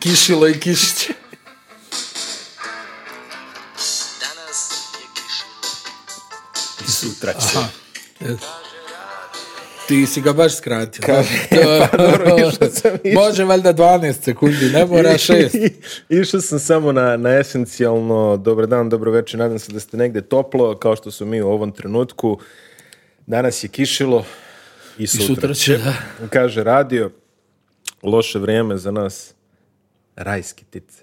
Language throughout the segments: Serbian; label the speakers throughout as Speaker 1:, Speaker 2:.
Speaker 1: Kišilo i kišiće.
Speaker 2: Danas je kišilo.
Speaker 3: I sutra će.
Speaker 1: Ti si ga baš skratio.
Speaker 3: Kaže,
Speaker 1: da.
Speaker 3: pa dobro, išao sam, išao.
Speaker 1: Može valjda 12 sekundi, ne mora 6.
Speaker 3: Išao sam samo na, na esencijalno dobar dan, dobro večer, nadam se da ste negde toplo, kao što su mi u ovom trenutku. Danas je kišilo i sutra,
Speaker 1: sutra će,
Speaker 3: Kaže radio, loše vrijeme za nas, rajski tice.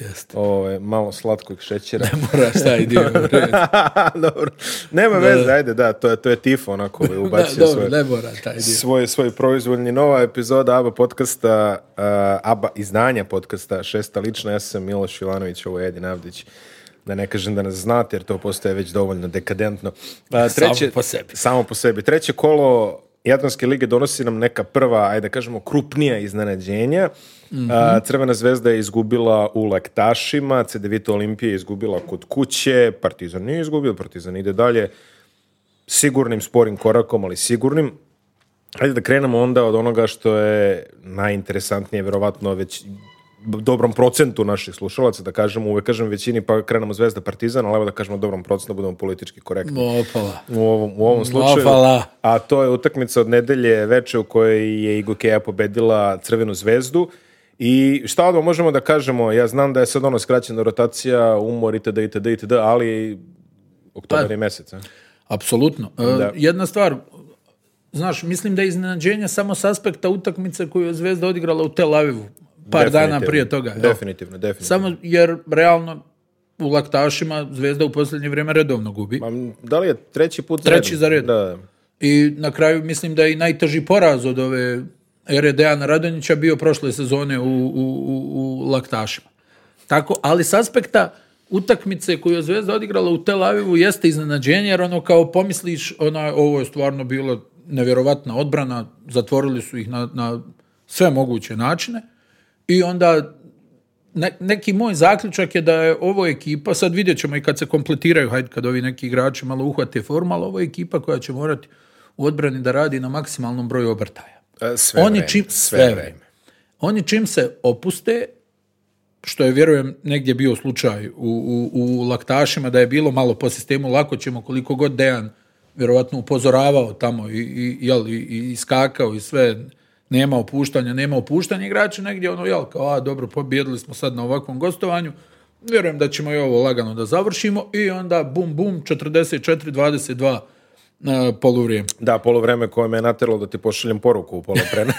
Speaker 1: Jeste.
Speaker 3: Ove, malo slatkog šećera.
Speaker 1: Mora šta ide.
Speaker 3: dobro. Nema veze, ajde, da, to je, to je tifo onako ovaj, ubacio
Speaker 1: Dobro,
Speaker 3: svoje-
Speaker 1: ne mora taj dio.
Speaker 3: svoj, svoj proizvoljni nova epizoda ABA podcasta, uh, ABA izdanja podcasta, šesta lična, ja sam Miloš Jovanović, ovo je Edin Avdić. Da ne kažem da nas znate, jer to postaje već dovoljno dekadentno. A,
Speaker 1: Samo po sebi.
Speaker 3: Samo po sebi. Treće kolo Jadranske lige donosi nam neka prva, ajde da kažemo, krupnija iznenađenja.
Speaker 1: Mhm.
Speaker 3: A, Crvena zvezda je izgubila u Lektašima, CDVita Olimpija je izgubila kod kuće, Partizan nije izgubio, Partizan ide dalje sigurnim, sporim korakom, ali sigurnim. Hajde da krenemo onda od onoga što je najinteresantnije, verovatno već dobrom procentu naših slušalaca, da kažemo, uvek kažem većini, pa krenemo Zvezda Partizan, ali evo da kažemo dobrom procentu, da budemo politički korektni
Speaker 1: Opala.
Speaker 3: u ovom, u ovom slučaju.
Speaker 1: Mafala.
Speaker 3: A to je utakmica od nedelje veče u kojoj je Igokeja pobedila Crvenu zvezdu. I šta odmah možemo da kažemo, ja znam da je sad ono skraćena rotacija, umor itd. itd. itd. ali oktober je mesec. a?
Speaker 1: Apsolutno. E,
Speaker 3: Da.
Speaker 1: Jedna stvar, znaš, mislim da je iznenađenje samo s aspekta utakmice koju je Zvezda odigrala u Tel Avivu par dana
Speaker 3: Definitivno.
Speaker 1: prije toga. Evo,
Speaker 3: Definitivno, definitivno.
Speaker 1: Samo jer realno u laktašima Zvezda u posljednje vrijeme redovno gubi.
Speaker 3: Ma, da li je treći put
Speaker 1: Treći za redom.
Speaker 3: Da.
Speaker 1: I na kraju mislim da je i najteži poraz od ove ere Dejana Radonjića bio prošle sezone u, u, u, u Laktašima. Tako, ali s aspekta utakmice koju je Zvezda odigrala u Tel Avivu jeste iznenađenje, jer ono kao pomisliš, ona, ovo je stvarno bila nevjerovatna odbrana, zatvorili su ih na, na sve moguće načine i onda ne- neki moj zaključak je da je ovo ekipa, sad vidjet ćemo i kad se kompletiraju, hajde kad ovi neki igrači malo uhvate formu, ali ovo je ekipa koja će morati u odbrani da radi na maksimalnom broju obrtaja.
Speaker 3: E, Sve
Speaker 1: Oni
Speaker 3: vreme,
Speaker 1: čim- sve
Speaker 3: sve vreme.
Speaker 1: vreme. Oni čim se opuste, što je vjerujem negdje bio slučaj u, u, u laktašima, da je bilo malo po sistemu lako ćemo koliko god Dejan vjerovatno upozoravao tamo i, i, jel, i, i skakao i sve, nema opuštanja, nema opuštanja igrači negdje, ono, jel, kao, a dobro, pobjedili smo sad na ovakvom gostovanju, vjerujem da ćemo i ovo lagano da završimo i onda bum bum 44-22 na e, poluvrijeme.
Speaker 3: Da, polovrijeme koje me je nateralo da ti pošaljem poruku u pola prena.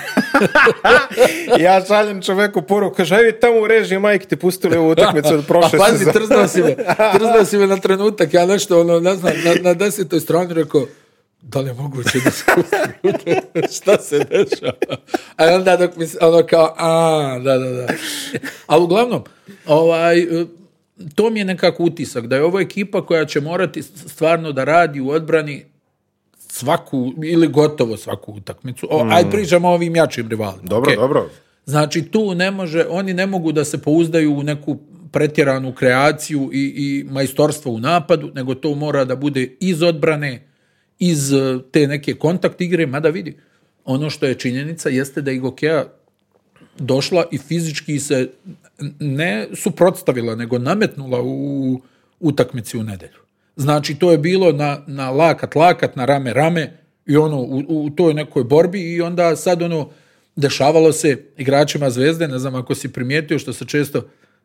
Speaker 3: ja šaljem čoveku poruku, kaže, ajde tamo u režiji, majke ti pustili ovu utakmicu od
Speaker 1: Pa
Speaker 3: prošle
Speaker 1: pazi,
Speaker 3: sezone."
Speaker 1: trznuo si me. Trznuo si me na trenutak. Ja nešto, ono, ne znam, na, na desetoj strani rekao, da li je moguće da se pusti? Šta se dešava? A onda dok mi se, ono kao, a, da, da, da. Ali uglavnom, ovaj, eh, to mi je nekako utisak, da je ovo ekipa koja će morati stvarno da radi u odbrani svaku, ili gotovo svaku utakmicu. O, Ajde pričamo o ovim jačim rivalima.
Speaker 3: Mm. Dobro,
Speaker 1: okej?
Speaker 3: dobro.
Speaker 1: Znači tu ne može, oni ne mogu da se pouzdaju u neku pretjeranu kreaciju i, i majstorstvo u napadu, nego to mora da bude iz odbrane, iz eh, te neke kontakt igre, mada vidi, ono što je činjenica jeste da je Igokea došla i fizički se n- ne suprotstavila, nego nametnula u utakmici u nedelju. Znači, to je bilo na, na lakat, lakat, na rame, rame i ono, u, u toj nekoj borbi i onda sad ono, dešavalo se igračima Zvezde, ne znam ako si primijetio što se često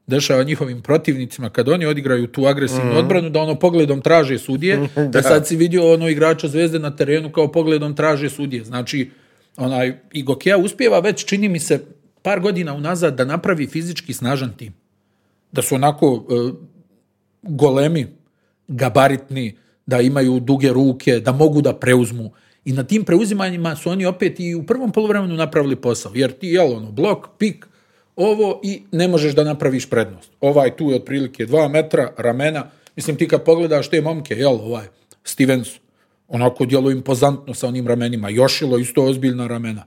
Speaker 1: dešava njihovim protivnicima kad oni odigraju tu agresivnu odbranu, da ono pogledom traže sudije, da. sad si vidio ono igrača Zvezde na terenu kao pogledom traže sudije. Znači, onaj, i Gokea uspjeva već, čini mi se, par godina unazad da napravi fizički snažan tim. Da su onako e, golemi, gabaritni, da imaju duge ruke, da mogu da preuzmu. I na tim preuzimanjima su oni opet i u prvom poluvremenu napravili posao. Jer ti, jel, ono, blok, pik, ovo i ne možeš da napraviš prednost. Ovaj tu je otprilike dva metra, ramena. Mislim, ti kad pogledaš te momke, jel, ovaj, Stevens, onako djelo impozantno sa onim ramenima. Jošilo, isto ozbiljna ramena.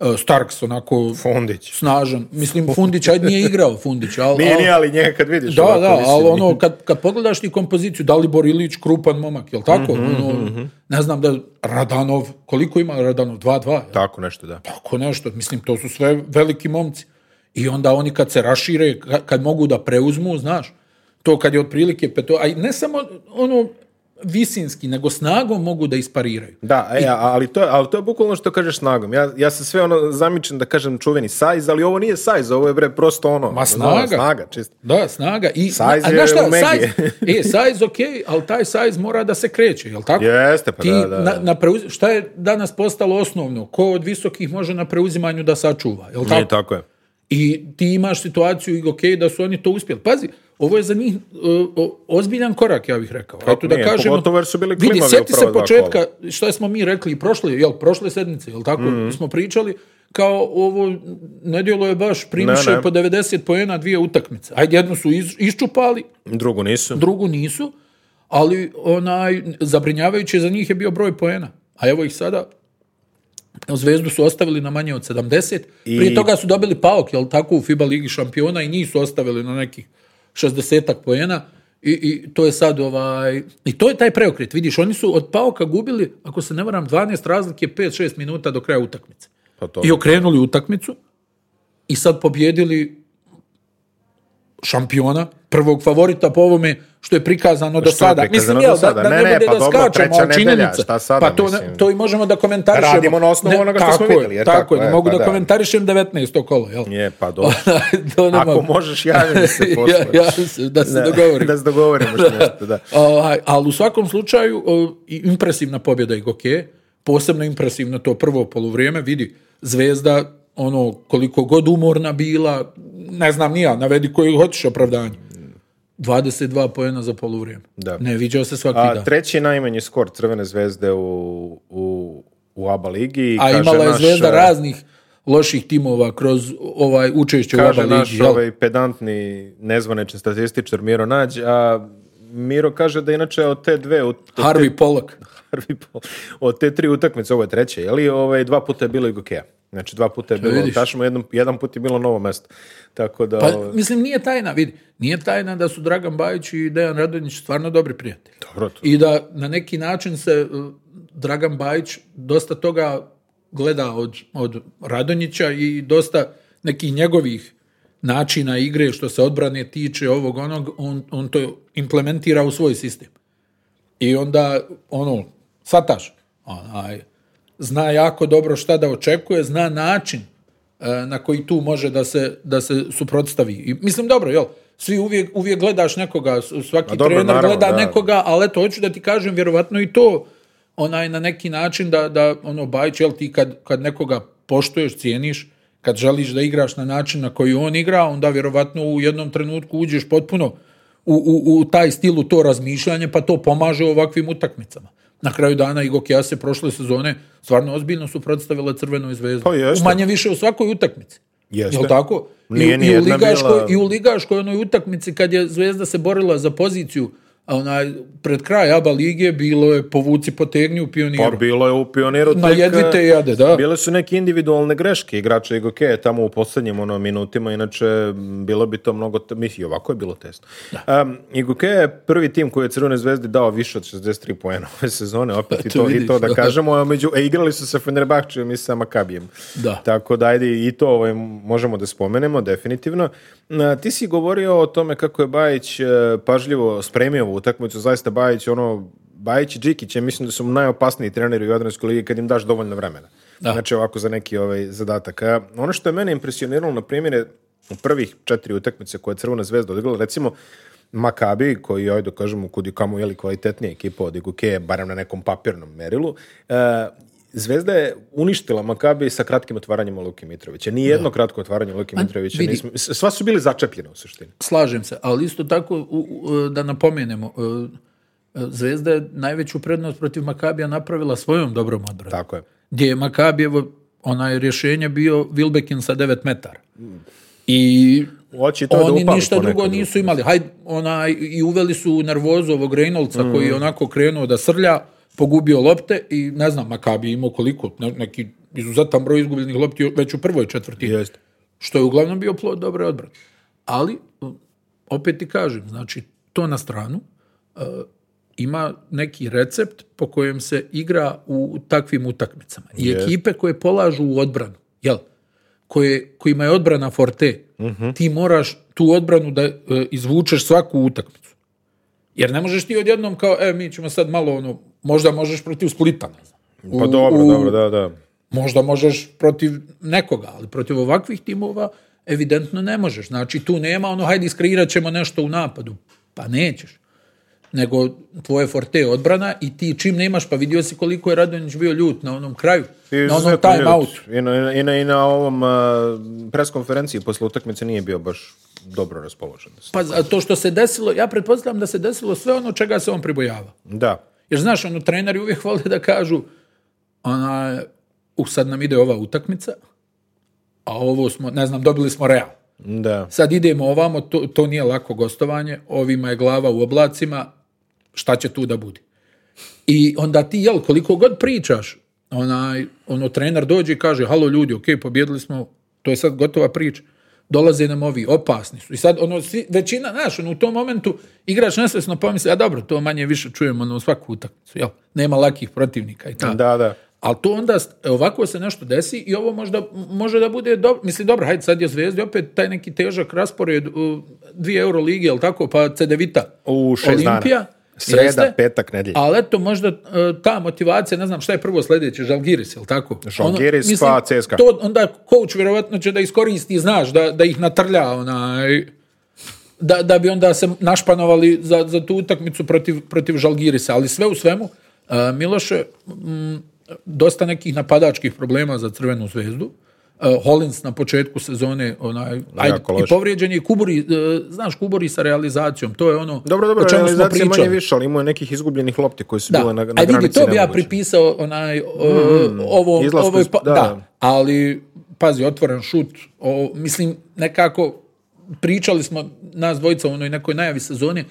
Speaker 1: E, Starks, onako...
Speaker 3: Fondić.
Speaker 1: Snažan. Mislim, Fundić, ajde, nije igrao Fundić, ali...
Speaker 3: Nije,
Speaker 1: ali-
Speaker 3: nije, ali njega kad vidiš.
Speaker 1: da,
Speaker 3: ovako,
Speaker 1: da,
Speaker 3: mislim,
Speaker 1: ali ono, kad, kad pogledaš ti kompoziciju, Dalibor Ilić, krupan momak, jel tako?
Speaker 3: Mhm,
Speaker 1: ono, Ne znam da, Radanov, koliko ima Radanov? 2-2, jel?
Speaker 3: Tako nešto, da.
Speaker 1: tako nešto. Mislim, to su sve veliki momci. I onda oni kad se rašire, ka- kad mogu da preuzmu, znaš, to kad je otprilike peto, a i ne samo ono visinski, nego snagom mogu da ispariraju.
Speaker 3: Da, e, a- ali, to je, ali to je bukvalno što kažeš snagom. Ja, ja se sve ono zamičem da kažem čuveni sajz, ali ovo nije sajz, ovo je bre prosto ono...
Speaker 1: Ma
Speaker 3: znaš,
Speaker 1: snaga.
Speaker 3: Snaga, čisto.
Speaker 1: Da, snaga. I,
Speaker 3: Sajz
Speaker 1: a
Speaker 3: je
Speaker 1: znaš šta,
Speaker 3: u Megi.
Speaker 1: sajz, e, sajz ok, ali taj sajz mora da se kreće, jel tako?
Speaker 3: Jeste, pa
Speaker 1: Ti
Speaker 3: da, da,
Speaker 1: na,
Speaker 3: da.
Speaker 1: na preuz- šta je danas postalo osnovno? Ko od visokih može na preuzimanju da sačuva, jel tako?
Speaker 3: E, tako je.
Speaker 1: I ti imaš situaciju i ok, da su oni to uspjeli. Pazi, ovo je za njih e, o- ozbiljan korak, ja bih rekao. Eto, da
Speaker 3: nije,
Speaker 1: kažemo,
Speaker 3: pogotovo jer su bili
Speaker 1: vidi,
Speaker 3: klimavi
Speaker 1: sjeti
Speaker 3: u
Speaker 1: se
Speaker 3: prva dva
Speaker 1: početka, šta smo mi rekli i prošle, jel, prošle sedmice, jel tako,
Speaker 3: Mhm.
Speaker 1: smo pričali, kao ovo nedjelo je baš primiše
Speaker 3: Ne, ne.
Speaker 1: po 90 poena dvije utakmice. Ajde, jednu su iz- iščupali,
Speaker 3: Drugo nisu.
Speaker 1: drugu nisu, ali onaj, zabrinjavajući za njih je bio broj poena. A evo ih sada, Zvezdu su ostavili na manje od 70,
Speaker 3: I-
Speaker 1: prije toga su dobili paok, jel tako, u FIBA ligi šampiona i njih su ostavili na nekih 60 poena i, i to je sad ovaj, i to je taj preokret, vidiš, oni su od paoka gubili, ako se ne varam, 12 razlike 5-6 minuta do kraja utakmice.
Speaker 3: Pa to.
Speaker 1: I okrenuli utakmicu i sad pobjedili šampiona, prvog favorita po ovome što je prikazano do
Speaker 3: Što je
Speaker 1: sada.
Speaker 3: prikazano
Speaker 1: jel,
Speaker 3: do sada?
Speaker 1: Da, da
Speaker 3: Ne, ne,
Speaker 1: bude
Speaker 3: pa
Speaker 1: da
Speaker 3: dobro,
Speaker 1: skačemo,
Speaker 3: treća
Speaker 1: ali
Speaker 3: nedelja,
Speaker 1: činjenica.
Speaker 3: šta sada,
Speaker 1: pa to, ne-
Speaker 3: mislim?
Speaker 1: to i možemo da komentarišemo.
Speaker 3: Radimo na osnovu onoga što
Speaker 1: tako
Speaker 3: smo
Speaker 1: je,
Speaker 3: vidjeli, jer
Speaker 1: tako,
Speaker 3: tako
Speaker 1: je, ne
Speaker 3: je,
Speaker 1: mogu
Speaker 3: pa
Speaker 1: da,
Speaker 3: da.
Speaker 1: komentarišem 19. kolo, jel?
Speaker 3: Je, pa dobro.
Speaker 1: to ne
Speaker 3: Ako
Speaker 1: mogu.
Speaker 3: možeš, javim se posle.
Speaker 1: ja, ja se- da se
Speaker 3: Da,
Speaker 1: dogovorimo.
Speaker 3: da se dogovorimo što nešto, da.
Speaker 1: Ovaj, ali u svakom slučaju o, i impresivna pobjeda i gokeje, posebno impresivno to prvo poluvrijeme, vidi, zvezda ono koliko god umorna bila, ne znam nija, navedi koji hoćeš opravdanje. 22 pojena za poluvrijeme.
Speaker 3: Da.
Speaker 1: Ne viđao se svaki
Speaker 3: A,
Speaker 1: dan.
Speaker 3: treći je najmanji skor Crvene zvezde u, u, u ABA ligi.
Speaker 1: A
Speaker 3: Kaže
Speaker 1: imala je
Speaker 3: naš,
Speaker 1: zvezda
Speaker 3: eh,
Speaker 1: raznih loših timova kroz ovaj učešće u
Speaker 3: Kaže
Speaker 1: oba ligi.
Speaker 3: naš
Speaker 1: jel?
Speaker 3: ovaj pedantni nezvanečni statističar Miro Nađ, a Miro kaže da inače od te dve od,
Speaker 1: Harvey Pollack.
Speaker 3: prvi pol- od te tri utakmice, ovo je treće, je li ovaj, dva puta je bilo i Gokeja. Znači dva puta je bilo
Speaker 1: vidiš.
Speaker 3: Tašmo, jedan, jedan put je bilo novo mesto. Tako da...
Speaker 1: Pa,
Speaker 3: ovaj,
Speaker 1: mislim, nije tajna, vidi. Nije tajna da su Dragan Bajić i Dejan Radonjić stvarno dobri prijatelji.
Speaker 3: dobro, to-
Speaker 1: I da na neki način se uh, Dragan Bajić dosta toga gleda od, od Radonjića i dosta nekih njegovih načina igre što se odbrane tiče ovog onog, on, on to implementira u svoj sistem. I onda, ono, svataš, onaj, zna jako dobro šta da očekuje, zna način e, na koji tu može da se, da se suprotstavi. I, mislim, dobro, jel, svi uvijek, uvijek gledaš nekoga, s- svaki
Speaker 3: A Pa dobro,
Speaker 1: trener
Speaker 3: naravno,
Speaker 1: gleda
Speaker 3: da.
Speaker 1: nekoga, ali eto, hoću da ti kažem, vjerovatno i to, onaj, na neki način da, da ono, Bajić, jel, ti kad, kad nekoga poštuješ, cijeniš, kad želiš da igraš na način na koji on igra, onda vjerovatno u jednom trenutku uđeš potpuno u, u, u taj stil, u to razmišljanje, pa to pomaže u ovakvim utakmicama. Na kraju dana i Gokija se prošle sezone stvarno ozbiljno suprotstavila Crvenoj zvezdi.
Speaker 3: Pa jeste.
Speaker 1: U manje više u svakoj utakmici.
Speaker 3: Jeste.
Speaker 1: Jel tako? I,
Speaker 3: Nije
Speaker 1: u-
Speaker 3: ni
Speaker 1: i, u
Speaker 3: jedna
Speaker 1: ligaškoj,
Speaker 3: bila-
Speaker 1: I u ligaškoj onoj utakmici kad je Zvezda se borila za poziciju a onaj, pred kraj ABA lige bilo je povuci potegni u
Speaker 3: Pa
Speaker 1: pioniru.
Speaker 3: bilo je u pioniru
Speaker 1: Na
Speaker 3: tek, e,
Speaker 1: jedvite jade, da.
Speaker 3: Bile su neke individualne greške igrača i gokeje tamo u poslednjim ono, minutima, inače m, bilo bi to mnogo, te- mislim, i ovako je bilo tesno. Um, I Gokeje je prvi tim koji je Crvene zvezde dao više od 63 poena ove sezone, opet
Speaker 1: Pa
Speaker 3: i,
Speaker 1: to
Speaker 3: to, i
Speaker 1: vidiš,
Speaker 3: to da
Speaker 1: da.
Speaker 3: kažemo, a među, e, igrali su sa Fenerbahčevom i sa Makabijem.
Speaker 1: Da.
Speaker 3: Tako da, ajde, i to ovaj, možemo da spomenemo, definitivno. Na, ti si govorio o tome kako je Bajić e, pažljivo spremio ovu utakmicu, zaista Bajić, ono, Bajić i Džikić, ja mislim da su najopasniji treneri u Jadranskoj ligi kad im daš dovoljno vremena.
Speaker 1: Da.
Speaker 3: Znači ovako za neki ovaj zadatak. A, ono što je mene impresioniralo, na primjer, je u prvih četiri utakmice koje je Crvena zvezda odigrala, recimo, Makabi, koji je, ajde da kažemo, kudi kamo je li kvalitetnija ekipa od Iguke, barem na nekom papirnom merilu, e, Zvezda je uništila Makabi sa kratkim otvaranjem Luke Mitrovića. Ni jedno kratko otvaranje Luke Mitrovića.
Speaker 1: vidi-
Speaker 3: Nismo, s- sva su bili začepljena u suštini.
Speaker 1: Slažem se, ali isto tako u- u- da napomenemo, e, e, Zvezda je najveću prednost protiv Makabija napravila svojom dobrom odbranom.
Speaker 3: Tako je.
Speaker 1: Gdje je Makabijevo onaj rješenje bio Vilbekin sa 9 metara. I
Speaker 3: Hoće i znači, to da
Speaker 1: oni
Speaker 3: upali
Speaker 1: ništa
Speaker 3: ponekad
Speaker 1: drugo
Speaker 3: u
Speaker 1: nisu imali. Hajde, onaj, i uveli su nervozu ovog Reynoldsa koji
Speaker 3: Mm.
Speaker 1: je onako krenuo da srlja, pogubio lopte i ne znam, Makabi je imao koliko, ne- neki izuzetan broj izgubljenih lopti već u prvoj četvrtini
Speaker 3: Jeste.
Speaker 1: što je uglavnom bio plod dobre odbrane. Ali, opet ti kažem, znači, to na stranu, e, ima neki recept po kojem se igra u takvim utakmicama. I ekipe koje polažu u odbranu, jel? koje, kojima je odbrana forte, ti moraš tu odbranu da e, izvučeš svaku utakmicu. Jer ne možeš ti odjednom kao, e, mi ćemo sad malo ono, možda možeš protiv Splita, ne znam.
Speaker 3: Pa
Speaker 1: U-
Speaker 3: dobro,
Speaker 1: u-
Speaker 3: dobro, da, da.
Speaker 1: Možda možeš protiv nekoga, ali protiv ovakvih timova evidentno ne možeš. Znači tu nema ono hajde iskreirat ćemo nešto u napadu. Pa nećeš. Nego tvoje forte je odbrana i ti čim nemaš, pa vidio si koliko je Radonjić bio ljut na onom kraju,
Speaker 3: I
Speaker 1: na onom
Speaker 3: izuzetno ljut.
Speaker 1: timeoutu.
Speaker 3: I na, i na, i na ovom uh, preskonferenciji posle utakmice nije bio baš dobro raspoložen.
Speaker 1: Pa za- to što se desilo, ja pretpostavljam da se desilo sve ono čega se on pribojava.
Speaker 3: Da.
Speaker 1: Jer znaš, ono, treneri uvijek vole da kažu ona, uh, sad nam ide ova utakmica, a ovo smo, ne znam, dobili smo Real.
Speaker 3: Da.
Speaker 1: Sad idemo ovamo, to, to nije lako gostovanje, ovima je glava u oblacima, šta će tu da bude? I onda ti, jel, koliko god pričaš, onaj, ono, trener dođe i kaže, halo ljudi, ok, pobjedili smo, to je sad gotova priča, dolaze nam ovi, opasni su. I sad, ono, svi- većina, znaš, ono, u tom momentu igrač nesvesno pomisli, a dobro, to manje više čujemo ono, svaku utakmicu, jel, nema lakih protivnika i tako.
Speaker 3: Da, da.
Speaker 1: Ali to onda, st- ovako se nešto desi i ovo možda, može da bude, dobro. mislim dobro, hajde sad je Zvezdi opet taj neki težak raspored u dvije Eurolige, jel tako, pa Cedevita.
Speaker 3: U šest dana.
Speaker 1: Olimpija.
Speaker 3: Sreda,
Speaker 1: jeste,
Speaker 3: petak, nedjelja.
Speaker 1: Ali eto, možda e, ta motivacija, ne znam šta je prvo sljedeće, Žalgiris, jel tako?
Speaker 3: Žalgiris,
Speaker 1: Ono, mislim,
Speaker 3: pa CSKA.
Speaker 1: To onda coach vjerovatno će da iskoristi, znaš, da, da ih natrlja, onaj, da, da bi onda se našpanovali za, za tu utakmicu protiv, protiv Žalgirisa. Ali sve u svemu, e, Miloše, m, dosta nekih napadačkih problema za Crvenu zvezdu. E, Hollins na početku sezone, onaj, ajde,
Speaker 3: Jako loše.
Speaker 1: i povrijeđen je Kuburi, e, znaš, Kuburi sa realizacijom, to je ono
Speaker 3: Dobro, dobro,
Speaker 1: o čemu smo
Speaker 3: realizacija je manje
Speaker 1: pričali.
Speaker 3: više, ali imao je nekih izgubljenih lopti koji su
Speaker 1: Da,
Speaker 3: bile na, na
Speaker 1: a vidi,
Speaker 3: granici
Speaker 1: to bi ja
Speaker 3: nemoguće. Mm,
Speaker 1: pripisao onaj, o, ovo,
Speaker 3: izlasku
Speaker 1: ovo je
Speaker 3: iz-
Speaker 1: pa-
Speaker 3: da.
Speaker 1: da. ali pazi, otvoren šut, o, mislim, nekako pričali smo nas dvojica u onoj nekoj najavi sezone,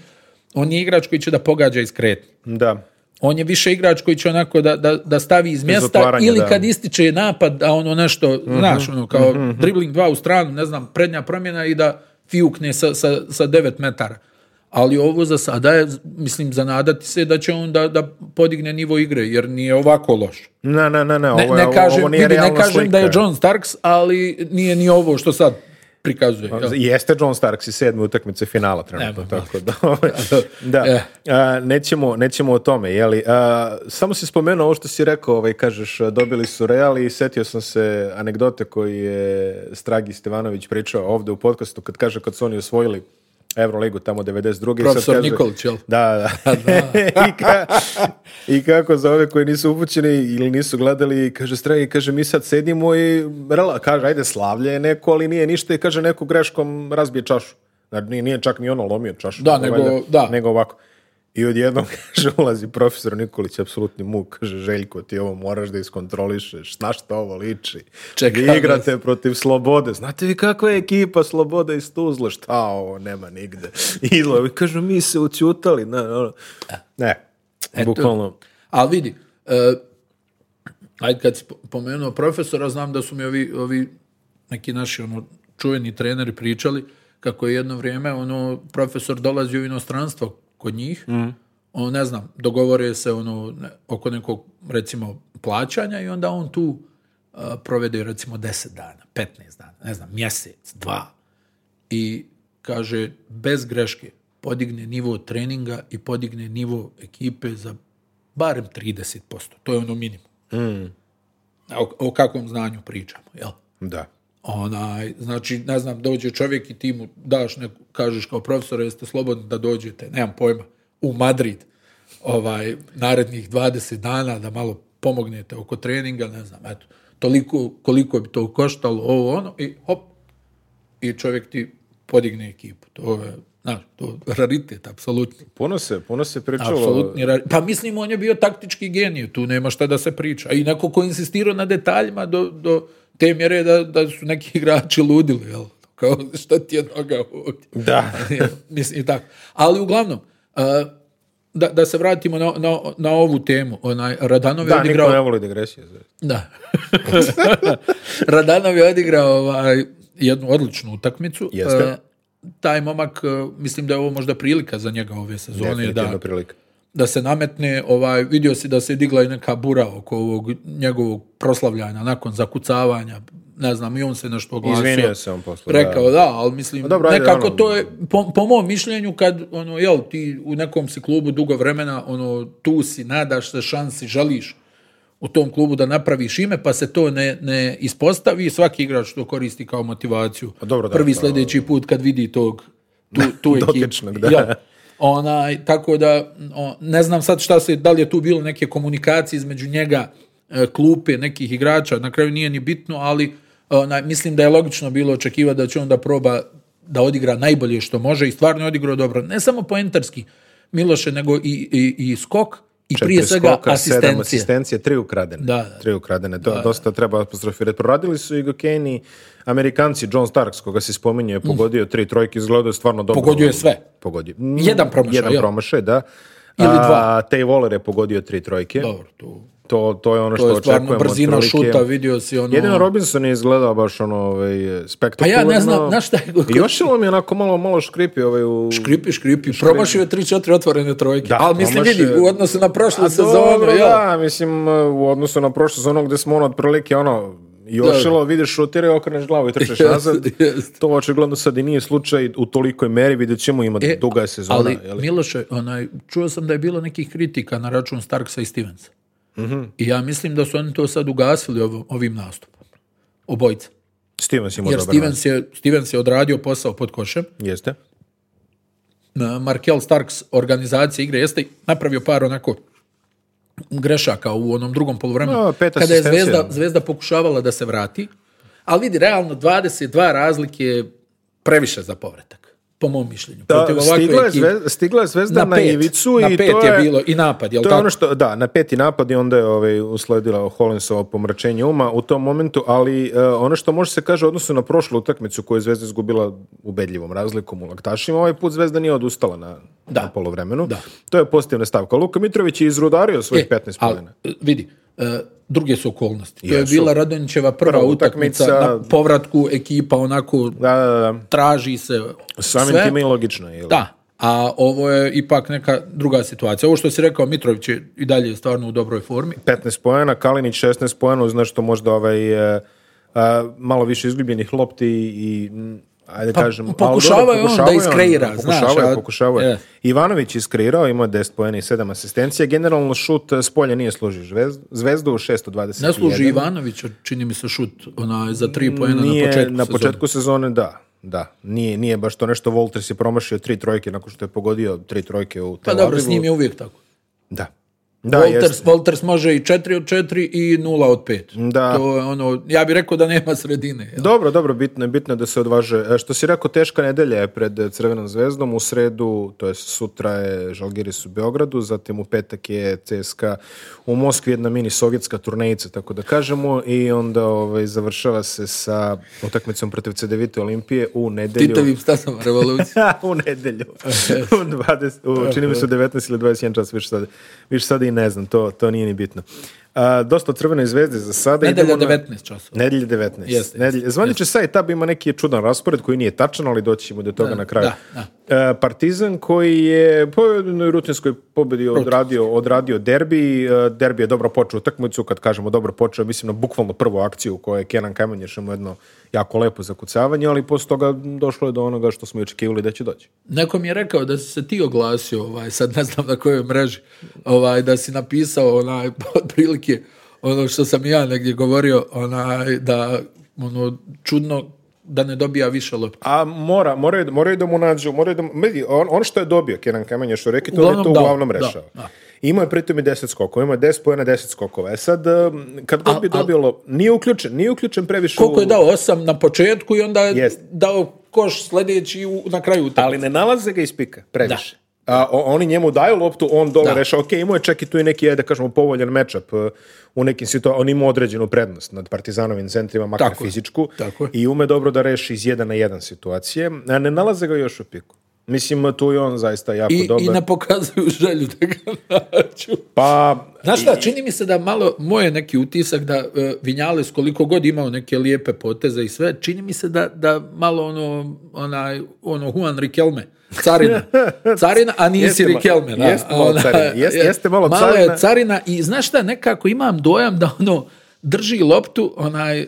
Speaker 1: on je igrač koji će da pogađa iz kretnje.
Speaker 3: Da.
Speaker 1: On je više igrač koji će onako da, da, da stavi iz mjesta
Speaker 3: zatvaranje,
Speaker 1: ili
Speaker 3: da. Mhm.
Speaker 1: kad ističe napad, a ono nešto, znaš, ono kao dribbling dva u stranu, ne znam, prednja promjena i da fiukne sa, sa, sa 9 metara. Ali ovo za sada je, mislim, zanadati se da će on da, da podigne nivo igre, jer nije ovako loš.
Speaker 3: Na, na, na, na,
Speaker 1: Ne,
Speaker 3: ovo, je-
Speaker 1: ne
Speaker 3: ovo-
Speaker 1: kažem,
Speaker 3: ovo nije
Speaker 1: vidi, ne
Speaker 3: realna
Speaker 1: kažem
Speaker 3: slika.
Speaker 1: da je John Starks, ali nije ni ovo što sad prikazuje.
Speaker 3: Pa
Speaker 1: jel?
Speaker 3: Jeste John Starks i sedme utakmice finala trenutno, tako da, ovaj, da.
Speaker 1: Eh.
Speaker 3: A, nećemo, nećemo o tome, jeli. A, samo si spomenuo ovo što si rekao, ovaj, kažeš, a, dobili su Real i setio sam se anegdote koji je Stragi Stevanović pričao ovde u podcastu, kad kaže kad su oni osvojili Euroligu tamo 92. i sad
Speaker 1: Profesor
Speaker 3: kaže-
Speaker 1: Nikolić, jel?
Speaker 3: Da, da. I, ka- I kako za ove koji nisu upućeni ili nisu gledali, kaže Stragi, kaže mi sad sedimo i rela, kaže ajde slavlje je neko, ali nije ništa i kaže neko greškom razbije čašu. Znači nije, nije čak ni ono lomio čašu.
Speaker 1: Da,
Speaker 3: nego
Speaker 1: nego- da.
Speaker 3: Nego ovako. I odjednom kaže, ulazi profesor Nikolić, apsolutni muk, kaže, Željko, ti ovo moraš da iskontrolišeš, na šta ovo liči?
Speaker 1: Čekam
Speaker 3: Vi igrate protiv Slobode. Znate vi kakva je ekipa Sloboda iz Tuzle? Šta ovo, nema nigde. I izlo- kažu, mi se ućutali. Ne, ne, ne. bukvalno.
Speaker 1: Ali vidi, e, ajde kad si po- pomenuo profesora, znam da su mi ovi, ovi neki naši ono, čuveni treneri pričali kako je jedno vrijeme ono, profesor dolazi u inostranstvo kod njih, on, ne znam, dogovore se ono, ne- oko nekog, recimo, plaćanja i onda on tu a, provede recimo 10 dana, 15 dana, ne znam, mjesec, dva. I kaže, bez greške, podigne nivo treninga i podigne nivo ekipe za barem 30%. To je ono minimum. O, o kakvom znanju pričamo, jel?
Speaker 3: Da.
Speaker 1: Onaj, znači, ne znam, dođe čovjek i ti mu daš neku, kažeš kao profesor, jeste slobodni da dođete, nemam pojma, u Madrid, ovaj, narednih 20 dana da malo pomognete oko treninga, ne znam, eto, toliko, koliko bi to koštalo, ovo, ono, i hop, i čovjek ti podigne ekipu. To je, znaš, to je raritet, apsolutni.
Speaker 3: Puno se, puno se pričalo.
Speaker 1: Apsolutni ra- Pa mislim, on je bio taktički genije, tu nema šta da se priča. I neko ko je insistirao na detaljima do, do te mjere da, da su neki igrači ludili, jel? Kao, šta ti je noga ovdje?
Speaker 3: Da.
Speaker 1: mislim, i tako. Ali uglavnom, a, da, da se vratimo na, na, na ovu temu. Onaj, Radanov je
Speaker 3: Da,
Speaker 1: odigrao...
Speaker 3: niko ne voli digresije.
Speaker 1: Da. Radanov je odigrao ovaj, jednu odličnu utakmicu.
Speaker 3: Jeste.
Speaker 1: E, taj momak, e, mislim da je ovo možda prilika za njega ove sezone.
Speaker 3: Definitivno
Speaker 1: Da,
Speaker 3: prilika.
Speaker 1: da se nametne, ovaj, vidio si da se digla i neka bura oko ovog njegovog proslavljanja nakon zakucavanja, ne znam, i on se nešto oglasio.
Speaker 3: Izvinio se on posle, da.
Speaker 1: Rekao, da, ali mislim,
Speaker 3: Pa dobro, ajde,
Speaker 1: nekako
Speaker 3: ono-
Speaker 1: to je, po, po mom mišljenju, kad, ono, jel, ti u nekom si klubu dugo vremena, ono, tu si, nadaš se, šansi, želiš u tom klubu da napraviš ime, pa se to ne, ne ispostavi, svaki igrač to koristi kao motivaciju.
Speaker 3: Pa dobro, da,
Speaker 1: Prvi
Speaker 3: pa-
Speaker 1: sljedeći put kad vidi tog, tu, tu ekipu.
Speaker 3: Dotičnog, da.
Speaker 1: Jel? Onaj, tako da, o, ne znam sad šta se, da li je tu bilo neke komunikacije između njega, e, klupe, nekih igrača, na kraju nije ni bitno, ali onaj, mislim da je logično bilo očekivati da će on da proba da odigra najbolje što može i stvarno je odigrao dobro. Ne samo poentarski, Miloše, nego i, i, i skok i prije
Speaker 3: Četiri
Speaker 1: svega
Speaker 3: skoka, sedam
Speaker 1: asistencije.
Speaker 3: asistencije, tri ukradene.
Speaker 1: Da, da.
Speaker 3: Tri ukradene, to dosta treba apostrofirati. Proradili su i Gokeni, Amerikanci, John Starks, koga se spominje, je pogodio tri trojke, izgledao je stvarno dobro.
Speaker 1: Mm. Pogodio je sve.
Speaker 3: Pogodio.
Speaker 1: Jedan promašaj,
Speaker 3: Jedan
Speaker 1: jel?
Speaker 3: promašaj, da.
Speaker 1: Ili dva.
Speaker 3: A, Tay Waller je pogodio tri trojke.
Speaker 1: Dobro, tu.
Speaker 3: To, to je ono
Speaker 1: To
Speaker 3: što
Speaker 1: je stvarno
Speaker 3: očekujemo od
Speaker 1: brzina
Speaker 3: trojke.
Speaker 1: šuta, vidio si ono...
Speaker 3: Jedino Robinson je izgledao baš ono ovaj, spektakularno.
Speaker 1: A ja ne znam, znaš šta je-
Speaker 3: Još je on mi onako malo, malo škripi ovaj u...
Speaker 1: Škripi, škripi. Promašio je 3-4 otvorene trojke.
Speaker 3: Da,
Speaker 1: Ali mislim,
Speaker 3: promašio
Speaker 1: vidi,
Speaker 3: je.
Speaker 1: u odnosu na prošlu
Speaker 3: A
Speaker 1: sezonu,
Speaker 3: dobro,
Speaker 1: jel?
Speaker 3: da, mislim, e, u odnošu na prošlu sezonu gde smo ono otprilike ono, Jošilo, vidiš šutira i okreneš glavu i trčeš
Speaker 1: Jeste,
Speaker 3: nazad.
Speaker 1: jeste.
Speaker 3: To očigledno sad i nije slučaj u tolikoj meri, vidjet ćemo ima
Speaker 1: E,
Speaker 3: duga je sezona.
Speaker 1: Ali,
Speaker 3: jel?
Speaker 1: Miloše, onaj, čuo sam da je bilo nekih kritika na račun Starksa i Stevensa.
Speaker 3: Mhm.
Speaker 1: I ja mislim da su oni to sad ugasili ovo- ovim nastupom. Obojica.
Speaker 3: Stevens ima
Speaker 1: Jer
Speaker 3: dobar
Speaker 1: Stevens je, Stevens je odradio posao pod košem.
Speaker 3: nas- Jeste.
Speaker 1: Na Markel Starks organizacije igre jeste napravio par onako grešaka u onom drugom poluvremenu.
Speaker 3: A, pet
Speaker 1: kada je
Speaker 3: asistencija. ono.
Speaker 1: zvezda, zvezda pokušavala da se vrati. Ali vidi, realno 22 razlike je previše za povratak. Po mom mišljenju.
Speaker 3: Da,
Speaker 1: Protiv ovakve
Speaker 3: stigla, je
Speaker 1: ekipe.
Speaker 3: zvezda, stigla je zvezda na,
Speaker 1: pet.
Speaker 3: ivicu
Speaker 1: na
Speaker 3: i
Speaker 1: pet
Speaker 3: to
Speaker 1: je, bilo i napad, jel
Speaker 3: To je
Speaker 1: tako?
Speaker 3: ono što, da, na peti napad i onda je ovaj, usledila Holinsovo pomračenje uma u tom momentu, ali e, ono što može se kaže u odnosu na prošlu utakmicu koju je Zvezda izgubila ubedljivom razlikom u Laktašima, ovaj put Zvezda nije odustala na,
Speaker 1: Da.
Speaker 3: na polovremenu.
Speaker 1: Da.
Speaker 3: To je pozitivna stavka. Luka Mitrović je izrudario svojih
Speaker 1: E,
Speaker 3: 15
Speaker 1: ali,
Speaker 3: poena.
Speaker 1: e, Vidi, e, druge su okolnosti. To je
Speaker 3: Jesu.
Speaker 1: bila Radonjićeva prva,
Speaker 3: Prva
Speaker 1: utakmica,
Speaker 3: utakmica.
Speaker 1: na povratku ekipa onako
Speaker 3: Da, da, da.
Speaker 1: traži se
Speaker 3: Samim
Speaker 1: sve.
Speaker 3: time i logično. Je, li?
Speaker 1: Da, a ovo je ipak neka druga situacija. Ovo što si rekao, Mitrović je i dalje stvarno u dobroj formi.
Speaker 3: 15 poena, Kalinić 16 poena, uz nešto možda ovaj, e, a, malo više izgubljenih lopti i mm, ajde
Speaker 1: Pa,
Speaker 3: kažem... ali dobro,
Speaker 1: pokušavao je on
Speaker 3: pokušavao
Speaker 1: da
Speaker 3: je
Speaker 1: iskreira,
Speaker 3: Pokušavao
Speaker 1: znaš,
Speaker 3: je,
Speaker 1: a-
Speaker 3: pokušavao je.
Speaker 1: je.
Speaker 3: Ivanović je iskreirao, imao je 10 poena i 7 asistencija. Generalno šut s polja nije služio Zvezdu, zvezdu u 621.
Speaker 1: Ne služi Ivanović, čini mi se šut onaj, za tri poena
Speaker 3: Nije,
Speaker 1: na početku.
Speaker 3: na
Speaker 1: sezone.
Speaker 3: početku sezone, da. Da, nije, nije baš to nešto. Volters je promašio tri trojke nakon što je pogodio tri trojke u
Speaker 1: Pa
Speaker 3: Tel
Speaker 1: dobro,
Speaker 3: Avivu.
Speaker 1: s njim je uvijek tako.
Speaker 3: Da. Da,
Speaker 1: Walters,
Speaker 3: jeste.
Speaker 1: Walters može i 4 od 4 i 0 od 5.
Speaker 3: Da.
Speaker 1: To je ono, ja bih rekao da nema sredine. jel?
Speaker 3: Dobro, dobro, bitno je, bitno je da se odvaže. E, Što si rekao, teška nedelja je pred e, Crvenom zvezdom, u sredu, to je sutra je Žalgiris u Beogradu, zatim u petak je CSKA u Moskvi, jedna mini sovjetska turnejica, tako da kažemo, i onda ovaj, završava se sa utakmicom protiv CDVite Olimpije u nedelju.
Speaker 1: Titavim stazama revolucije.
Speaker 3: u nedelju. u 20, u, čini mi se u 19 ili 21 čas, više sada, više sada i ne znam, to, to nije ni bitno. A, dosta o Crvenoj zvezdi za sada.
Speaker 1: Nedelja
Speaker 3: idemo na-
Speaker 1: 19 časova.
Speaker 3: Nedelje 19.
Speaker 1: Jeste,
Speaker 3: Nedelje. Zvaniče sajt tab ima neki čudan raspored koji nije tačan, ali doći ćemo do toga na kraju.
Speaker 1: da,
Speaker 3: E, Partizan koji je po jednoj rutinskoj pobedi odradio, odradio derbi. E, Derbi je dobro počeo utakmicu, kad kažemo dobro počeo, mislim na bukvalno prvu akciju u kojoj je Kenan Kamenješ imao jedno jako lepo zakucavanje, ali posle toga došlo je do onoga što smo i očekivali da će doći.
Speaker 1: Neko mi je rekao da si se ti oglasio, ovaj, sad ne znam na kojoj mreži, ovaj, da si napisao onaj, otprilike ono što sam i ja negdje govorio, onaj, da ono, čudno da ne dobija više lopti.
Speaker 3: A mora, moraju, moraju da mu nađu, moraju da mu, vidi, on, on što je dobio Kenan Kamenjaš u reki, to on je
Speaker 1: Uglavnom
Speaker 3: to
Speaker 1: dao,
Speaker 3: uglavnom
Speaker 1: da,
Speaker 3: rešao.
Speaker 1: da.
Speaker 3: Imao je pritom i 10 skokova, imao je 10 pojena, 10 skokova. E sad, um, kad god
Speaker 1: Al-
Speaker 3: bi
Speaker 1: al-
Speaker 3: dobilo, nije uključen, nije uključen previše
Speaker 1: Koliko
Speaker 3: u-
Speaker 1: je dao? Osam na početku i onda je
Speaker 3: Jest.
Speaker 1: dao koš sljedeći u, na kraju utakmice.
Speaker 3: Ali ne nalaze ga iz pika, previše. A, o- oni njemu daju loptu, on dole rešava. Ok, imao je čak i tu i neki, ajde da kažemo, povoljan matchup e, u nekim situacijama. On ima određenu prednost nad Partizanovim centrima, makar
Speaker 1: Tako je.
Speaker 3: fizičku.
Speaker 1: Tako je.
Speaker 3: I ume dobro da reši iz jedan na jedan situacije. A ne nalaze ga još u piku. Mislim, tu je on zaista jako
Speaker 1: I,
Speaker 3: dobar.
Speaker 1: i ne pokazuju želju da ga nađu.
Speaker 3: Pa,
Speaker 1: Znaš šta, čini mi se da malo, moj je neki utisak da e, Vinjales koliko god imao neke lijepe poteze i sve, čini mi se da, da malo ono, onaj, ono Juan Rikelme, carina. Carina, a nisi
Speaker 3: Jeste ma-
Speaker 1: Rikelme. Da,
Speaker 3: jeste malo
Speaker 1: Ona-
Speaker 3: carina, jeste- jeste malo
Speaker 1: Malo je
Speaker 3: carina.
Speaker 1: carina i znaš šta, nekako imam dojam da ono drži loptu, onaj, e,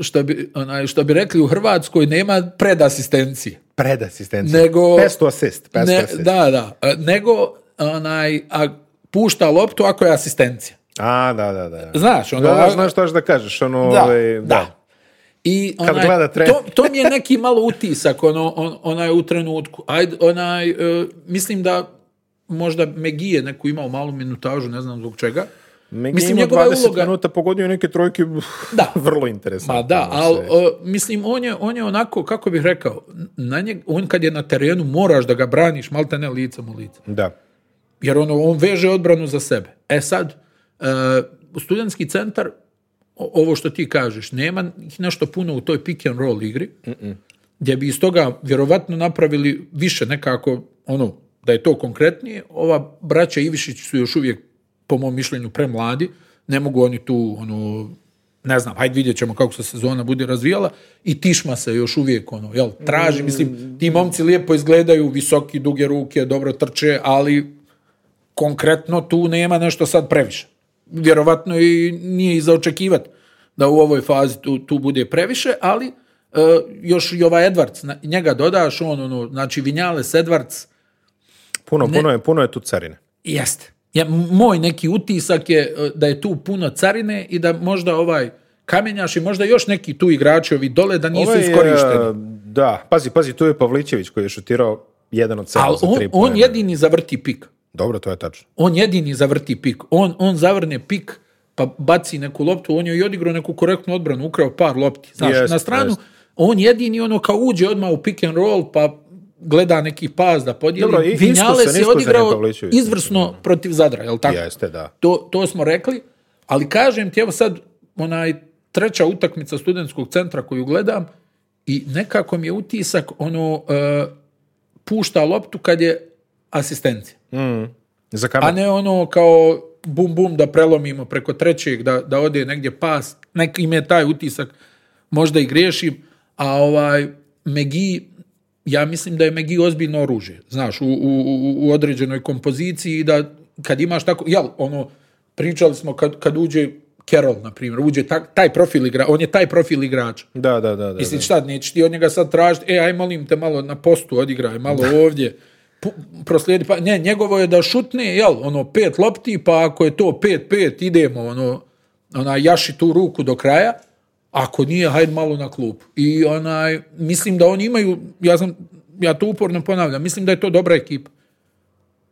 Speaker 1: što bi, onaj, što bi rekli u Hrvatskoj, nema predasistencije.
Speaker 3: pred asistencija.
Speaker 1: Nego-
Speaker 3: Pesto assist. Pesto
Speaker 1: Ne,
Speaker 3: assist.
Speaker 1: da, da. E, Nego, onaj, a, pušta loptu ako je asistencija.
Speaker 3: A, da, da, da.
Speaker 1: Znaš, ono-
Speaker 3: Da, da, znaš šta još da kažeš, ono...
Speaker 1: Da,
Speaker 3: ovaj,
Speaker 1: da. I onaj,
Speaker 3: gleda tren.
Speaker 1: to, to mi je neki malo utisak ono, on, onaj u trenutku. Ajde, onaj, e, mislim da možda Megije neku imao malu minutažu, ne znam zbog čega.
Speaker 3: Megi
Speaker 1: Mislim,
Speaker 3: ima
Speaker 1: njegova je
Speaker 3: 20
Speaker 1: uloga-
Speaker 3: minuta pogodio neke trojke
Speaker 1: Da.
Speaker 3: vrlo interesantno.
Speaker 1: Ma da,
Speaker 3: ono,
Speaker 1: ali
Speaker 3: sve.
Speaker 1: mislim, on je, on je onako, kako bih rekao, na njeg, on kad je na terenu moraš da ga braniš, malte ne licem u lice.
Speaker 3: Da.
Speaker 1: Jer ono, on veže odbranu za sebe. E sad, e, studentski centar, o- ovo što ti kažeš, nema ih nešto puno u toj pick and roll igri, gdje bi iz toga vjerovatno napravili više nekako, ono, da je to konkretnije. Ova braća Ivišić su još uvijek, po mom mišljenju, premladi. Ne mogu oni tu, ono, ne znam, hajde vidjet ćemo kako se sezona bude razvijala i tišma se još uvijek, ono, jel, traži, mislim, ti momci lijepo izgledaju, visoki, duge ruke, dobro trče, ali konkretno tu nema nešto sad previše. Vjerovatno i nije i za očekivati da u ovoj fazi tu, tu bude previše, ali e, još i ovaj Edwards, na- njega dodaš, on, ono, znači Vinjales, Edwards,
Speaker 3: Puno, puno, je, puno je tu carine.
Speaker 1: jeste. Ja, m- moj neki utisak je e, da je tu puno carine i da možda ovaj kamenjaš i možda još neki tu igrači ovi dole da nisu
Speaker 3: Ovaj je,
Speaker 1: iskorišteni.
Speaker 3: Da, pazi, pazi, tu je Pavlićević koji je šutirao jedan od sedam
Speaker 1: Ali
Speaker 3: za
Speaker 1: on,
Speaker 3: tri
Speaker 1: on
Speaker 3: poena.
Speaker 1: jedini zavrti pik.
Speaker 3: Dobro, to je tačno.
Speaker 1: On jedini zavrti pik. On, on zavrne pik, pa baci neku loptu, on je i odigrao neku korektnu odbranu, ukrao par lopti. Znaš,
Speaker 3: Jest,
Speaker 1: na stranu,
Speaker 3: jest.
Speaker 1: on jedini ono kao uđe odmah u pick and roll, pa gleda neki pas da podijeli.
Speaker 3: Dobro, i- iskusan,
Speaker 1: Vinjales je
Speaker 3: iskusan je
Speaker 1: odigrao
Speaker 3: Pavličević.
Speaker 1: izvrsno protiv Zadra, jel tako?
Speaker 3: Jeste, da.
Speaker 1: To, to smo rekli, ali kažem ti, evo sad, onaj treća utakmica studentskog centra koju gledam i nekako mi je utisak ono e, pušta loptu kad je asistencija.
Speaker 3: Za
Speaker 1: A
Speaker 3: kamen.
Speaker 1: ne ono kao bum bum da prelomimo preko trećeg, da, da ode negdje pas. Nek im je taj utisak, možda i griješim. A ovaj, Megi, ja mislim da je Megi ozbiljno oružje, znaš, u, u, u- u određenoj kompoziciji i da kad imaš tako, jel, ono, pričali smo kad, kad uđe Carroll, na primjer, uđe ta- taj profil igra, on je taj profil igrača.
Speaker 3: Da, da, da. da,
Speaker 1: Mislim, šta, nećeš ti od njega sad tražiti, e, aj molim te malo na postu odigraj, malo ovdje, pu- proslijedi, pa, ne, njegovo je da šutne, jel, ono, pet lopti, pa ako je to pet, pet, idemo, ono, onaj, jaši tu ruku do kraja, ako nije, hajde malo na klub. I onaj, mislim da oni imaju, ja sam, ja to uporno ponavljam, mislim da je to dobra ekipa.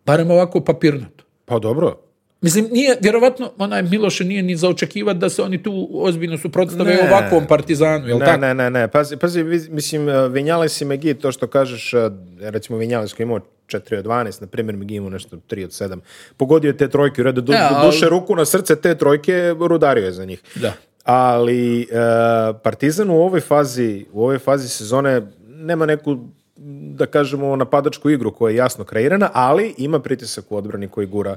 Speaker 1: Barem ovako papirnato.
Speaker 3: Pa dobro.
Speaker 1: Mislim, nije, vjerovatno, onaj Miloše nije ni za očekivati da se oni tu ozbiljno suprotstave
Speaker 3: Ne.
Speaker 1: ovakvom partizanu, jel
Speaker 3: Ne,
Speaker 1: tako?
Speaker 3: ne, ne, ne. Pazi, pazi, vi- mislim, eh, Vinjales i Megi, to što kažeš, eh, recimo Vinjales koji je imao 4 od 12, na primjer Megi imao nešto 3 od 7. Pogodio je te trojke, u redu, du,
Speaker 1: Ja, ali-
Speaker 3: duše ruku na srce te trojke, rudario je za njih.
Speaker 1: Da.
Speaker 3: Ali eh, Partizan u ovoj fazi, u ovoj fazi sezone nema neku da kažemo napadačku igru koja je jasno kreirana, ali ima pritisak u odbrani koji gura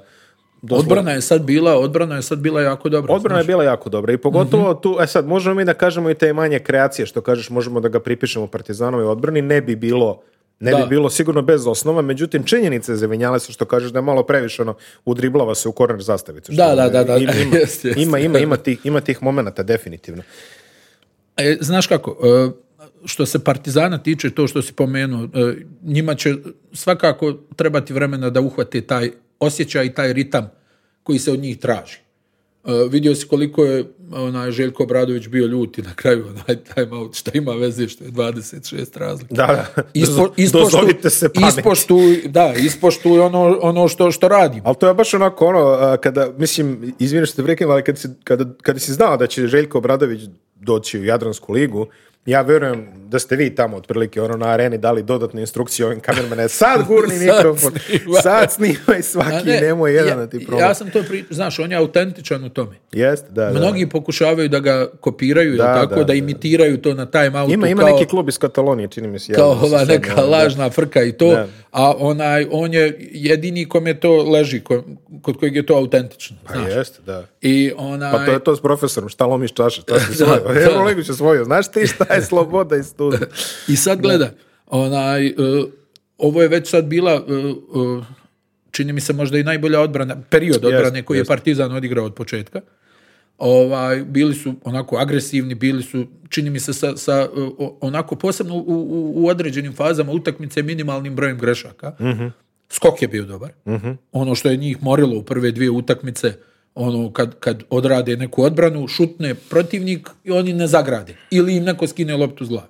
Speaker 3: doslovno
Speaker 1: Odbrana je sad bila, odbrana je sad bila jako dobra.
Speaker 3: Odbrana je bila jako dobra i pogotovo
Speaker 1: Mhm.
Speaker 3: tu, e sad, možemo mi da kažemo i te manje kreacije, što kažeš, možemo da ga pripišemo Partizanovoj odbrani, ne bi bilo ne
Speaker 1: Da.
Speaker 3: bi bilo sigurno bez osnova, međutim činjenica je zavinjala se što kažeš da je malo previše ono, udriblava se u korner zastavicu. što ono,
Speaker 1: Da, da, da, da,
Speaker 3: Ima,
Speaker 1: da,
Speaker 3: ima,
Speaker 1: jest, jest.
Speaker 3: ima, ima, ima tih, ima tih momenata, definitivno.
Speaker 1: znaš. E, znaš kako, e, što se Partizana tiče, to što si pomenuo, e, njima će svakako trebati vremena da uhvate taj osjećaj i taj ritam koji se od njih traži. E, vidio si koliko je onaj Željko Obradović bio ljuti na kraju onaj time out, šta ima veze što je 26 razlika.
Speaker 3: Da, da.
Speaker 1: Ispo, ispoštu,
Speaker 3: Dozovite se pameti.
Speaker 1: ispoštuj, da, ispoštuj ono, ono što, što radim.
Speaker 3: Ali to je baš onako ono, a, kada, mislim, izvini što te prekinem, ali kada si, kada, kada si znao da će Željko Obradović doći u Jadransku ligu Ja verujem da ste vi tamo otprilike ono na areni dali dodatne instrukcije ovim kamermane. Sad gurni
Speaker 1: Sad
Speaker 3: mikrofon,
Speaker 1: snimaj.
Speaker 3: sad snimaj
Speaker 1: A
Speaker 3: svaki,
Speaker 1: ne,
Speaker 3: nemoj jedan
Speaker 1: ja,
Speaker 3: da ti
Speaker 1: Ja
Speaker 3: problem.
Speaker 1: sam to pri... Znaš, on je autentičan u tome.
Speaker 3: Jeste, da, da.
Speaker 1: Mnogi pokušavaju da ga kopiraju,
Speaker 3: Da,
Speaker 1: da, tako,
Speaker 3: da,
Speaker 1: da,
Speaker 3: da.
Speaker 1: imitiraju to na time outu.
Speaker 3: Ima, ima
Speaker 1: kao,
Speaker 3: neki klub iz Katalonije, čini mi se.
Speaker 1: kao
Speaker 3: javio se
Speaker 1: ova
Speaker 3: sad,
Speaker 1: neka
Speaker 3: ono, da.
Speaker 1: lažna frka i to,
Speaker 3: Da.
Speaker 1: a onaj, on je jedini kome to leži, ko- kod kojeg je to autentično.
Speaker 3: Pa jeste, da.
Speaker 1: I onaj,
Speaker 3: Pa to je to s profesorom, šta lomiš čaše, šta si
Speaker 1: Da,
Speaker 3: svoje.
Speaker 1: da.
Speaker 3: Euroligu će svoju, znaš ti šta je sloboda i studija.
Speaker 1: I sad gleda, onaj, e, ovo je već sad bila, e, e, čini mi se možda i najbolja odbrana, period odbrane koji
Speaker 3: jest.
Speaker 1: je Partizan odigrao od početka. Ovaj, bili su onako agresivni, bili su, čini mi se, sa, sa, e, o- onako posebno u, u, u određenim fazama utakmice minimalnim brojem grešaka.
Speaker 3: Mhm.
Speaker 1: Skok je bio dobar. Ono što je njih morilo u prve dvije utakmice, ono kad, kad odrade neku odbranu, šutne protivnik i oni ne zagrade. Ili im neko skine loptu z glave.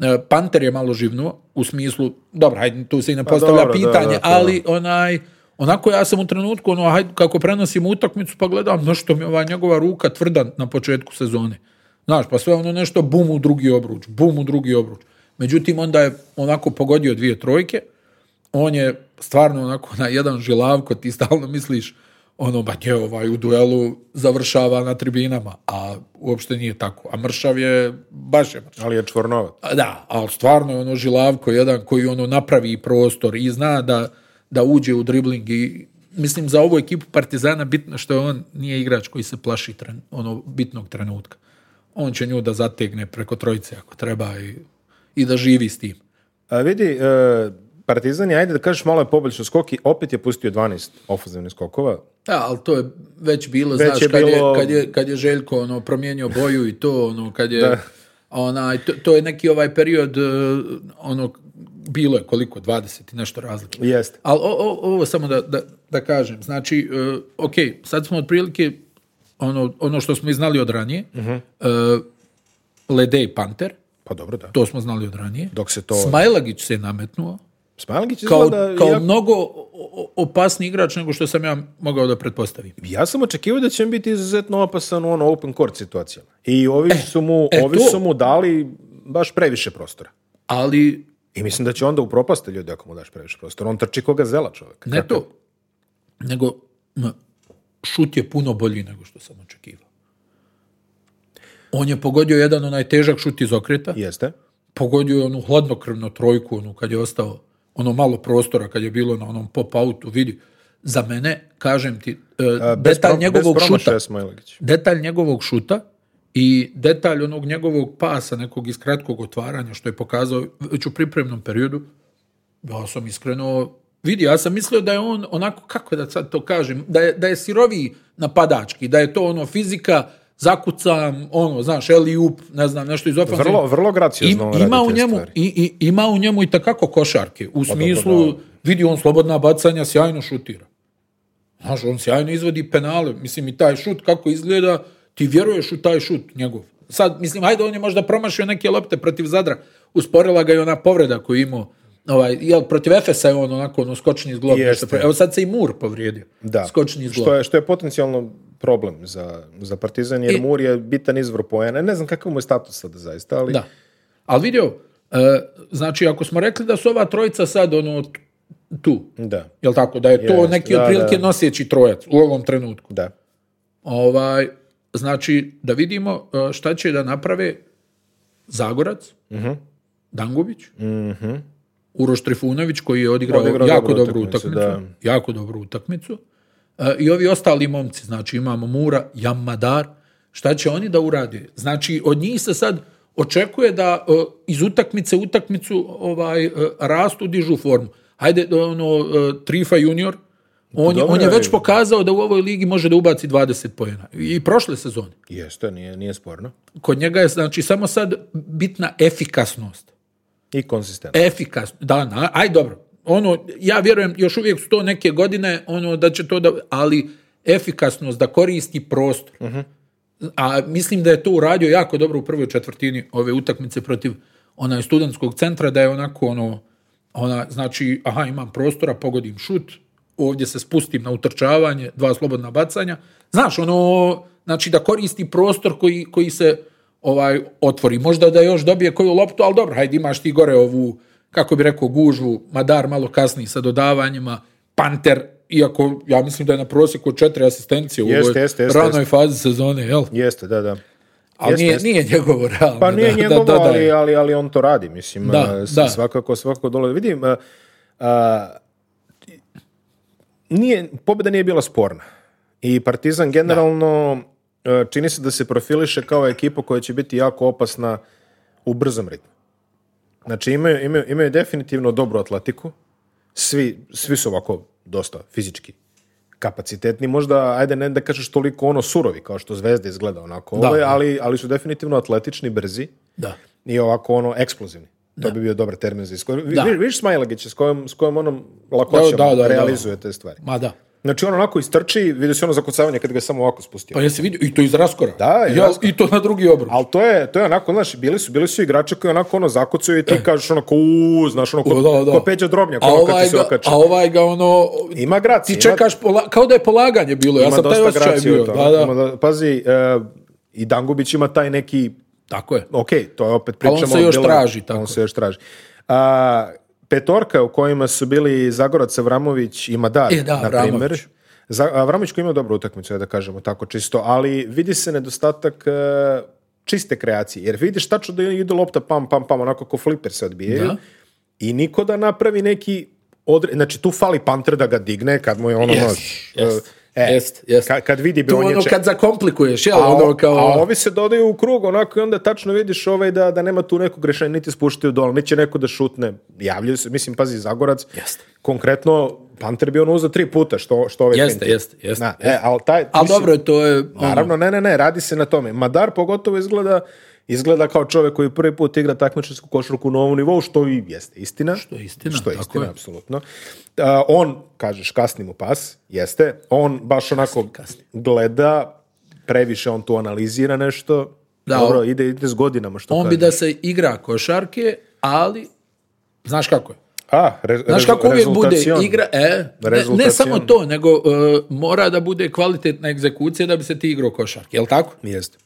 Speaker 1: E, Panter je malo živnuo, u smislu, dobro, hajde, tu se i ne postavlja
Speaker 3: Pa dobro, da,
Speaker 1: pitanje,
Speaker 3: da, to-
Speaker 1: ali onaj, onako ja sam u trenutku, ono, hajde, kako prenosim utakmicu, pa gledam, no što mi je ova njegova ruka tvrda na početku sezone. Znaš, pa sve ono nešto, bum u drugi obruč, bum u drugi obruč. Međutim, onda je onako pogodio dvije trojke, on je stvarno onako na jedan žilavko, ti stalno misliš, ono, ba nje, ovaj u duelu završava na tribinama, a uopšte nije tako. A mršav je, baš je mršav.
Speaker 3: Ali je čvornovat.
Speaker 1: A Da, ali stvarno je ono žilavko jedan koji ono napravi prostor i zna da, da uđe u dribling i mislim za ovu ekipu Partizana bitno što je on nije igrač koji se plaši tren, ono bitnog trenutka. On će nju da zategne preko trojice ako treba i, i da živi s tim.
Speaker 3: A vidi, e, Partizan je, ajde da kažeš, malo je poboljšao skok i opet je pustio 12 ofenzivnih skokova.
Speaker 1: Da, ali to je već bilo,
Speaker 3: Već
Speaker 1: znaš,
Speaker 3: je
Speaker 1: kad,
Speaker 3: bilo-
Speaker 1: je, kad, je, kad je Željko ono, promijenio boju i to, ono, kad je, onaj, to, to je neki ovaj period, e, ono, bilo je koliko, 20 i nešto razlike.
Speaker 3: Jeste.
Speaker 1: Ali ovo samo da, da, da kažem, znači, e, ok, sad smo otprilike ono, ono što smo i znali od ranije,
Speaker 3: Mhm.
Speaker 1: e, Lede i Panter,
Speaker 3: Pa dobro, da.
Speaker 1: to smo znali od ranije.
Speaker 3: Dok se to...
Speaker 1: Smajlagić se je nametnuo,
Speaker 3: Smajlagić
Speaker 1: kao,
Speaker 3: izgleda...
Speaker 1: kao
Speaker 3: jako-
Speaker 1: mnogo o- o- opasni igrač nego što sam ja mogao da pretpostavim.
Speaker 3: Ja sam očekivao da će on biti izuzetno opasan u ono open court situacijama. I ovi su mu,
Speaker 1: e,
Speaker 3: ovi
Speaker 1: to-
Speaker 3: su mu dali baš previše prostora.
Speaker 1: Ali
Speaker 3: I mislim da će onda upropasti ljudi ako mu daš previše prostora. On trči koga zela čovjek.
Speaker 1: ne to, nego m, šut je puno bolji nego što sam očekivao. On je pogodio jedan onaj težak šut iz okreta.
Speaker 3: Jeste.
Speaker 1: pogodio je onu hladnokrvnu trojku, onu kad je ostao ono malo prostora, kad je bilo na onom pop-outu, vidi, za mene, kažem ti, e,
Speaker 3: Pa Bez
Speaker 1: detalj
Speaker 3: pro- bez
Speaker 1: njegovog
Speaker 3: promašaja
Speaker 1: šuta,
Speaker 3: Smailagić.
Speaker 1: detalj njegovog šuta i detalj onog njegovog pasa, nekog iz kratkog otvaranja, što je pokazao već u pripremnom periodu, ja sam iskreno, vidi, ja sam mislio da je on onako, kako da sad to kažem, da je, da je siroviji napadački, da je to ono fizika, zakucam, ono, znaš, eli up, ne znam, nešto iz ofenzivnog.
Speaker 3: Vrlo, vrlo graciozno on
Speaker 1: Im-
Speaker 3: radi
Speaker 1: ima
Speaker 3: te
Speaker 1: u njemu
Speaker 3: stvari.
Speaker 1: i, i- ima u njemu i takako košarke u smislu
Speaker 3: dobro,
Speaker 1: vidi on slobodna bacanja sjajno šutira Znaš, on sjajno izvodi penale mislim i taj šut kako izgleda ti vjeruješ u taj šut njegov sad mislim ajde on je možda promašio neke lopte protiv Zadra usporila ga i ona povreda koju je imao ovaj jel protiv Efesa je on onako ono skočni zglob
Speaker 3: Jeste.
Speaker 1: evo sad se i Mur povrijedio
Speaker 3: Da.
Speaker 1: skočni zglob
Speaker 3: Što je, što je potencijalno problem za, za Partizan, jer
Speaker 1: I-
Speaker 3: Mur je bitan izvor poena. Ne znam kakav mu je status sada zaista, ali...
Speaker 1: Da. Ali vidio, e, znači ako smo rekli da su ova trojica sad ono t- tu,
Speaker 3: Da.
Speaker 1: jel tako, da je to
Speaker 3: Jest,
Speaker 1: neki
Speaker 3: da,
Speaker 1: otprilike
Speaker 3: da.
Speaker 1: noseći trojac u ovom trenutku.
Speaker 3: Da.
Speaker 1: Ovaj, znači da vidimo e, šta će da naprave Zagorac,
Speaker 3: Mhm.
Speaker 1: Dangubić, Uroš Trifunović koji je odigrao,
Speaker 3: Odigrao
Speaker 1: jako
Speaker 3: dobru
Speaker 1: dobru
Speaker 3: utakmicu,
Speaker 1: utakmicu, jako dobru utakmicu. E, I ovi ostali momci, znači imamo Mura, Jamadar, šta će oni da urade? Znači od njih se sad očekuje da e, iz utakmice u utakmicu ovaj e, rastu, dižu formu. Hajde ono e, Trifa junior, on, je-
Speaker 3: Dobro
Speaker 1: on je
Speaker 3: je.
Speaker 1: već pokazao da u ovoj ligi može da ubaci 20 pojena. I prošle sezone.
Speaker 3: Jeste, nije, nije sporno.
Speaker 1: Kod njega je znači samo sad bitna efikasnost.
Speaker 3: I konzistentno.
Speaker 1: Efikasno, da, na, aj dobro. Ono, ja vjerujem, još uvijek su to neke godine, ono, da će to da, ali efikasnost, da koristi prostor. A mislim da je to uradio jako dobro u prvoj četvrtini ove utakmice protiv onaj studentskog centra, da je onako ono, ona, znači, aha, imam prostora, pogodim šut, ovdje se spustim na utrčavanje, dva slobodna bacanja. Znaš, ono, znači da koristi prostor koji, koji se ovaj otvori. Možda da još dobije koju loptu, ali dobro, hajde imaš ti gore ovu, kako bi rekao, gužvu, Madar malo kasniji sa dodavanjima, Panter, iako ja mislim da je na prosjeku četiri asistencije u
Speaker 3: Jeste,
Speaker 1: ovoj
Speaker 3: jeste, jeste,
Speaker 1: ranoj
Speaker 3: jeste.
Speaker 1: fazi sezone, jel?
Speaker 3: Jeste, da, da.
Speaker 1: E- Ali
Speaker 3: Jeste,
Speaker 1: nije,
Speaker 3: jeste.
Speaker 1: nije njegovo realno.
Speaker 3: Pa nije
Speaker 1: da- da
Speaker 3: njegovo,
Speaker 1: dodaje.
Speaker 3: ali, ali, ali on to radi, mislim.
Speaker 1: Da,
Speaker 3: a, s-
Speaker 1: da.
Speaker 3: Svakako, svakako dole. Vidim, a, a, nije, pobjeda nije bila sporna. I Partizan generalno a, čini se da se profiliše kao ekipa koja će biti jako opasna u brzom ritmu. Znači imaju, imaju, imaju definitivno dobru atletiku. Svi, svi su ovako dosta fizički kapacitetni. Možda, ajde ne da kažeš toliko ono surovi kao što Zvezda izgleda onako,
Speaker 1: Da.
Speaker 3: ovaj, ali, ali su definitivno atletični, brzi
Speaker 1: Da.
Speaker 3: i ovako ono eksplozivni. To bi bio dobar termin za iskor. Vi,
Speaker 1: Da.
Speaker 3: vi- vidiš Smajlagića s kojom, s kojom onom lakoćom
Speaker 1: Da, da, da, da.
Speaker 3: realizuje te stvari.
Speaker 1: Ma da.
Speaker 3: Znači on onako istrči, vidio se ono zakucavanje kad ga je samo ovako spustio.
Speaker 1: Pa jesi vidio, i to iz raskora.
Speaker 3: Da, iz
Speaker 1: Jel,
Speaker 3: raskora.
Speaker 1: I to na drugi obrok.
Speaker 3: Ali to je, to je onako, znaš, bili su, bili su igrači koji onako ono zakucaju i ti kažeš onako, uuu, znaš, ono, ko,
Speaker 1: Eh. Da, da.
Speaker 3: ko peđa drobnjak,
Speaker 1: a
Speaker 3: ono kad
Speaker 1: ovaj,
Speaker 3: ti se
Speaker 1: ga,
Speaker 3: okače.
Speaker 1: a ovaj ga ono...
Speaker 3: Ima gracije,
Speaker 1: Ti
Speaker 3: ima-
Speaker 1: čekaš, pola, kao da je polaganje bilo. Ja
Speaker 3: Ima
Speaker 1: sam taj
Speaker 3: dosta
Speaker 1: osjećaj
Speaker 3: gracije u
Speaker 1: bio.
Speaker 3: tome.
Speaker 1: Da, da.
Speaker 3: Ima do- pazi, e, i Dangubić ima taj neki
Speaker 1: Tako je.
Speaker 3: ok, to je opet
Speaker 1: Ali on
Speaker 3: pričamo...
Speaker 1: se još
Speaker 3: bilo-
Speaker 1: traži, tako.
Speaker 3: On se još traži. A, petorka u kojima su bili Zagorac, Avramović i Madar,
Speaker 1: E, da,
Speaker 3: na primjer.
Speaker 1: Avramović.
Speaker 3: Za- Avramović koji ima dobru utakmicu, ja da kažemo tako čisto, ali vidi se nedostatak e, čiste kreacije, jer vidiš tačno da ide lopta pam, pam, pam, onako ko fliper se odbijaju
Speaker 1: Da.
Speaker 3: i niko da napravi neki odre... Znači, tu fali Panter da ga digne kad mu je ono...
Speaker 1: Jest,
Speaker 3: znaš,
Speaker 1: jest,
Speaker 3: e,
Speaker 1: jest, jest.
Speaker 3: Kad, kad vidi bi
Speaker 1: Tu
Speaker 3: on je
Speaker 1: ono
Speaker 3: ček-
Speaker 1: kad zakomplikuješ, jel?
Speaker 3: a,
Speaker 1: ono kao...
Speaker 3: a ovi se dodaju u krug, onako i onda tačno vidiš ovaj da, da nema tu nekog rešenja, niti spuštaju dole, niti će neko da šutne. Javljaju se, mislim, pazi, Zagorac,
Speaker 1: Jeste.
Speaker 3: konkretno, Panter bi ono uzeo tri puta, što, što ovaj
Speaker 1: Jeste,
Speaker 3: finti.
Speaker 1: jeste, jeste,
Speaker 3: Na, E, ali taj,
Speaker 1: ali
Speaker 3: mislim,
Speaker 1: dobro, to je... ono,
Speaker 3: Naravno, ne, ne, ne, radi se na tome. Madar pogotovo izgleda, izgleda kao čovjek koji prvi put igra takmičarsku košarku na ovom nivou, što i jeste istina. Što
Speaker 1: je istina,
Speaker 3: Što je
Speaker 1: tako
Speaker 3: istina,
Speaker 1: je.
Speaker 3: apsolutno. A, on, kažeš, kasni mu pas, jeste. On baš onako gleda, previše on tu analizira nešto.
Speaker 1: Da,
Speaker 3: Dobro,
Speaker 1: on-
Speaker 3: ide, ide s godinama, što
Speaker 1: on
Speaker 3: kažeš.
Speaker 1: bi da se igra košarke, ali... Znaš kako je?
Speaker 3: A, re,
Speaker 1: Znaš
Speaker 3: rezu-
Speaker 1: kako uvijek bude
Speaker 3: rezultacion.
Speaker 1: igra, e, ne, ne
Speaker 3: Rezultacion.
Speaker 1: samo to, nego e, mora da bude kvalitetna egzekucija da bi se ti igrao košarke, jel tako?
Speaker 3: Jeste.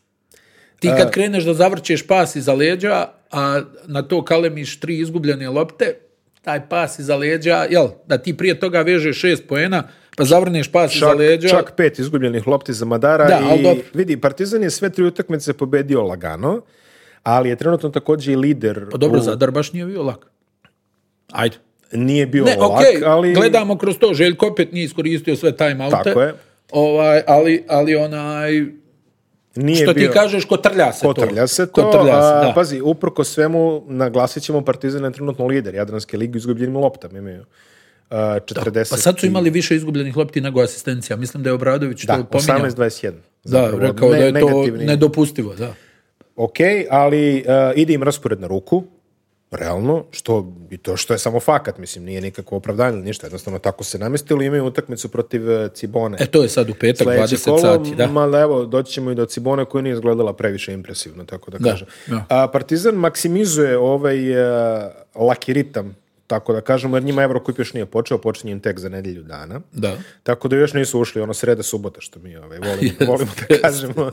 Speaker 1: Ti
Speaker 3: E.
Speaker 1: kad kreneš da zavrćeš pas iza leđa, a na to kalemiš tri izgubljene lopte, taj pas iza leđa, jel, da ti prije toga vežeš šest poena, pa zavrneš pas iza
Speaker 3: Čak,
Speaker 1: leđa.
Speaker 3: čak pet izgubljenih lopti za Madara
Speaker 1: Da, ali
Speaker 3: i
Speaker 1: dobro.
Speaker 3: vidi, Partizan je sve tri utakmice pobedio lagano, ali je trenutno također i lider.
Speaker 1: Pa dobro,
Speaker 3: u-
Speaker 1: Zadar baš nije bio lak. Ajde.
Speaker 3: Nije bio
Speaker 1: Ne,
Speaker 3: lak,
Speaker 1: okej,
Speaker 3: ali...
Speaker 1: gledamo kroz to, Željko opet nije iskoristio sve timeoute.
Speaker 3: Tako je.
Speaker 1: Ovaj, ali, ali onaj,
Speaker 3: Nije
Speaker 1: što
Speaker 3: bio...
Speaker 1: ti kažeš, kotrlja se to.
Speaker 3: Kotrlja se to,
Speaker 1: Kotrlja se,
Speaker 3: a, pa
Speaker 1: da.
Speaker 3: pazi, uprko svemu naglasit ćemo Partizan je trenutno lider Jadranske ligi u izgubljenim loptama imaju. Uh, 40
Speaker 1: Pa sad su
Speaker 3: i-
Speaker 1: imali više izgubljenih lopti nego asistencija. Mislim da je Obradović
Speaker 3: da,
Speaker 1: to pominjao.
Speaker 3: 18-21.
Speaker 1: Da,
Speaker 3: Zapravo,
Speaker 1: rekao
Speaker 3: ne-
Speaker 1: da je to
Speaker 3: negativni.
Speaker 1: nedopustivo, da.
Speaker 3: Ok, ali e, ide im raspored na ruku, realno, što, i to što je samo fakat, mislim, nije nikakvo opravdanje, ništa, jednostavno tako se namestili, imaju utakmicu protiv e, Cibone.
Speaker 1: E to je sad u petak,
Speaker 3: Sljedeći
Speaker 1: 20
Speaker 3: kolo,
Speaker 1: sati, da.
Speaker 3: mada evo, doći ćemo i do Cibone koja nije izgledala previše impresivno, tako da,
Speaker 1: Da,
Speaker 3: kažem.
Speaker 1: da.
Speaker 3: A, Partizan maksimizuje ovaj e, laki ritam, tako da kažemo, jer njima Eurocup još nije počeo, počinje im tek za nedjelju dana.
Speaker 1: Da.
Speaker 3: Tako da još nisu ušli, ono sreda, subota, što mi ovaj, volimo, volimo da kažemo.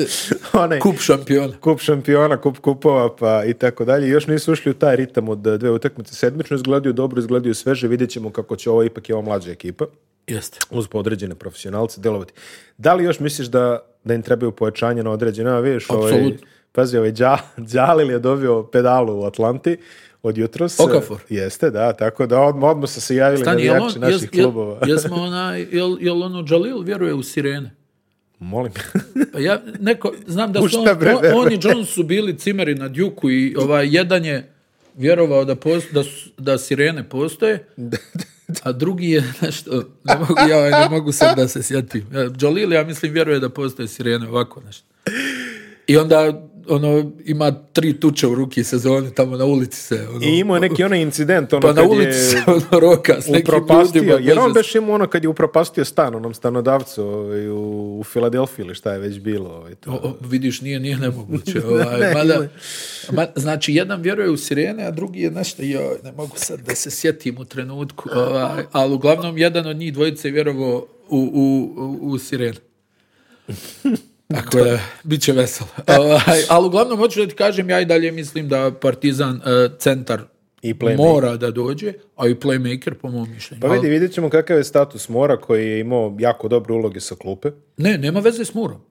Speaker 3: Onaj,
Speaker 1: Kup šampiona.
Speaker 3: kup šampiona, kup kupova, pa i tako dalje. Još nisu ušli u taj ritam od e, dve utakmice sedmično, izgledaju dobro, izgledaju sveže, vidjet ćemo kako će ovo, ipak je ova mlađa ekipa,
Speaker 1: Jeste.
Speaker 3: uz podređene profesionalce, delovati. Da li još misliš da, da im trebaju pojačanje na određene, a vidiš, ovaj,
Speaker 1: Apsolutno.
Speaker 3: pazi, ovaj Đa- Đalil je dobio pedalu u Atlanti, od jutros.
Speaker 1: Okafor.
Speaker 3: Jeste, da, tako da odmah, odmah su se javili
Speaker 1: Stani, jel
Speaker 3: navijači
Speaker 1: on,
Speaker 3: naših
Speaker 1: jes, jel,
Speaker 3: klubova.
Speaker 1: jesmo onaj, jel, jel ono Jalil vjeruje u sirene?
Speaker 3: Molim.
Speaker 1: Pa ja, neko, znam da su
Speaker 3: šta
Speaker 1: on,
Speaker 3: bre,
Speaker 1: on- on i Jones su bili cimeri na Djuku i ovaj, jedan je vjerovao da, post, da, su- da sirene postoje, a drugi je nešto, ne mogu, ja ne mogu sad da se sjetim. Ja, Jalil, ja mislim, vjeruje da postoje sirene, ovako nešto. I onda ono, ima tri tuče u ruki sezoni, tamo na ulici se. Ono,
Speaker 3: I imao je neki onaj incident, ono
Speaker 1: pa na
Speaker 3: kad
Speaker 1: ulici
Speaker 3: je...
Speaker 1: se ono, roka s nekim
Speaker 3: upropastio,
Speaker 1: ljudima.
Speaker 3: jer on
Speaker 1: Bože,
Speaker 3: baš imao ono kad je upropastio stan onom stanodavcu ovaj, u, u Filadelfiji ili šta je već bilo. Ovaj, to.
Speaker 1: O, o, vidiš, nije, nije nemoguće. Ovaj, mada, ma, znači, jedan vjeruje u sirene, a drugi je nešto, joj, ne mogu sad da se sjetim u trenutku, ovaj, ali uglavnom jedan od njih dvojice je vjerovao u, u, u, u sirene. Tako je, bit će veselo. Ovaj, ali uglavnom, hoću da ti kažem, ja i dalje mislim da Partizan eh, centar
Speaker 3: I playmaker.
Speaker 1: mora da dođe, a i playmaker po mom mišljenju.
Speaker 3: Pa vidi, vidjet ćemo kakav je status Mora koji je imao jako dobre uloge sa klupe.
Speaker 1: Ne, nema veze s Murom.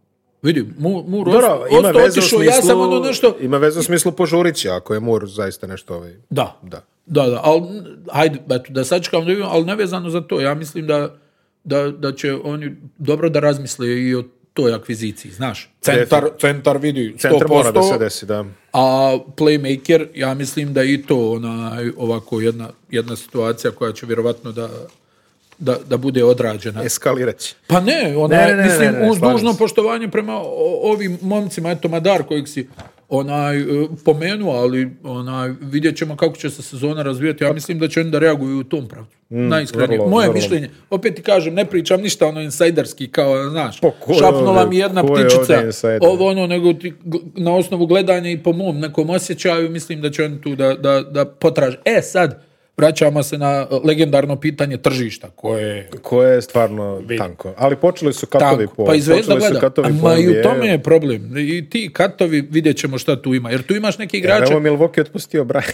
Speaker 1: Vidi, Mu, Mur
Speaker 3: Dobro,
Speaker 1: osta- ostao otišao, ja sam ono nešto...
Speaker 3: Ima veze u smislu požurića, ako je Mor zaista nešto ovaj...
Speaker 1: Da.
Speaker 3: Da.
Speaker 1: Da, da, ali n- hajde, eto, da sačekamo da vidimo, ali nevezano za to, ja mislim da, da, da će oni dobro da razmisle i o toj akviziciji, znaš. Centar, centar vidi, 100%,
Speaker 3: Centar mora da se desi, da.
Speaker 1: a playmaker, ja mislim da je i to onaj, ovako jedna, jedna situacija koja će vjerovatno da, da, da bude odrađena.
Speaker 3: Eskaliraći.
Speaker 1: Pa ne, ona,
Speaker 3: Ne, ne, ne,
Speaker 1: mislim,
Speaker 3: ne, ne,
Speaker 1: uz
Speaker 3: slažem
Speaker 1: dužno
Speaker 3: se.
Speaker 1: poštovanje prema o- ovim momcima, eto Madar kojeg si onaj, e, pomenuo, ali onaj, vidjet ćemo kako će se sezona razvijati. Ja mislim da će oni da reaguju u tom pravcu. Najiskrenije.
Speaker 3: Mm, vrlo,
Speaker 1: Moje
Speaker 3: vrlo.
Speaker 1: mišljenje, opet ti kažem, ne pričam ništa ono insajderski, kao, znaš,
Speaker 3: Pa ko je
Speaker 1: šapnula
Speaker 3: ovdje-
Speaker 1: mi jedna
Speaker 3: ko je
Speaker 1: ptičica,
Speaker 3: ovdje insajder?
Speaker 1: ovo ono, nego ti, gl- na osnovu gledanja i po mom nekom osjećaju, mislim da će oni tu da, da, da potraže. E, sad, vraćamo se na e, legendarno pitanje tržišta, koje je
Speaker 3: Koje je stvarno tanko. Ali počeli su katovi
Speaker 1: tako,
Speaker 3: po...
Speaker 1: pa i Zvezda
Speaker 3: počeli su
Speaker 1: gleda.
Speaker 3: katovi po
Speaker 1: Ma i u
Speaker 3: NBA.
Speaker 1: tome je problem. I ti katovi, vidjet ćemo šta tu ima. Jer tu imaš neke igrače...
Speaker 3: Evo Milwaukee otpustio Brian.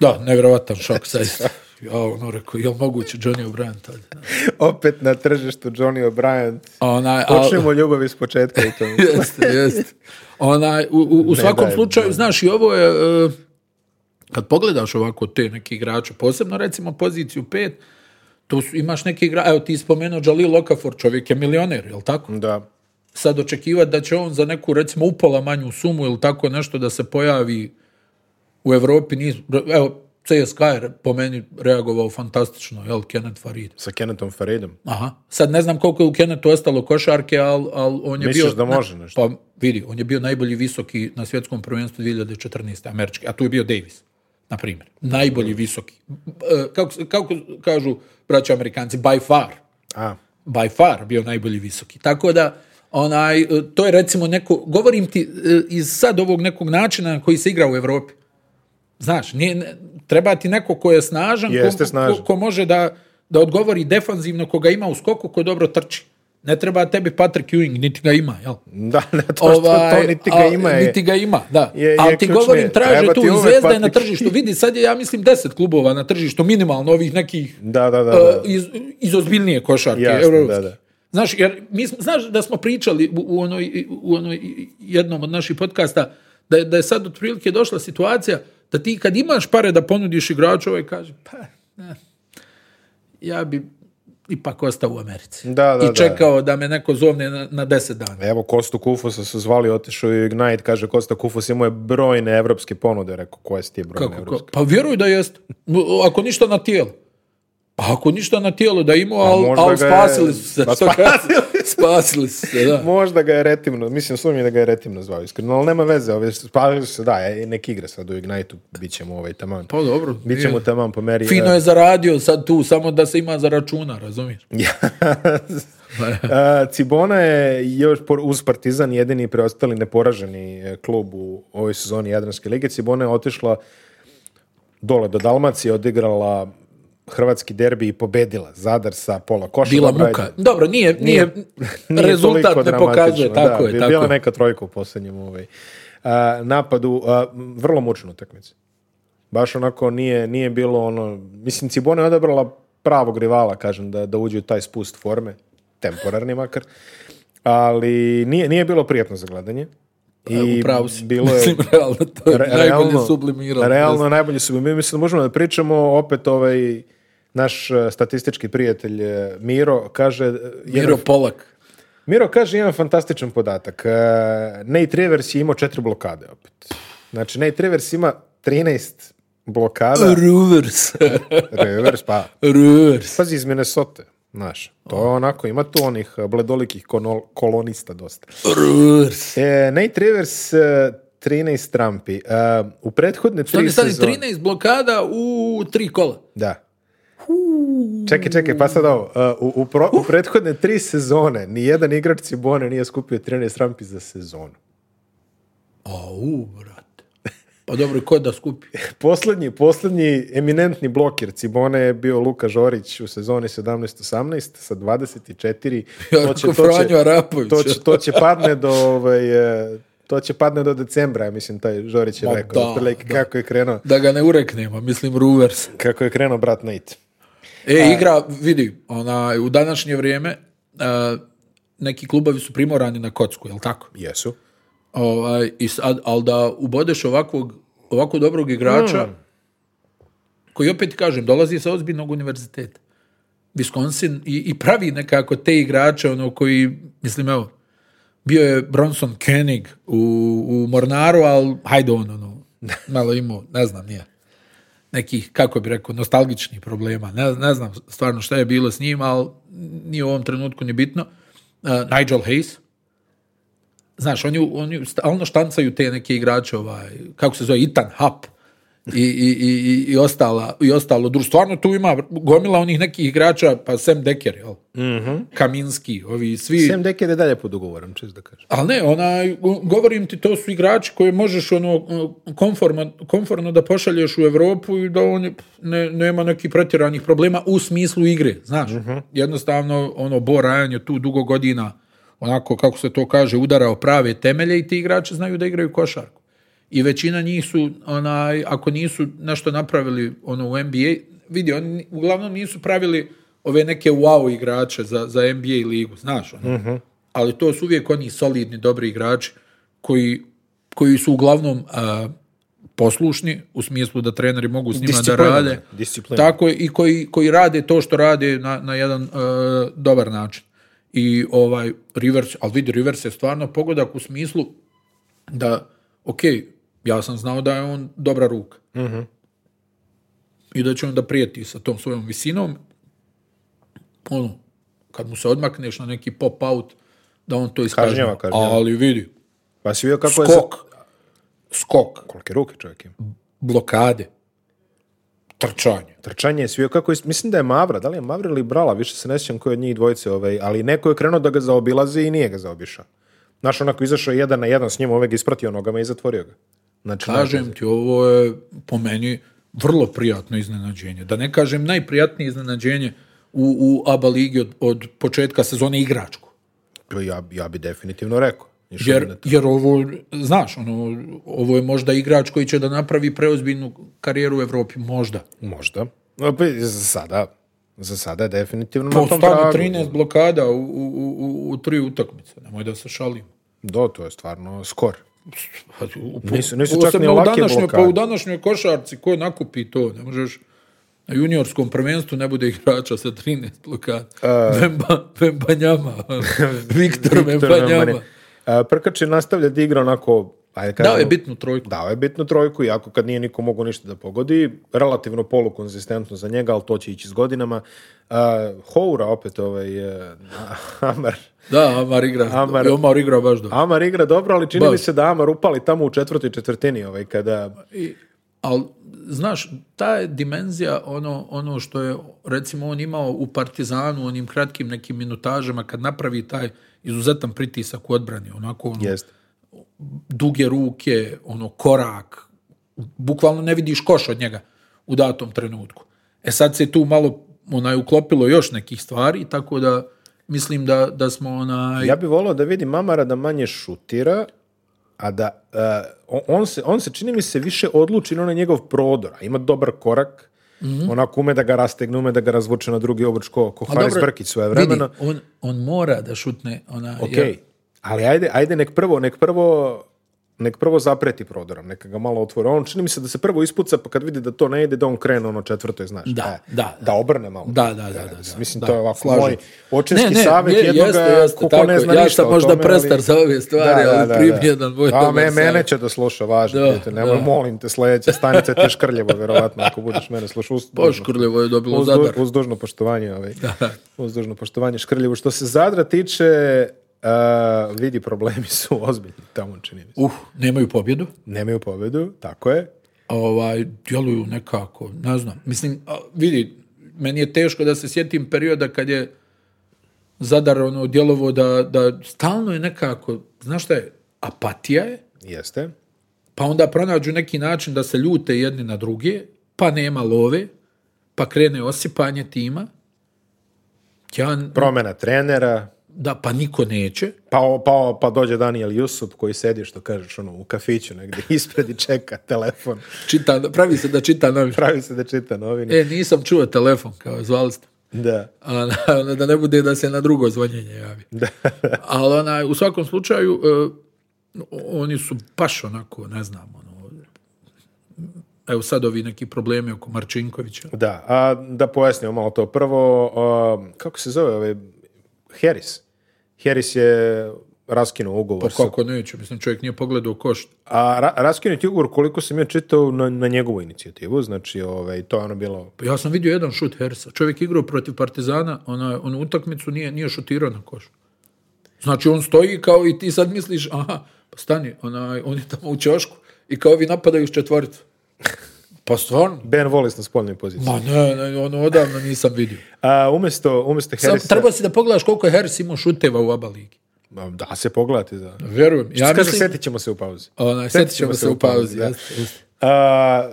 Speaker 1: Da, nevjerovatan šok sad. Ja ono rekao, jel moguće Johnny O'Brien tad?
Speaker 3: Opet na tržištu Johnny O'Brien.
Speaker 1: A Onaj, a-
Speaker 3: Počnemo ljubav iz početka i to.
Speaker 1: jeste, jeste. Onaj, u, u, u svakom
Speaker 3: daj,
Speaker 1: slučaju, znaš, i ovo je... e, kad pogledaš ovako te neke igrače, posebno recimo poziciju 5, tu su, imaš neke igrače, evo ti je spomenuo Jalil Okafor, čovjek je milioner, jel tako?
Speaker 3: da.
Speaker 1: sad očekivati da će on za neku recimo upola manju sumu ili tako nešto da se pojavi u Evropi nis, evo CSKA je re- po meni reagovao fantastično, jel, Kenneth Farid.
Speaker 3: Sa Kenetom Faridom.
Speaker 1: Aha, sad ne znam koliko je u Kennetu ostalo košarke, ali al on je
Speaker 3: Misliš
Speaker 1: bio...
Speaker 3: da
Speaker 1: na-
Speaker 3: može nešto?
Speaker 1: Pa vidi, on je bio najbolji visoki na svjetskom prvenstvu 2014. američki, a tu je bio Davis, na primjer. Najbolji visoki. E, Kako, se- kako kažu braća amerikanci, by far
Speaker 3: A,
Speaker 1: by far bio najbolji visoki. Tako da, onaj, e, to je recimo neko, govorim ti e, iz sad ovog nekog načina na koji se igra u Evropi. Znaš, nije, ne- treba ti neko ko je snažan,
Speaker 3: Jeste
Speaker 1: ko,
Speaker 3: snažan.
Speaker 1: ko- ko može da, da odgovori defanzivno, ko ga ima u skoku, ko dobro trči. Ne treba tebi Patrick Ewing, niti ga ima, jel?
Speaker 3: da, ne, to Pa što to niti ga
Speaker 1: Ovaj, a,
Speaker 3: ima je...
Speaker 1: niti ga ima, da.
Speaker 3: je- je
Speaker 1: Ali ti
Speaker 3: ključnije.
Speaker 1: govorim, traže
Speaker 3: Treba
Speaker 1: tu
Speaker 3: ti
Speaker 1: i
Speaker 3: uvek
Speaker 1: zvezda je na
Speaker 3: Patrick-
Speaker 1: tržištu. Vidi, sad je, ja mislim, 10 klubova na tržištu, minimalno ovih nekih
Speaker 3: Da, da, da.
Speaker 1: e,
Speaker 3: da.
Speaker 1: iz, iz ozbiljnije košarke
Speaker 3: Jasno,
Speaker 1: evropske.
Speaker 3: da, da.
Speaker 1: Znaš, jer mi, smo- znaš da smo pričali u, u onoj, u onoj jednom od naših podcasta da je, da je sad otprilike došla situacija da ti kad imaš pare da ponudiš igraču, ovaj kaže, pa, ne, ja bi ipak ostao u Americi.
Speaker 3: Da, da, da.
Speaker 1: I čekao da. me neko zovne na, na deset dana.
Speaker 3: Evo, Kostu Kufosa su zvali, otišao je u Ignite, kaže Kosta Kufos imao je brojne evropske ponude, rekao, koje su ti brojne
Speaker 1: Kako, ko-
Speaker 3: evropske?
Speaker 1: pa vjeruj da jest. No, Ako ništa na tijelo. Pa ako ništa na tijelo da imao, ali
Speaker 3: Pa možda
Speaker 1: al
Speaker 3: ga je-
Speaker 1: spasili su se.
Speaker 3: Pa
Speaker 1: što kažu. spasili su se, da.
Speaker 3: Možda ga je Retimno, mislim, sumnjam da ga je Retimno zvao, iskreno, ali nema veze, ove, spavili su se, da, e, nek igra sad u Ignite-u, bit ćemo ovaj taman.
Speaker 1: Pa dobro.
Speaker 3: Bit ćemo taman po meri.
Speaker 1: Fino
Speaker 3: e,
Speaker 1: je zaradio sad tu, samo da se ima za računa, razumiješ?
Speaker 3: A, Cibona je još por- uz Partizan jedini preostali neporaženi e, klub u ovoj sezoni Jadranske lige. Cibona je otišla dole do Dalmacije, odigrala hrvatski derbi i pobedila Zadar sa pola koša.
Speaker 1: Bila
Speaker 3: Dobro,
Speaker 1: muka.
Speaker 3: ajde,
Speaker 1: Dobro, nije, nije,
Speaker 3: nije
Speaker 1: rezultat
Speaker 3: toliko
Speaker 1: ne pokazuje,
Speaker 3: dramatično,
Speaker 1: tako
Speaker 3: da,
Speaker 1: je,
Speaker 3: bi-
Speaker 1: tako
Speaker 3: Bila
Speaker 1: je.
Speaker 3: neka trojka u posljednjem ovaj, a, napadu. a, m, vrlo mučnu utakmicu. Baš onako nije, nije bilo ono... Mislim, Cibona je odabrala pravog rivala, kažem, da, da uđe u taj spust forme, temporarni makar. Ali nije, nije bilo prijatno za gledanje. I
Speaker 1: Upravo si.
Speaker 3: bilo je
Speaker 1: Mislim, realno, to je
Speaker 3: re-
Speaker 1: najbolje sublimiralo.
Speaker 3: realno najbolje sublimirano. Mislim da možemo da pričamo, opet ovaj naš eh, statistički prijatelj eh, Miro kaže... eh, jedan-
Speaker 1: Miro Polak.
Speaker 3: Miro kaže jedan fantastičan podatak. Eh, Nate Rivers je imao četiri blokade opet. Znači, Nate Rivers ima 13 blokada.
Speaker 1: Ruvers.
Speaker 3: Rivers, pa...
Speaker 1: Ruvers.
Speaker 3: Pazi, iz Minnesota, znaš. To je onako, ima tu onih eh, bledolikih konol- kolonista dosta.
Speaker 1: Ruvers.
Speaker 3: E, Nate Rivers, eh, 13 trampi. Eh, u prethodne tri
Speaker 1: Stani, stani,
Speaker 3: sezone...
Speaker 1: 13 blokada u tri kola.
Speaker 3: Da. Čekaj, čekaj, pa sad ovo. Uh, U, u, pro- u prethodne tri sezone nijedan igrač Cibone nije skupio 13 rampi za sezonu.
Speaker 1: Au, brate. Pa dobro, ko da skupi?
Speaker 3: Poslednji, poslednji eminentni blokir Cibone je bio Luka Žorić u sezoni 17-18 sa 24.
Speaker 1: Ja, ko Franjo Arapović.
Speaker 3: To će, to će padne do ovaj, e, to će padne do decembra, ja mislim, taj Žorić je
Speaker 1: Ma
Speaker 3: rekao.
Speaker 1: da,
Speaker 3: otprilike Kako je krenuo,
Speaker 1: Da ga ne ureknemo, mislim Ruvers.
Speaker 3: kako je krenuo brat Nate.
Speaker 1: E, igra, vidi, ona, u današnje vrijeme e, neki klubovi su primorani na kocku, jel tako?
Speaker 3: Jesu.
Speaker 1: Ovaj, i sad, ali da ubodeš ovakvog, ovako dobrog igrača, koji opet kažem, dolazi sa ozbiljnog univerziteta. Wisconsin i, i pravi nekako te igrače, ono koji, mislim, evo, bio je Bronson Koenig u, u Mornaru, ali hajde on, ono, malo imao, ne znam, nije nekih, kako bi rekao, nostalgičnih problema. Ne, ne znam stvarno šta je bilo s njim, ali nije u ovom trenutku ni bitno. Uh, Nigel Hayes, znaš, oni, oni stalno štancaju te neke igrače, ovaj, kako se zove, Ethan Hap i, i, i, i, i ostala, i ostalo. Dru, stvarno tu ima gomila onih nekih igrača, pa Sam Decker, jel? Kaminski, ovi svi.
Speaker 3: Sem Deke je dalje pod ugovorom, čest da kažem.
Speaker 1: Ali ne, onaj, go- govorim ti, to su igrači koje možeš ono, konforma, konforno da pošalješ u Europu i da on ne, nema nekih pretjeranih problema u smislu igre, znaš. Jednostavno, ono, Bo Ryan je tu dugo godina, onako, kako se to kaže, udarao prave temelje i ti igrači znaju da igraju košarku. I većina njih su, onaj, ako nisu nešto napravili ono, u NBA, vidi, oni uglavnom nisu pravili ove neke wow igrače za, za NBA ligu, znaš, ono.
Speaker 3: Mhm.
Speaker 1: ali to su uvijek oni solidni, dobri igrači koji, koji su uglavnom a, poslušni, u smislu da treneri mogu s njima da
Speaker 3: Disciplinovani,
Speaker 1: rade.
Speaker 3: disciplinovani.
Speaker 1: Tako je, i koji, koji rade to što rade na, na jedan e, dobar način. I ovaj Rivers, ali vidi, Rivers je stvarno pogodak u smislu da, ok, ja sam znao da je on dobra ruka.
Speaker 3: Mhm.
Speaker 1: I da će on da prijeti sa tom svojom visinom. Ono, kad mu se odmakneš na neki pop-out, da on to iskaže.
Speaker 3: Kažnjava, kažnjava.
Speaker 1: Ali vidi,
Speaker 3: Pa si vidio kako je...
Speaker 1: skok, skok,
Speaker 3: Kolike ruke čovjek ima.
Speaker 1: blokade, trčanje.
Speaker 3: Trčanje je svio kako je, mislim da je Mavra, da li je Mavra ili Brala, više se ne sjećam koji je od njih dvojice, ovaj, ali neko je krenuo da ga zaobilazi i nije ga zaobišao. Znaš, onako izašao je jedan na jedan s njim, ovaj ga ispratio nogama i zatvorio ga. Znači,
Speaker 1: Kažem ti, ovo je po meni vrlo prijatno iznenađenje. Da ne kažem najprijatnije iznenađenje u, u ABA ligi od, od početka sezone igračku.
Speaker 3: to ja, ja bi definitivno rekao. Išao bi na
Speaker 1: Jer,
Speaker 3: to.
Speaker 1: jer ovo, znaš, ono, ovo je možda igrač koji će da napravi preozbiljnu karijeru u Evropi, možda.
Speaker 3: Možda. Opet, za sada, za sada je definitivno na tom
Speaker 1: Postane
Speaker 3: tragu.
Speaker 1: 13 blokada u, u, u- u, u tri utakmice, nemoj da se šalimo.
Speaker 3: Do, to je stvarno skor.
Speaker 1: Pa, u-
Speaker 3: Nisu- nisu čak ni
Speaker 1: posebno u
Speaker 3: lake
Speaker 1: današnjoj-
Speaker 3: blokade.
Speaker 1: Pa u današnjoj košarci ko nakupi to, ne možeš na juniorskom prvenstvu ne bude igrača sa 13 blokada.
Speaker 3: E.
Speaker 1: Vemba, Vembanjama. Viktor Vembanjama.
Speaker 3: A, Prkačin E, nastavlja da igra onako, ajde
Speaker 1: Dao
Speaker 3: kažemo,
Speaker 1: je bitnu trojku.
Speaker 3: Dao je bitnu trojku, iako kad nije niko mogao ništa da pogodi, relativno polukonzistentno za njega, ali to će ići s godinama. Uh, Houra opet, ovaj, eh, Amar,
Speaker 1: Da, Amar igra.
Speaker 3: Amar-
Speaker 1: I Omar igra baš dobro.
Speaker 3: Amar igra dobro, ali čini
Speaker 1: Baš.
Speaker 3: mi se da Amar upali tamo u četvrtoj četvrtini, ovaj, kada...
Speaker 1: I, ali, znaš, ta je dimenzija ono, ono što je, recimo, on imao u Partizanu, onim kratkim nekim minutažama, kad napravi taj izuzetan pritisak u odbrani, onako ono,
Speaker 3: Jest.
Speaker 1: duge ruke, ono korak, bukvalno ne vidiš koš od njega u datom trenutku. E sad se tu malo onaj uklopilo još nekih stvari, tako da mislim da, da smo onaj
Speaker 3: Ja bi volio da vidim Amara da manje šutira, a da eh, on- on, se, on se čini mi se više odluči na onaj njegov prodor, a ima dobar korak,
Speaker 1: Mhm.
Speaker 3: onako ume da ga rastegne, ume da ga razvuče na drugi obruč ko, ko
Speaker 1: Pa
Speaker 3: Haris
Speaker 1: dobro,
Speaker 3: Brkić svoje vremena.
Speaker 1: vidi, on, on mora da šutne ona
Speaker 3: Ok, ali ajde, ajde nek prvo, nek prvo, nek prvo zapreti prodorom, neka ga malo otvore. On čini mi se da se prvo ispuca, pa kad vidi da to ne ide, da on krene ono četvrtoj, znaš.
Speaker 1: Da,
Speaker 3: e,
Speaker 1: da, da.
Speaker 3: Da obrne malo.
Speaker 1: Da, da, da, da,
Speaker 3: mislim,
Speaker 1: da,
Speaker 3: mislim,
Speaker 1: da,
Speaker 3: to je ovako
Speaker 1: slažem
Speaker 3: moj
Speaker 1: se.
Speaker 3: očinski savjet
Speaker 1: je-
Speaker 3: jednoga ko- ko ne
Speaker 1: tako
Speaker 3: zna
Speaker 1: je. ja
Speaker 3: ništa
Speaker 1: sam
Speaker 3: o
Speaker 1: možda
Speaker 3: tome, ali-
Speaker 1: prestar za ove stvari,
Speaker 3: Da, da,
Speaker 1: ali
Speaker 3: da,
Speaker 1: primio
Speaker 3: da.
Speaker 1: jedan moj
Speaker 3: A
Speaker 1: dobar
Speaker 3: me, mene
Speaker 1: savjet.
Speaker 3: će da sluša, važno.
Speaker 1: Da,
Speaker 3: dete, nemoj, molim te, sledeća stanica te škrljevo, verovatno, ako budeš mene slušao. Uz-
Speaker 1: Poškurljevo Pa, je dobilo
Speaker 3: uz, duž-
Speaker 1: zadar.
Speaker 3: uz dužno poštovanje. Ovaj. Uz dužno poštovanje Škrljevu. Što se Zadra tiče, e, vidi, problemi su ozbiljni tamo, čini mi se.
Speaker 1: Uh, nemaju pobjedu.
Speaker 3: Nemaju pobedu, tako je.
Speaker 1: ovaj, djeluju nekako, ne znam. Mislim, a, vidi, meni je teško da se sjetim perioda kad je Zadar ono djelovo da, da stalno je nekako, znaš šta je, apatija je,
Speaker 3: Jeste.
Speaker 1: pa onda pronađu neki način da se ljute jedni na druge, pa nema love, pa krene osipanje tima. Ja,
Speaker 3: Promena trenera,
Speaker 1: da, pa niko neće.
Speaker 3: pa, o- pa, o- pa dođe Daniel Jusup koji sedi, što kažeš, ono, u kafiću negdje ispred i čeka telefon.
Speaker 1: Čita, pravi se da čita novine.
Speaker 3: Pravi se da čita novine.
Speaker 1: E, nisam čuo telefon, kao zvali ste.
Speaker 3: Da.
Speaker 1: A, na- da ne bude da se na drugo zvonjenje javi. Ali onaj, u svakom slučaju, e, oni su baš onako, ne znam, ono, evo sad ovi neki problemi oko Marčinkovića.
Speaker 3: Da, a da pojasnimo malo to. Prvo, um, kako se zove ovaj Harris? Harris je raskinuo ugovor. sa-
Speaker 1: Kako neće, mislim, čovjek nije pogledao košt.
Speaker 3: A ra, raskinuti ugovor, koliko sam ja čitao, na, na njegovu inicijativu, znači ovaj, to je ono bilo...
Speaker 1: Pa Ja sam vidio jedan šut Hersa. Čovjek igrao protiv Partizana, ona, onu utakmicu nije, nije šutirao na koš. Znači, on stoji kao i ti sad misliš, aha, pa stani, onaj, on je tamo u ćošku i kao vi napadaju iz četvoricu. Pa stvarno,
Speaker 3: Ben Wallace na spoljnoj poziciji.
Speaker 1: Ma ne, ne, ono odavno nisam vidio.
Speaker 3: A, umjesto, umjesto
Speaker 1: Sam,
Speaker 3: Harrisa...
Speaker 1: treba si da pogledaš koliko je Harris imao šuteva u aba ligi.
Speaker 3: Ma, Da, se pogledati, da.
Speaker 1: Vjerujem. Ja
Speaker 3: Ja Kaže,
Speaker 1: mislim,
Speaker 3: setit ćemo se u pauzi.
Speaker 1: onaj, sjetit ćemo se u pauzi.
Speaker 3: da.
Speaker 1: jeste, jeste.
Speaker 3: A,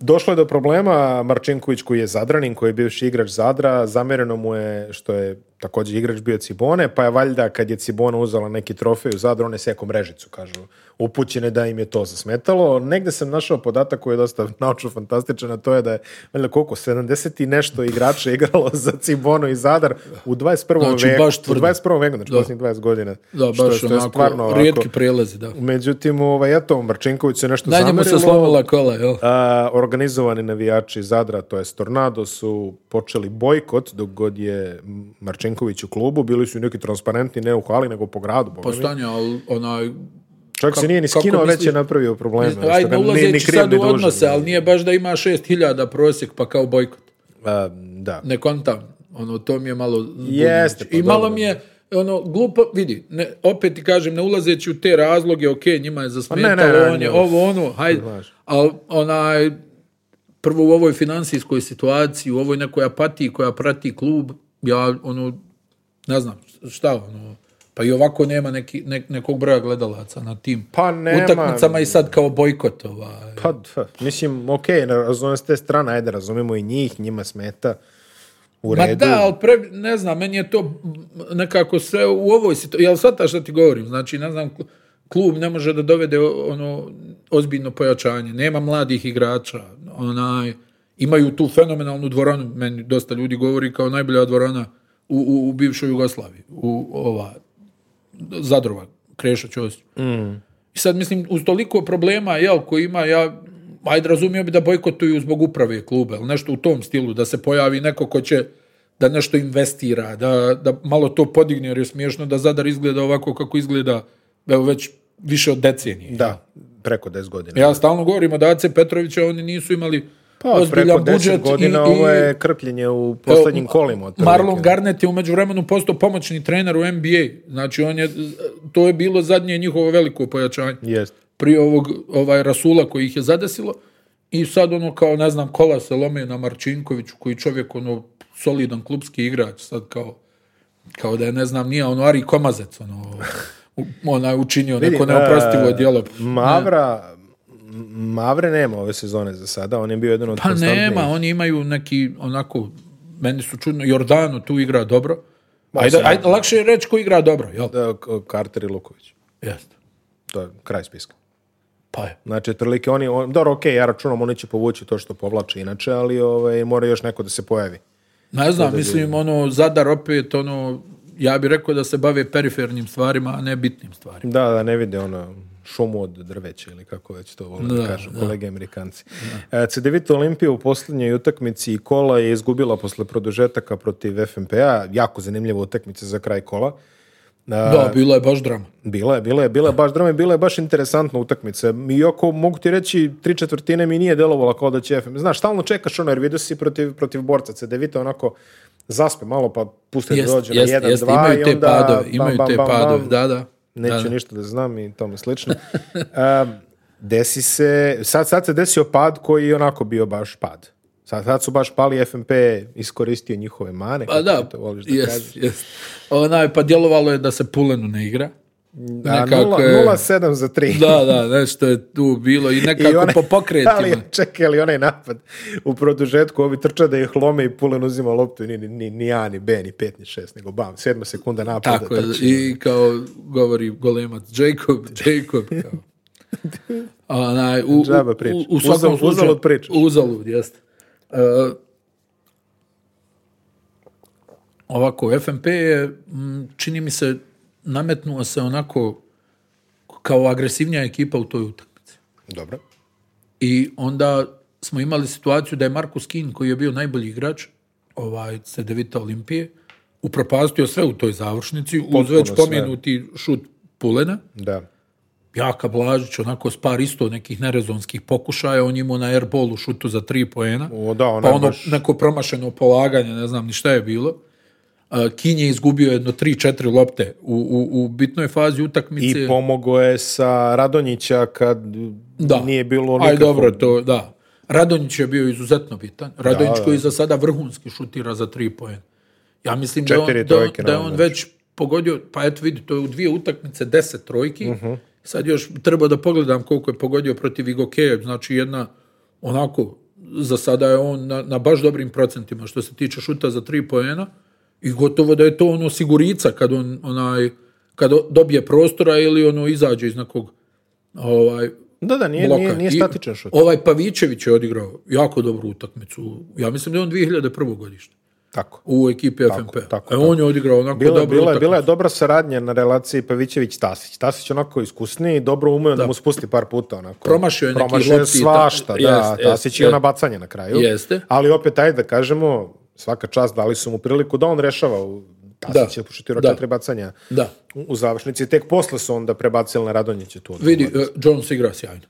Speaker 3: došlo je do problema Marčinković koji je zadranin, koji je bivši igrač Zadra, zamjereno mu je što je također igrač bio Cibone, pa je valjda kad je Cibona uzela neki trofej u Zadru, on je sekao mrežicu, kažu. Upućene da im je to zasmetalo. Negde sam našao podatak koji je dosta naučno fantastičan, a to je da je valjda koliko, 70 i nešto igrača igralo za Cibonu i Zadar u 21.
Speaker 1: Znači,
Speaker 3: veku.
Speaker 1: baš
Speaker 3: u
Speaker 1: tvrdo.
Speaker 3: 21. veku, znači posljednjih 20 godina.
Speaker 1: Da,
Speaker 3: Što je-
Speaker 1: baš
Speaker 3: što je
Speaker 1: onako,
Speaker 3: stvarno ovako-
Speaker 1: rijetki prelazi, da.
Speaker 3: Međutim, ovaj, eto, Marčinković se nešto
Speaker 1: Na njemu se slomila kola, jel?
Speaker 3: a, organizovani navijači Zadra, to jest Tornado, su počeli bojkot dok god je Marčenković u klubu. Bili su i neki transparentni, ne u hali, nego po gradu. boga mi.
Speaker 1: Postanje, ali onaj...
Speaker 3: Čak se nije ni
Speaker 1: kako
Speaker 3: skinuo, već
Speaker 1: misliš?
Speaker 3: je napravio probleme. znaš,
Speaker 1: Ajde,
Speaker 3: što ga
Speaker 1: ne
Speaker 3: ni- ni
Speaker 1: ulazeći
Speaker 3: kriv,
Speaker 1: sad
Speaker 3: ni
Speaker 1: u
Speaker 3: dužan.
Speaker 1: odnose, ali nije baš da ima 6000 prosjek, pa kao bojkot.
Speaker 3: A, da.
Speaker 1: Ne kontam. Ono, to mi je malo... zbunjujuće.
Speaker 3: Jeste, pa
Speaker 1: I malo
Speaker 3: dobro.
Speaker 1: mi je ono, glupo, vidi, ne, opet ti kažem, ne ulazeći u te razloge, ok, njima je zasmetalo,
Speaker 3: Pa ne, ne,
Speaker 1: on je
Speaker 3: ne,
Speaker 1: ovo, ono, hajde,
Speaker 3: Znaš.
Speaker 1: ali onaj, prvo u ovoj financijskoj situaciji, u ovoj nekoj apatiji koja prati klub, ja, ono, ne znam, šta, ono, pa i ovako nema neki, ne- nekog broja gledalaca na tim
Speaker 3: Pa nema.
Speaker 1: utakmicama i sad kao bojkot, ovaj.
Speaker 3: Pa, da, mislim, okej, ne razumem s te strane, ajde, razumemo i njih, njima smeta u
Speaker 1: Ma
Speaker 3: redu.
Speaker 1: da, ali pre- ne znam, meni je to mm, nekako sve u ovoj situaciji, jel shvataš šta ti govorim? Znači, ne znam, kl- klub ne može da dovede o- ono ozbiljno pojačanje, nema mladih igrača, onaj, imaju tu fenomenalnu dvoranu, meni dosta ljudi govori kao najbolja dvorana u, u, u bivšoj Jugoslaviji, u ova, Zadrova, Krešo Ćosić. I sad mislim, uz toliko problema, jel, koji ima, ja, ajde razumio bi da bojkotuju zbog uprave kluba, ili nešto u tom stilu, da se pojavi neko ko će da nešto investira, da, da malo to podigne, jer je smiješno da Zadar izgleda ovako kako izgleda, evo već više od decenije.
Speaker 3: Da, preko 10 godina.
Speaker 1: Ja stalno govorim od Ace Petrovića, oni nisu imali
Speaker 3: Pa, od preko
Speaker 1: ozbiljan
Speaker 3: 10
Speaker 1: budžet
Speaker 3: godina
Speaker 1: i, i
Speaker 3: ovo je krpljenje u poslednjim
Speaker 1: Evo,
Speaker 3: kolima. otprilike.
Speaker 1: Marlon Garnett je umeđu vremenu postao pomoćni trener u NBA. Znači, on je, to je bilo zadnje njihovo veliko pojačanje.
Speaker 3: Jeste.
Speaker 1: Prije ovog ovaj, Rasula koji ih je zadesilo. I sad ono kao, ne znam, kola se lome na Marčinkoviću koji čovjek ono solidan klubski igrač. Sad kao, kao da je, ne znam, nije ono Ari Komazec ono, u- onaj učinio neko neoprostivo
Speaker 3: e,
Speaker 1: djelo.
Speaker 3: Mavra, M- Mavre nema ove sezone za sada, on je bio jedan od
Speaker 1: Pa
Speaker 3: konstantnijih.
Speaker 1: nema, oni imaju neki onako, meni su čudno, Jordano tu igra dobro.
Speaker 3: Ma,
Speaker 1: Ajde,
Speaker 3: sad-
Speaker 1: ajde, lakše je reći ko igra dobro, jel?
Speaker 3: Da, K- Carter i Luković.
Speaker 1: Jeste.
Speaker 3: To je kraj spiska.
Speaker 1: Pa je.
Speaker 3: Znači, otprilike oni, on, dobro, okej, ja računam, oni će povući to što povlače inače, ali ovaj, mora još neko da se pojavi.
Speaker 1: Ne znam, mislim, ono, Zadar opet, ono, ja bih rekao da se bave perifernim stvarima, a ne bitnim stvarima.
Speaker 3: Da, da ne vide ono šumu od drveća ili kako već to volim da, kažu kolege Amerikanci. E, Da. Cedevita Olimpija u posljednjoj utakmici i kola je izgubila posle produžetaka protiv FNP-a. Jako zanimljiva utakmica za kraj kola. A,
Speaker 1: Da, bila je baš drama.
Speaker 3: Bila je, bila je, bila je baš drama i bila je baš interesantna utakmica. Iako mogu ti reći, tri četvrtine mi nije delovala kao da će FM. Znaš, stalno čekaš ono, jer vidio si protiv, protiv borca CDVita onako zaspe malo, pa puste da
Speaker 1: Jeste,
Speaker 3: dođe na
Speaker 1: jeste,
Speaker 3: jedan,
Speaker 1: jeste,
Speaker 3: dva
Speaker 1: imaju
Speaker 3: i
Speaker 1: te
Speaker 3: onda...
Speaker 1: padove,
Speaker 3: bam,
Speaker 1: imaju
Speaker 3: bam,
Speaker 1: te
Speaker 3: bam, bam,
Speaker 1: padove, da, da.
Speaker 3: Neću
Speaker 1: Da, da.
Speaker 3: ništa da znam i tome slično. Um, desi se, sad, sad se desio pad koji je onako bio baš pad. Sad, sad su baš pali FMP iskoristio njihove mane.
Speaker 1: Pa
Speaker 3: kako
Speaker 1: da,
Speaker 3: ti to voliš da
Speaker 1: jest,
Speaker 3: kažeš.
Speaker 1: jest. Onaj, pa djelovalo je da se Pulenu ne igra.
Speaker 3: Da,
Speaker 1: Nekako
Speaker 3: nula-
Speaker 1: je-
Speaker 3: 0-7 za 3.
Speaker 1: Da, da, nešto je tu bilo i nekako po
Speaker 3: Ali,
Speaker 1: pokretima.
Speaker 3: čekaj, ali onaj napad u produžetku, ovi trča da ih lome i Pulen uzima loptu i ni, ni, ni, ni A, ni B, ni 5, ni 6, nego bam, sedma sekunda napada
Speaker 1: Tako je,
Speaker 3: trči. ono.
Speaker 1: i kao govori golemac Jacob, Jacob, kao. A, onaj, u, u,
Speaker 3: Džaba priča.
Speaker 1: u, u svakom
Speaker 3: Uzal-
Speaker 1: slučaju-
Speaker 3: uzalud pričaš.
Speaker 1: Uzalud, jeste. E, ovako, FNP je, m, čini mi se, nametnuo se onako kao agresivnija ekipa u toj utakmici.
Speaker 3: Dobro.
Speaker 1: I onda smo imali situaciju da je Markus Kin, koji je bio najbolji igrač ovaj, sa Devita Olimpije, upropastio sve u toj završnici, uz
Speaker 3: Potpuno
Speaker 1: već
Speaker 3: sve.
Speaker 1: pomenuti šut Pulena.
Speaker 3: Da.
Speaker 1: Jaka Blažić, onako s par isto nekih nerezonskih pokušaja, on je imao na airballu šutu za tri poena,
Speaker 3: O, da, ona
Speaker 1: pa
Speaker 3: je
Speaker 1: ono
Speaker 3: baš-
Speaker 1: neko promašeno polaganje, ne znam ni šta je bilo. A, Kin je izgubio jedno 3-4 lopte u, u, u bitnoj fazi utakmice.
Speaker 3: I pomogao je sa Radonjića kad
Speaker 1: Da.
Speaker 3: nije bilo
Speaker 1: Aj,
Speaker 3: nikakvog...
Speaker 1: dobro, to, da. Radonjić je bio izuzetno bitan. Radonjić
Speaker 3: da.
Speaker 1: koji za sada vrhunski šutira za tri poena. Ja mislim da, je
Speaker 3: Četiri
Speaker 1: on, da, on-
Speaker 3: trojke,
Speaker 1: da je on
Speaker 3: naravno.
Speaker 1: već pogodio, pa eto vidi, to je u dvije utakmice deset trojki.
Speaker 3: Mhm.
Speaker 1: Sad još treba da pogledam koliko je pogodio protiv Igokeja. Znači jedna, onako, za sada je on na, na baš dobrim procentima što se tiče šuta za tri poena i gotovo da je to ono sigurica kad on onaj, kad o- dobije prostora ili ono izađe iz nekog ovaj,
Speaker 3: Da, da, nije,
Speaker 1: bloka.
Speaker 3: nije, nije
Speaker 1: I
Speaker 3: statičan šut.
Speaker 1: Ovaj Pavićević je odigrao jako dobru utakmicu. Ja mislim da je on 2001. godište
Speaker 3: Tako.
Speaker 1: u ekipi FNP.
Speaker 3: tako,
Speaker 1: e, on je odigrao onako
Speaker 3: Bila,
Speaker 1: dobru
Speaker 3: bila,
Speaker 1: utakmicu.
Speaker 3: bila je dobra saradnja na relaciji Pavićević-Tasić. Tasić onako iskusniji i dobro ume da. mu spusti par puta. Onako.
Speaker 1: Promašio je neki
Speaker 3: Promašio
Speaker 1: lopti i ta-
Speaker 3: svašta, da.
Speaker 1: Jest, jest,
Speaker 3: Tasić i
Speaker 1: jest.
Speaker 3: ona bacanje na kraju.
Speaker 1: Jeste.
Speaker 3: Ali opet, ajde da kažemo, svaka čast dali su mu priliku da on rešava u Tasić je
Speaker 1: Da.
Speaker 3: pošutirao
Speaker 1: Da.
Speaker 3: četiri bacanja
Speaker 1: Da.
Speaker 3: u u završnici. Tek posle su onda prebacili na Radonjića tu.
Speaker 1: Vidi, e, Jones igra sjajno.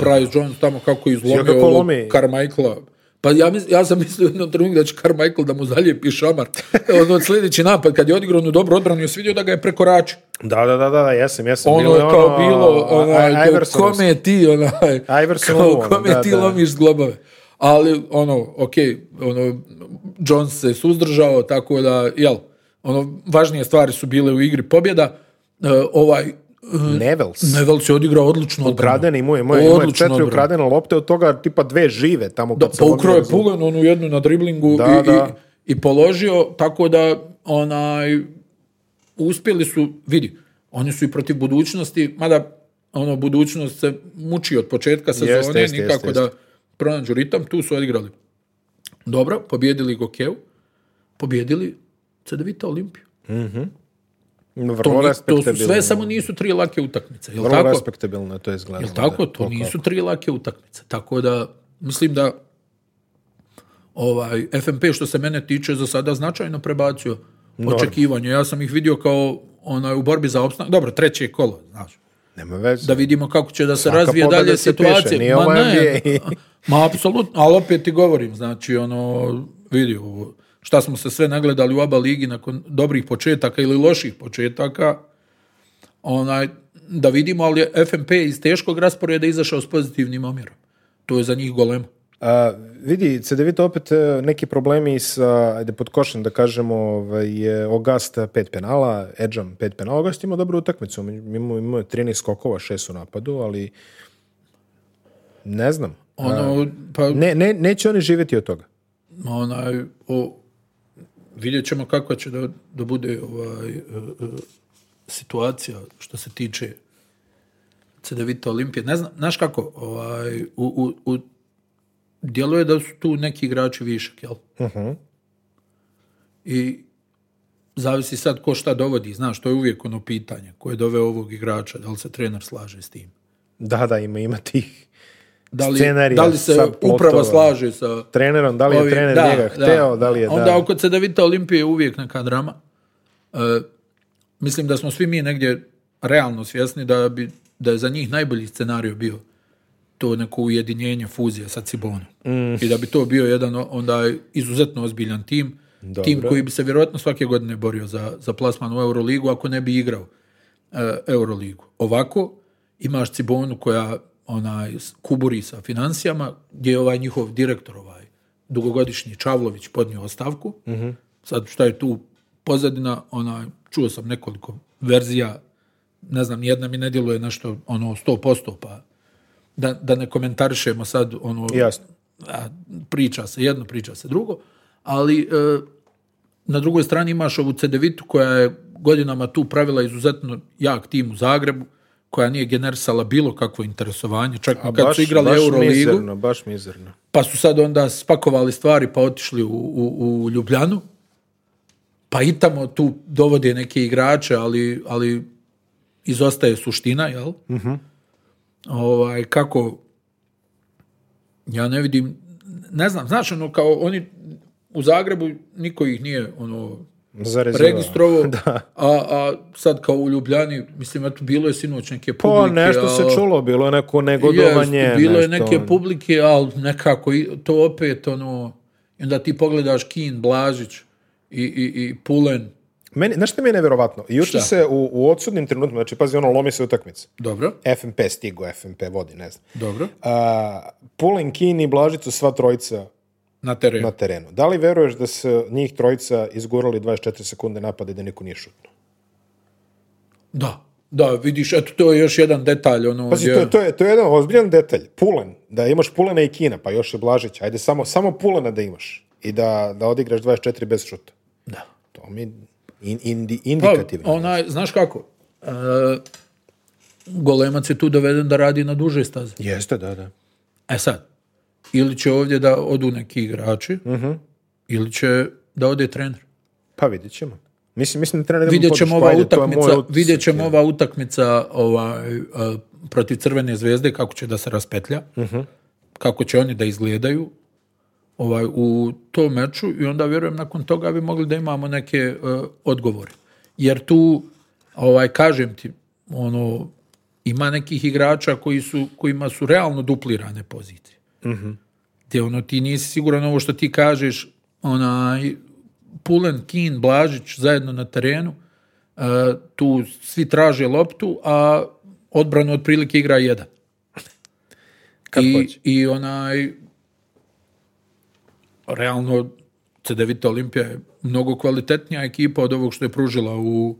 Speaker 1: Bryce Jones tamo kako je
Speaker 3: Sjaka
Speaker 1: izlomio
Speaker 3: ko
Speaker 1: ovog
Speaker 3: lomi.
Speaker 1: Carmichaela. Pa ja, mis, ja sam mislio u jednom trenutku da će Carmichael da mu zaljepi šamar. Ono, sljedeći napad, kad je odigrao onu dobru odbranu, je vidio da ga je prekoračio.
Speaker 3: Da, da, da, da, jesam, jesam.
Speaker 1: Ono je kao bilo, onaj,
Speaker 3: Aj- Iversonovsko.
Speaker 1: kome ti, onaj,
Speaker 3: Iversonovo,
Speaker 1: kao, kome
Speaker 3: da,
Speaker 1: ti
Speaker 3: da.
Speaker 1: lomiš s globove. Ali, ono, okej, ono, Jones se suzdržao, tako da, jel, ono, važnije stvari su bile u igri pobjeda. E, ovaj, e,
Speaker 3: Nevels.
Speaker 1: Nevels je odigrao odlično odbranu.
Speaker 3: ukradene, imao je, imao je, imao je
Speaker 1: Odlično
Speaker 3: četiri
Speaker 1: odbrana.
Speaker 3: ukradene lopte, od toga tipa dve žive tamo.
Speaker 1: Da,
Speaker 3: kad se
Speaker 1: pa
Speaker 3: lomio
Speaker 1: ukrao je
Speaker 3: rezultat.
Speaker 1: Pulen onu jednu na driblingu
Speaker 3: Da,
Speaker 1: i, i-
Speaker 3: da.
Speaker 1: i, položio, tako da onaj, uspjeli su, vidi, oni su i protiv budućnosti, mada ono, budućnost se muči od početka sezone,
Speaker 3: Jeste, jeste,
Speaker 1: nikako
Speaker 3: jeste,
Speaker 1: da pronađu ritam, tu su odigrali. Dobro, pobjedili Gokeju, pobjedili Cedevita Olimpiju. To,
Speaker 3: Vrlo
Speaker 1: ni- to su sve,
Speaker 3: respektabilno.
Speaker 1: samo nisu tri lake utakmice, jel
Speaker 3: Vrlo
Speaker 1: tako?
Speaker 3: respektabilno je to izgledalo.
Speaker 1: Jel tako?
Speaker 3: da.
Speaker 1: To nisu tri lake utakmice. Tako da, mislim da ovaj FMP što se mene tiče za sada značajno prebacio očekivanje. Ja sam ih vidio kao onaj u borbi za opstanak. Dobro, treće je kolo, znaš.
Speaker 3: Nema veze.
Speaker 1: Da vidimo kako će da se razvije
Speaker 3: pobjeda
Speaker 1: dalje
Speaker 3: si piše,
Speaker 1: situacija.
Speaker 3: nije ovo
Speaker 1: ma ne,
Speaker 3: NBA.
Speaker 1: ma apsolutno, ali opet ti govorim, znači ono, vidi ovo, šta smo se sve nagledali u aba ligi nakon dobrih početaka ili loših početaka, onaj, da vidimo, ali je FNP iz teškog rasporeda izašao s pozitivnim omjerom. To je za njih golemo.
Speaker 3: A, vidi, CDVita opet e, neki problemi sa, ajde pod košem da kažemo, ovaj, je Ogast pet penala, Edžam pet penala. Ogast ima dobru utakmicu, imao imao je 13 skokova, 6 u napadu, ali ne znam.
Speaker 1: Ono, pa,
Speaker 3: Ne, ne, neće oni živjeti od toga.
Speaker 1: onaj, o, vidjet ćemo kakva će da, da bude ovaj, e, e, situacija što se tiče CDVita Olimpije. Ne znam, znaš kako, ovaj, u, u, u, djeluje da su tu neki igrači višak, jel? I zavisi sad ko šta dovodi, znaš, to je uvijek ono pitanje, ko je doveo ovog igrača, da li se trener slaže s tim?
Speaker 3: Da, da, ima, ima tih
Speaker 1: Da li,
Speaker 3: Scenarija,
Speaker 1: da li se
Speaker 3: subplotova.
Speaker 1: uprava slaže sa
Speaker 3: trenerom, da li je
Speaker 1: Ovi-
Speaker 3: trener
Speaker 1: da,
Speaker 3: njega hteo, da li je
Speaker 1: Onda
Speaker 3: da.
Speaker 1: oko Cedevita Olimpije je uvijek neka drama. E, mislim da smo svi mi negdje realno svjesni da, bi, da je za njih najbolji scenarij bio to neko ujedinjenje fuzija sa Cibonom. I da bi to bio jedan o- onda izuzetno ozbiljan tim. Tim koji bi se vjerojatno svake godine borio za, za plasman u Euroligu ako ne bi igrao e, Euroligu. Ovako imaš Cibonu koja onaj s- kuburi sa financijama, gdje je ovaj njihov direktor ovaj dugogodišnji Čavlović podnio ostavku. Sad šta je tu pozadina, onaj čuo sam nekoliko verzija ne znam, nijedna mi ne djeluje nešto ono 100%, pa da, da ne komentarišemo sad ono
Speaker 3: Jasno.
Speaker 1: a, priča se jedno, priča se drugo, ali e, na drugoj strani imaš ovu Cedevitu koja je godinama tu pravila izuzetno jak tim u Zagrebu, koja nije generisala bilo kakvo interesovanje, čak ni kad su igrali Euroligu,
Speaker 3: mizerno, baš mizerno.
Speaker 1: pa su sad onda spakovali stvari pa otišli u, u, u Ljubljanu, pa i tamo tu dovode neke igrače, ali, ali izostaje suština, jel?
Speaker 3: Mhm.
Speaker 1: Ovaj, kako, ja ne vidim, ne znam, znaš, ono, kao oni u Zagrebu niko ih nije, ono,
Speaker 3: Zarezivao.
Speaker 1: registrovao, a, a sad kao u Ljubljani, mislim, eto, bilo je sinoć neke
Speaker 3: Pa
Speaker 1: publike.
Speaker 3: nešto se
Speaker 1: ali-
Speaker 3: čulo, bilo je neko negodovanje.
Speaker 1: Jest, bilo je
Speaker 3: nešto
Speaker 1: neke
Speaker 3: ono.
Speaker 1: publike, ali nekako i- to opet ono, i onda ti pogledaš Kin, Blažić i, i, i Pulen,
Speaker 3: Meni, znaš što mi je nevjerovatno? Juče se u, u odsudnim trenutima, znači pazi, ono lomi se utakmica.
Speaker 1: dobro,
Speaker 3: FNP stigo, FNP vodi, ne znam.
Speaker 1: dobro,
Speaker 3: A, Pulen, Kin i Blažić su sva trojica
Speaker 1: na terenu.
Speaker 3: na terenu. Da li veruješ da se njih trojica izgurali 24 sekunde napada i da niko nije šutno?
Speaker 1: Da, da, vidiš, eto, to je još jedan detalj, ono,
Speaker 3: Pazi,
Speaker 1: gdje-
Speaker 3: to, je- to je, to je jedan ozbiljan detalj. Pulen, da imaš Pulena i Kina, pa još i Blažić, ajde samo, samo Pulena da imaš i da, da odigraš 24 bez šuta.
Speaker 1: Da.
Speaker 3: To mi in, indi,
Speaker 1: Pa,
Speaker 3: indikativno.
Speaker 1: onaj, znaš kako, e, golemac je tu doveden da radi na duže staze.
Speaker 3: Jeste, da, da.
Speaker 1: E sad, ili će ovdje da odu neki igrači,
Speaker 3: Mhm.
Speaker 1: ili će da ode trener.
Speaker 3: Pa vidjet ćemo. Mislim, mislim da treba da idemo
Speaker 1: vidjet ćemo
Speaker 3: podršku,
Speaker 1: ova
Speaker 3: ajde, to je moj
Speaker 1: utakmica,
Speaker 3: utisak.
Speaker 1: vidjet ćemo ova utakmica ovaj, e, protiv Crvene zvezde kako će da se raspetlja,
Speaker 3: Mhm.
Speaker 1: kako će oni da izgledaju ovaj, u tom meču i onda vjerujem nakon toga bi mogli da imamo neke e, odgovore. Jer tu, ovaj, kažem ti, ono, ima nekih igrača koji su, kojima su realno duplirane pozicije.
Speaker 3: Mhm.
Speaker 1: Gdje ono, ti nisi siguran ovo što ti kažeš, onaj, Pulen, Kin, Blažić zajedno na terenu, e, tu svi traže loptu, a odbranu otprilike igra jedan.
Speaker 3: Kad
Speaker 1: I,
Speaker 3: hoće.
Speaker 1: I onaj, realno, Cedevita Olimpija je mnogo kvalitetnija ekipa od ovog što je pružila u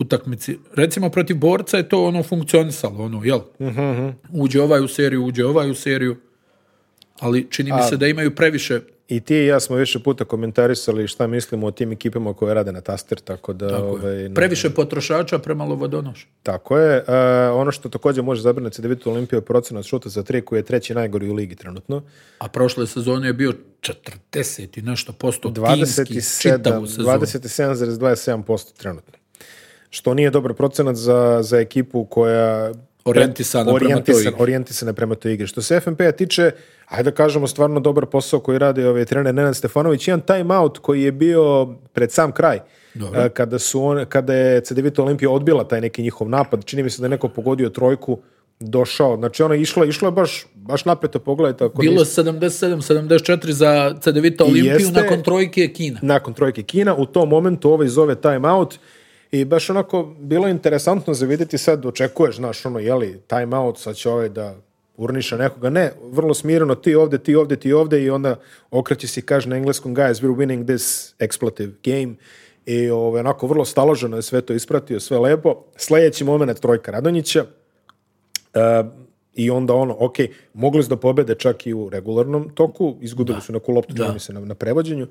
Speaker 1: utakmici. Recimo, protiv borca je to ono funkcionisalo, ono, jel?
Speaker 3: Mhm,
Speaker 1: Uđe ovaj u seriju, uđe ovaj u seriju, ali čini mi se da imaju previše
Speaker 3: I ti i ja smo više puta komentarisali šta mislimo o tim ekipama koje rade na taster, tako da... ovaj, ne-
Speaker 1: Previše potrošača, premalo vodonoša.
Speaker 3: Tako je. E, ono što također može zabrinuti da vidite Olimpiju je procenat šuta za tri koji je treći najgori u ligi trenutno.
Speaker 1: A prošle sezone je bio 40 i nešto posto timski,
Speaker 3: 27,
Speaker 1: čitavu sezonu.
Speaker 3: 27,27% trenutno. Što nije dobar procenat za, za ekipu koja
Speaker 1: Orijentisana prema toj
Speaker 3: orijentisan-
Speaker 1: igri.
Speaker 3: P-a ovaj
Speaker 1: Dobro.
Speaker 3: e, Kada, su on, kada je CDVita Olimpija odbila taj neki njihov napad, čini mi se da je neko pogodio trojku, došao. Znači ono je išlo, išlo je baš, baš napeto, pogledajte. Ako
Speaker 1: Bilo
Speaker 3: niste-
Speaker 1: 77-74 za CDVita Olimpiju,
Speaker 3: jeste-
Speaker 1: nakon trojke je Kina.
Speaker 3: nakon trojke Kina. U tom momentu ovaj zove time out i baš onako bilo je interesantno za vidjeti sad očekuješ, znaš, ono, jeli, time out, sad će ovaj da urniša nekoga. Ne, vrlo smireno, ti ovdje, ti ovdje, ti ovdje i onda okreće se i kaže na engleskom guys, we're winning this expletive game i ovaj, onako vrlo staloženo je sve to ispratio, sve lepo. Sljedeći moment trojka Radonjića, i onda ono, ok, mogli su da pobede čak i u regularnom toku, izgubili su neku loptu, čini mi se, na, na prevođenju,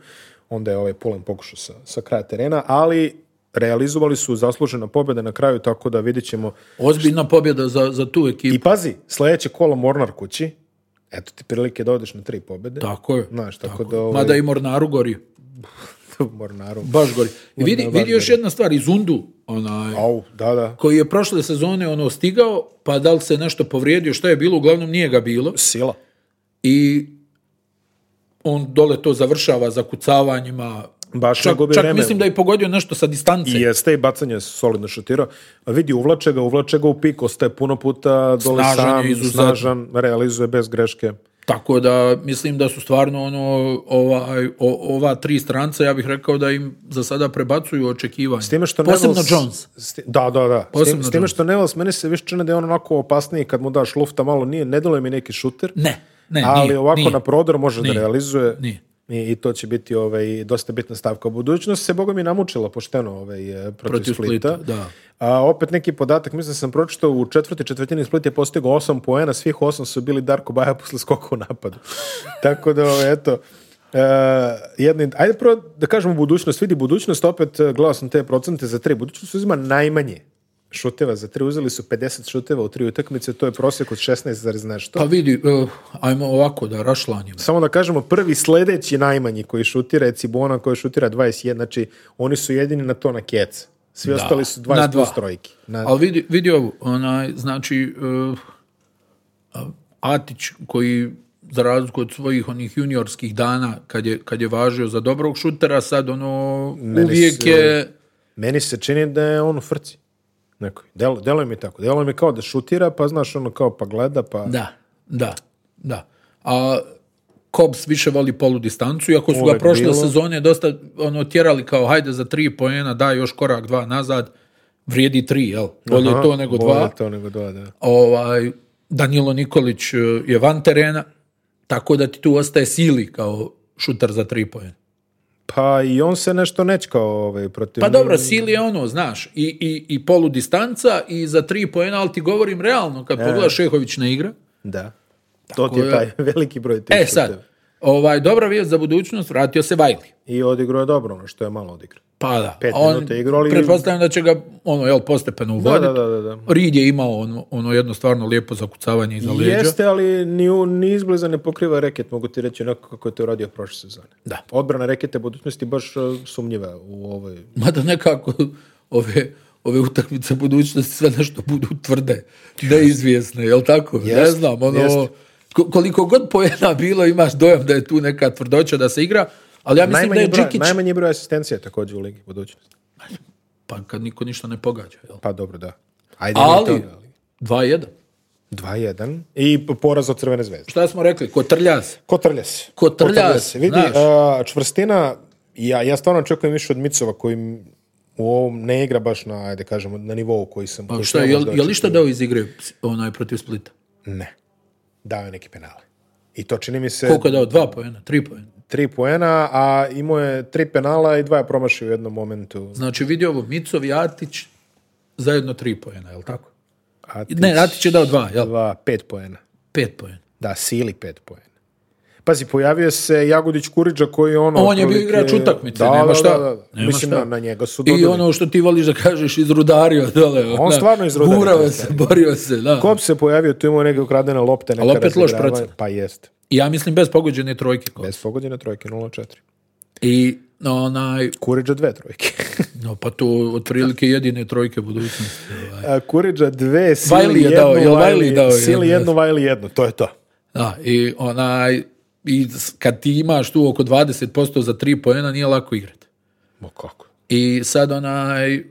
Speaker 3: onda je ovaj Pulen pokušao sa, sa kraja terena, ali realizovali su zaslužena pobjeda na kraju, tako da vidjet ćemo.
Speaker 1: Ozbiljna pobjeda za, za tu ekipu.
Speaker 3: I pazi, sljedeće kolo Mornar kući, eto ti prilike da odeš na tri pobjede.
Speaker 1: Tako je.
Speaker 3: Znaš, tako, da... Ovaj,
Speaker 1: Mada i Mornaru gori.
Speaker 3: Mornaru.
Speaker 1: Baš gori. I vidi,
Speaker 3: Mornar baš
Speaker 1: vidi još jedna stvar, iz Undu, onaj,
Speaker 3: Au, da, da.
Speaker 1: koji je prošle sezone ono stigao, pa da li se nešto povrijedio, što je bilo, uglavnom nije ga bilo.
Speaker 3: Sila.
Speaker 1: i on dole to završava zakucavanjima.
Speaker 3: Baš ne
Speaker 1: čak,
Speaker 3: gubi
Speaker 1: čak
Speaker 3: vreme.
Speaker 1: mislim da je pogodio nešto sa distance.
Speaker 3: I jeste i bacanje solidno šutirao. A Vidi, uvlače ga, uvlače ga u pik, ostaje puno puta dole
Speaker 1: Snažan je
Speaker 3: sam,
Speaker 1: izuzetno.
Speaker 3: snažan, realizuje bez greške.
Speaker 1: Tako da mislim da su stvarno ono ovaj, o- ova tri stranca, ja bih rekao da im za sada prebacuju očekivanje.
Speaker 3: S time što
Speaker 1: Posebno
Speaker 3: Nevels-
Speaker 1: Jones.
Speaker 3: s ti- da, da, da. S tim-
Speaker 1: Posebno
Speaker 3: s time
Speaker 1: Jones.
Speaker 3: što Nevels, meni se više čini da je on onako opasniji kad mu daš lufta malo nije, ne deluje mi neki šuter.
Speaker 1: Ne, ne,
Speaker 3: ali
Speaker 1: nije,
Speaker 3: ovako
Speaker 1: nije.
Speaker 3: na prodor može
Speaker 1: Nije.
Speaker 3: da realizuje.
Speaker 1: Nije.
Speaker 3: I, i to će biti ovaj, dosta bitna stavka. Budućnost se, boga mi, namučila pošteno ovaj, eh, protiv,
Speaker 1: Protiv Splita,
Speaker 3: Splita.
Speaker 1: da.
Speaker 3: A, opet neki podatak, mislim da sam pročitao, u četvrti četvrtini Split je postigao osam poena, svih osam su bili Darko Baja posle skoka u napadu. Tako da, ovaj, eto, eh, jedni, ajde prvo da kažemo budućnost, vidi budućnost, opet eh, gledao sam te procente za tri, budućnost uzima najmanje šuteva za tri, uzeli su 50 šuteva u tri utakmice, to je prosjek od 16, zarez nešto.
Speaker 1: Pa vidi, eh, ajmo ovako da rašlanjimo.
Speaker 3: Samo da kažemo, prvi sledeći najmanji koji šutira je Cibona koji šutira 21, znači oni su jedini na to na kec. Svi ostali su 20
Speaker 1: na dva.
Speaker 3: plus trojki. Na,
Speaker 1: Ali vidi, vidi ovo, onaj, znači, eh, Atić koji za razliku od svojih onih juniorskih dana kad je, kad je važio za dobrog šutera, sad ono
Speaker 3: Meni
Speaker 1: uvijek
Speaker 3: se-
Speaker 1: je...
Speaker 3: Meni se čini da je on u frci. Nekoj. Delo, deluje mi tako. Deluje mi kao da šutira, pa znaš ono kao pa gleda, pa...
Speaker 1: Da, da, da. A Cobbs više voli polu distancu, iako su ga
Speaker 3: Uvek
Speaker 1: prošle
Speaker 3: bilo.
Speaker 1: sezone dosta ono, tjerali kao hajde za tri poena, daj još korak dva nazad, vrijedi tri, jel? Bolje
Speaker 3: Aha,
Speaker 1: to nego dva.
Speaker 3: Bolje to nego dva, da.
Speaker 1: Ovaj, Danilo Nikolić e, je van terena, tako da ti tu ostaje sili kao šutar za tri poena.
Speaker 3: Pa i on se nešto nečkao ovaj, protiv...
Speaker 1: Pa dobro, sili je ono, znaš, i, i, i polu distanca i za tri poena, ali ti govorim realno,
Speaker 3: E.
Speaker 1: kad pogledaš Šehović ne igra,
Speaker 3: Da. To ti je
Speaker 1: je.
Speaker 3: taj veliki broj tih
Speaker 1: E
Speaker 3: šuteva.
Speaker 1: sad, ovaj, dobra vijest za budućnost, vratio se Vajli.
Speaker 3: I odigrao je dobro ono što je malo odigrao.
Speaker 1: Pa da.
Speaker 3: Pet
Speaker 1: a on,
Speaker 3: minuta igrao, ali-
Speaker 1: Pretpostavljam da će ga ono, jel, postepeno
Speaker 3: Da,
Speaker 1: uvoditi.
Speaker 3: da, da, da, da.
Speaker 1: Reed je imao ono, ono jedno stvarno lijepo zakucavanje iza leđa.
Speaker 3: Jeste, ali ni, u- ni izbliza ne pokriva reket, mogu ti reći onako kako je to radio prošle sezone.
Speaker 1: Da.
Speaker 3: Odbrana rekete budućnosti baš e, sumnjiva u ovoj...
Speaker 1: Mada nekako ove, ove utakmice budućnosti sve nešto budu tvrde, neizvjesne, jel tako? ne
Speaker 3: Jeste,
Speaker 1: znam, ono,
Speaker 3: jeste.
Speaker 1: ko- koliko god pojena bilo, imaš dojam da je tu neka tvrdoća da se igra, ali ja mislim
Speaker 3: Najmanji,
Speaker 1: da je
Speaker 3: broj,
Speaker 1: Džikić...
Speaker 3: najmanji broj asistencija također u ligi budućnosti.
Speaker 1: Pa kad niko ništa ne pogađa, jel?
Speaker 3: Pa dobro, da. Ajde,
Speaker 1: Ali,
Speaker 3: nije to, ali-
Speaker 1: 2-1.
Speaker 3: 2-1 i po- poraz od Crvene zvezde.
Speaker 1: Šta smo rekli? Kotrlja se.
Speaker 3: Kotrlja se.
Speaker 1: Kotrlja se,
Speaker 3: Vidi,
Speaker 1: znaš.
Speaker 3: a, čvrstina, ja, ja stvarno očekujem više od Micova koji m- u ovom ne igra baš na, ajde kažemo, na nivou koji sam...
Speaker 1: Pa
Speaker 3: koji
Speaker 1: šta,
Speaker 3: sam
Speaker 1: je,
Speaker 3: možda
Speaker 1: je li šta dao iz igre ps- onaj protiv Splita?
Speaker 3: Ne. Dao je neki penale. I to čini mi se...
Speaker 1: Koliko je dao? Dva pojena, tri pojena.
Speaker 3: tri poena, a imao je tri penala i dva je promašio u jednom momentu.
Speaker 1: Znači vidio ovo, Micov i Atić zajedno tri pojena, jel tako?
Speaker 3: Atić,
Speaker 1: Ne, Atić je dao dva, jel?
Speaker 3: dva, pet poena.
Speaker 1: Pet pojena.
Speaker 3: Da, sili pet poena. Pazi, pojavio se Jagodić Kuriđa koji ono...
Speaker 1: On je bio
Speaker 3: otprilike-
Speaker 1: igrač utakmice,
Speaker 3: Da,
Speaker 1: nema
Speaker 3: da,
Speaker 1: šta.
Speaker 3: da, da.
Speaker 1: Nema
Speaker 3: Mislim,
Speaker 1: šta.
Speaker 3: Na, na njega su
Speaker 1: I
Speaker 3: dodali.
Speaker 1: ono što ti voliš da kažeš, izrudario dole.
Speaker 3: On
Speaker 1: da.
Speaker 3: stvarno izrudario,
Speaker 1: Gurao
Speaker 3: to je
Speaker 1: se, borio se, da.
Speaker 3: Kop se pojavio, tu imao neke ukradene lopte. neka
Speaker 1: Ali opet loš
Speaker 3: razigravanja.
Speaker 1: procent.
Speaker 3: Pa jest.
Speaker 1: I ja mislim bez pogođene trojke. Kop.
Speaker 3: Bez pogodine trojke, 0-4.
Speaker 1: I onaj,
Speaker 3: Kuriđa dve trojke.
Speaker 1: no pa to otprilike jedine trojke budućnosti. ovaj.
Speaker 3: A, Kuriđa dve, Sili
Speaker 1: Vajli je
Speaker 3: jednu,
Speaker 1: dao, jel Vajli dao jednu?
Speaker 3: Sili jednu, Vajli jednu, to je to.
Speaker 1: Da, i onaj, i s- kad ti imaš tu oko 20% za tri pojena, nije lako igrati.
Speaker 3: Ma kako?
Speaker 1: I sad onaj,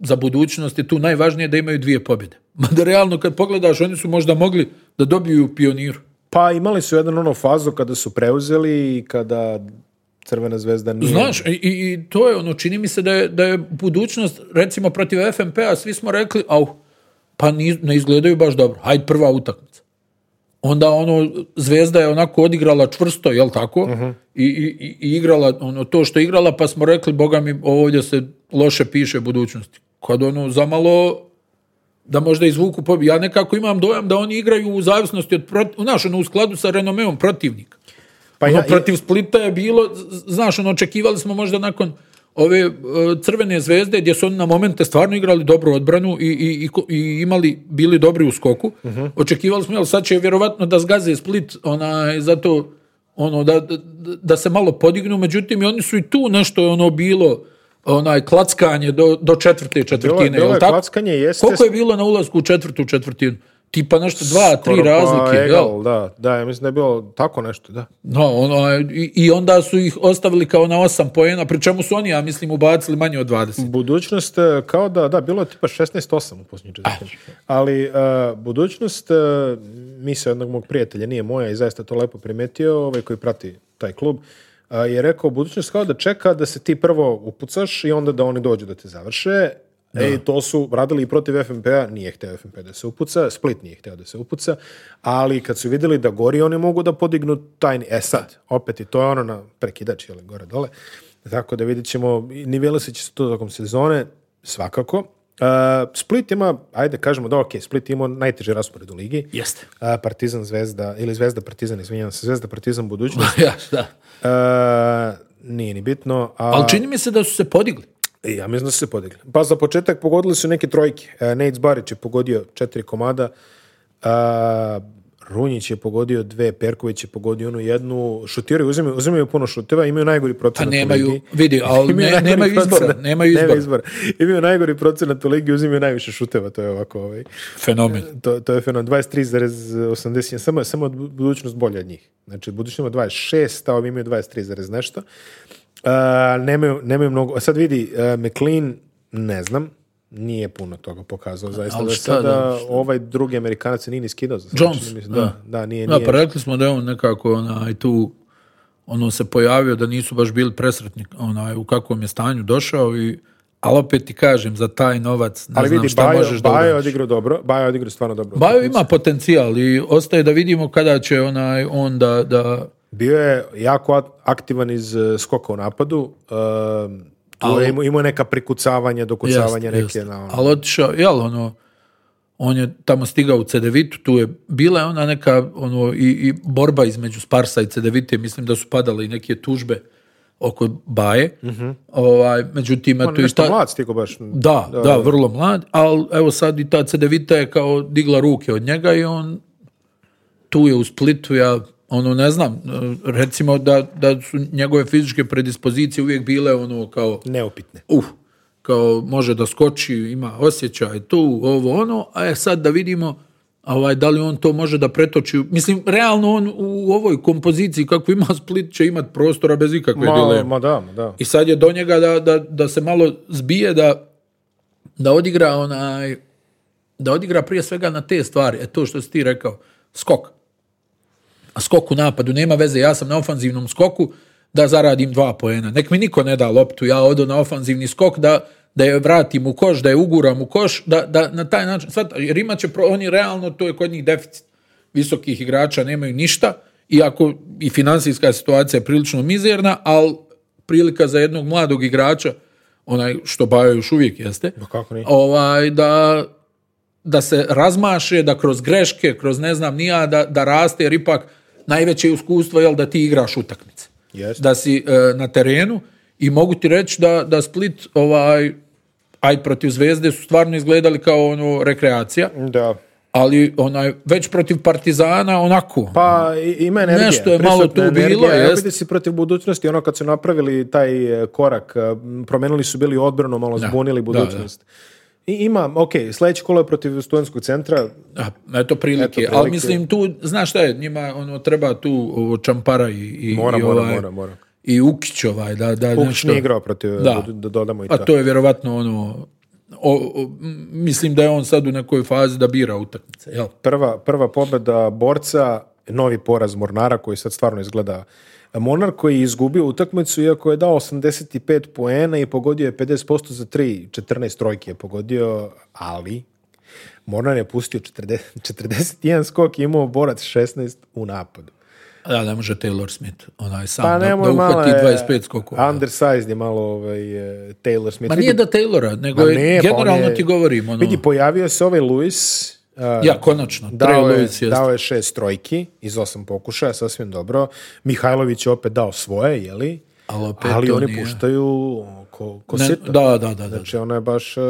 Speaker 1: za budućnost je tu najvažnije da imaju dvije pobjede. Mada realno kad pogledaš, oni su možda mogli da dobiju pioniru.
Speaker 3: Pa imali su jednu ono fazu kada su preuzeli i kada Crvena zvezda nije...
Speaker 1: Znaš, i, i- i to je ono, čini mi se da je, da je budućnost, recimo protiv FNP-a, svi smo rekli, au, pa ni- ne izgledaju baš dobro, hajde prva utakmica. Onda ono, Zvezda je onako odigrala čvrsto, jel tako? I, i- i, i igrala ono to što je igrala, pa smo rekli, boga mi, ovo ovdje se loše piše budućnosti. Kad ono, zamalo, da možda izvuku pobjedu. Ja nekako imam dojam da oni igraju u zavisnosti od, proti, znaš, ono, u skladu sa renomeom protivnika.
Speaker 3: pa
Speaker 1: Ono,
Speaker 3: ja,
Speaker 1: protiv Splita je bilo, z- z- znaš, ono, očekivali smo možda nakon ove e, crvene zvezde gdje su oni na momente stvarno igrali dobru odbranu i, i, i, ko- i imali, bili dobri u skoku.
Speaker 3: Mhm.
Speaker 1: Očekivali smo, jel sad će vjerovatno da zgaze Split, onaj, zato ono, da, da, da se malo podignu, međutim, i oni su i tu nešto ono bilo, onaj, klackanje do, do četvrte
Speaker 3: bilo
Speaker 1: četvrtine,
Speaker 3: je, bilo
Speaker 1: jel
Speaker 3: je
Speaker 1: tako?
Speaker 3: klackanje, jeste...
Speaker 1: Koliko je bilo na ulasku u četvrtu četvrtinu? Tipa nešto dva,
Speaker 3: skoro
Speaker 1: tri
Speaker 3: pa
Speaker 1: razlike, jel?
Speaker 3: egal, da, da, ja mislim da je bilo tako nešto, da.
Speaker 1: No, ono, i, i onda su ih ostavili kao na osam poena, pri čemu su oni, ja mislim, ubacili manje od 20.
Speaker 3: Budućnost, e, kao da, da, bilo je tipa 16-8 u posljednjoj četvrtini. Ali e, budućnost, e, misa jednog mog prijatelja, nije moja i zaista to lepo primetio, ovaj koji prati taj klub, e, je rekao, budućnost kao da čeka da se ti prvo upucaš i onda da oni dođu da te završe, E, i to su radili i protiv FNP-a, nije hteo FNP da se upuca, Split nije hteo da se upuca, ali kad su vidjeli da gori, oni mogu da podignu tajni. E sad, opet i to je ono na prekidač ili gore-dole. Tako da vidjet ćemo, i nivelisit će se to tokom sezone, svakako. E, Split ima, ajde kažemo da ok, Split ima najteži raspored u ligi.
Speaker 1: Jeste.
Speaker 3: E, Partizan, Zvezda, ili Zvezda, Partizan, izvinjavam se, Zvezda, Partizan, budućnost.
Speaker 1: ja, da.
Speaker 3: E, nije ni bitno. A...
Speaker 1: Ali čini mi se da su se podigli.
Speaker 3: E, Ja mislim da su se podigli. Pa za početak pogodili su neke trojke. E, Nate Zbarić je pogodio četiri komada. A, Runjić je pogodio dve, Perković je pogodio onu jednu. Šutiraju, uzimaju, uzimaju puno šuteva, imaju najgori procenat
Speaker 1: Pa
Speaker 3: u
Speaker 1: nemaju-
Speaker 3: ligi.
Speaker 1: vidi, ali
Speaker 3: Imaju
Speaker 1: ne-
Speaker 3: najgori
Speaker 1: nemaju izbora,
Speaker 3: procenat.
Speaker 1: nemaju
Speaker 3: Nema
Speaker 1: izbora.
Speaker 3: Imaju najgori procenat u ligi, uzimaju najviše šuteva, to je ovako ovaj.
Speaker 1: Fenomen.
Speaker 3: To, to je fenomen, 23,81, samo, je- samo je budućnost bolja od njih. Znači, budućnost ima 26, a ovi imaju 23, zarez nešto. Uh, nemaju, nemaju mnogo, a sad vidi, uh, McLean, ne znam, nije puno toga pokazao, zaista.
Speaker 1: ali
Speaker 3: da
Speaker 1: šta
Speaker 3: sada
Speaker 1: da,
Speaker 3: ovaj drugi amerikanac se nije ni skidao. Za sad,
Speaker 1: Jones,
Speaker 3: čini mi se.
Speaker 1: da.
Speaker 3: Da, da, nije,
Speaker 1: Da,
Speaker 3: nije.
Speaker 1: pa rekli smo da je on nekako onaj, tu ono se pojavio da nisu baš bili presretni onaj, u kakvom je stanju došao i ali opet ti kažem, za taj novac ne
Speaker 3: ali
Speaker 1: znam
Speaker 3: vidi,
Speaker 1: šta
Speaker 3: Bajo,
Speaker 1: možeš da
Speaker 3: Bajo je
Speaker 1: uradiš.
Speaker 3: odigrao dobro, Bajo je odigrao stvarno dobro.
Speaker 1: Bajo ima potencijal i ostaje da vidimo kada će onaj on da, da
Speaker 3: Bio je jako at- aktivan iz eh, skoka u napadu, um, tu je imao- imao je neka prikucavanja, dokucavanja
Speaker 1: Jeste,
Speaker 3: neke
Speaker 1: jeste.
Speaker 3: na ono.
Speaker 1: Ali otišao, jel, ono, on je tamo stigao u Cedevitu, tu je bila je ona neka ono, i, i borba između Sparsa i Cedevite, mislim da su padale i neke tužbe oko Baje. ovaj, međutim,
Speaker 3: Mhm. On
Speaker 1: eto
Speaker 3: je
Speaker 1: i
Speaker 3: nešto
Speaker 1: ta-
Speaker 3: mlad stigao baš.
Speaker 1: Da, da, vrlo mlad, ali evo sad i ta Cedevita je kao digla ruke od njega i on tu je u Splitu, ja ono ne znam, e, recimo da, da su njegove fizičke predispozicije uvijek bile ono kao
Speaker 3: Neupitne.
Speaker 1: uh, kao može da skoči, ima osjećaj tu, ovo, ono, a je sad da vidimo ovaj, da li on to može da pretoči. u- Mislim, realno on u ovoj kompoziciji kakvu ima Split će imat prostora bez ikakve
Speaker 3: Ma,
Speaker 1: dileme.
Speaker 3: ma da, ma da.
Speaker 1: I sad je do njega da, da, da se malo zbije, da, da odigra onaj, da odigra prije svega na te stvari. E to što si ti rekao, skok. A skok u napadu, nema veze, ja sam na ofanzivnom skoku da zaradim dva poena. Nek mi niko ne da loptu, ja odu na ofanzivni skok da, da je vratim u koš, da je uguram u koš, da, da na taj način, sad, jer imat će, pro- oni realno, to je kod njih deficit. Visokih igrača nemaju ništa, iako i financijska situacija je prilično mizerna, ali prilika za jednog mladog igrača, onaj što Bajo još uvijek jeste,
Speaker 3: Ma kako nije?
Speaker 1: ovaj, da, da se razmaše, da kroz greške, kroz ne znam nija, da, da raste, jer ipak najveće iskustvo je da ti igraš utakmice.
Speaker 3: Jeste.
Speaker 1: Da si e, na terenu i mogu ti reći da, da Split, ovaj, aj protiv Zvezde su stvarno izgledali kao ono rekreacija,
Speaker 3: Da.
Speaker 1: ali onaj, već protiv Partizana onako.
Speaker 3: Pa i- ima energija.
Speaker 1: Nešto je malo
Speaker 3: prisutna
Speaker 1: tu bilo,
Speaker 3: energija. I opet
Speaker 1: jest.
Speaker 3: si protiv budućnosti, ono kad su napravili taj e, korak, e, m, promenili su bili odbranu, malo zbunili budućnost. I ima, ok, sledeće kolo je protiv studentskog centra,
Speaker 1: A, Eto prilike.
Speaker 3: Eto prilike.
Speaker 1: Ali mislim tu, znaš šta je, njima ono, treba tu ovo, Čampara i, i,
Speaker 3: Mora,
Speaker 1: i
Speaker 3: mora,
Speaker 1: ovaj,
Speaker 3: mora, mora.
Speaker 1: i Ukić ovaj, da, da,
Speaker 3: Pukić
Speaker 1: nešto.
Speaker 3: nije igrao protiv,
Speaker 1: Da.
Speaker 3: da, da dodamo i
Speaker 1: Pa
Speaker 3: to.
Speaker 1: to je vjerovatno ono, o- o- m, mislim da je on sad u nekoj fazi da bira utakmice, jel?
Speaker 3: Prva, prva pobjeda borca, novi poraz Mornara koji sad stvarno izgleda Mornar koji je izgubio utakmicu iako je dao 85 poena i pogodio je 50% za 3, 14 trojke je pogodio, ali Mornar je pustio 40, 41 skok i imao borac 16 u napadu.
Speaker 1: Da, ne može Taylor Smith onaj sam
Speaker 3: Pa
Speaker 1: da, da
Speaker 3: nemoj malo
Speaker 1: uhvati
Speaker 3: je,
Speaker 1: 25 skokova.
Speaker 3: Undersized je malo ovaj, e, Taylor Smith.
Speaker 1: Ma
Speaker 3: Vidi,
Speaker 1: nije do Taylora, nego
Speaker 3: Ma
Speaker 1: je,
Speaker 3: ne, pa on
Speaker 1: generalno
Speaker 3: je-
Speaker 1: ti govorim, ono,
Speaker 3: Vidi, pojavio se ovaj Luis. e,
Speaker 1: ja konačno, Trey
Speaker 3: Dao je,
Speaker 1: Lewis jeste.
Speaker 3: dao je šest trojki iz osam pokušaja, sasvim dobro. Mihajlović je opet dao svoje, jeli?
Speaker 1: Ali opet
Speaker 3: Ali
Speaker 1: to
Speaker 3: oni
Speaker 1: nije.
Speaker 3: puštaju ko, ko
Speaker 1: Ne,
Speaker 3: sito.
Speaker 1: da, da, da, da.
Speaker 3: Znači, ona je baš uh,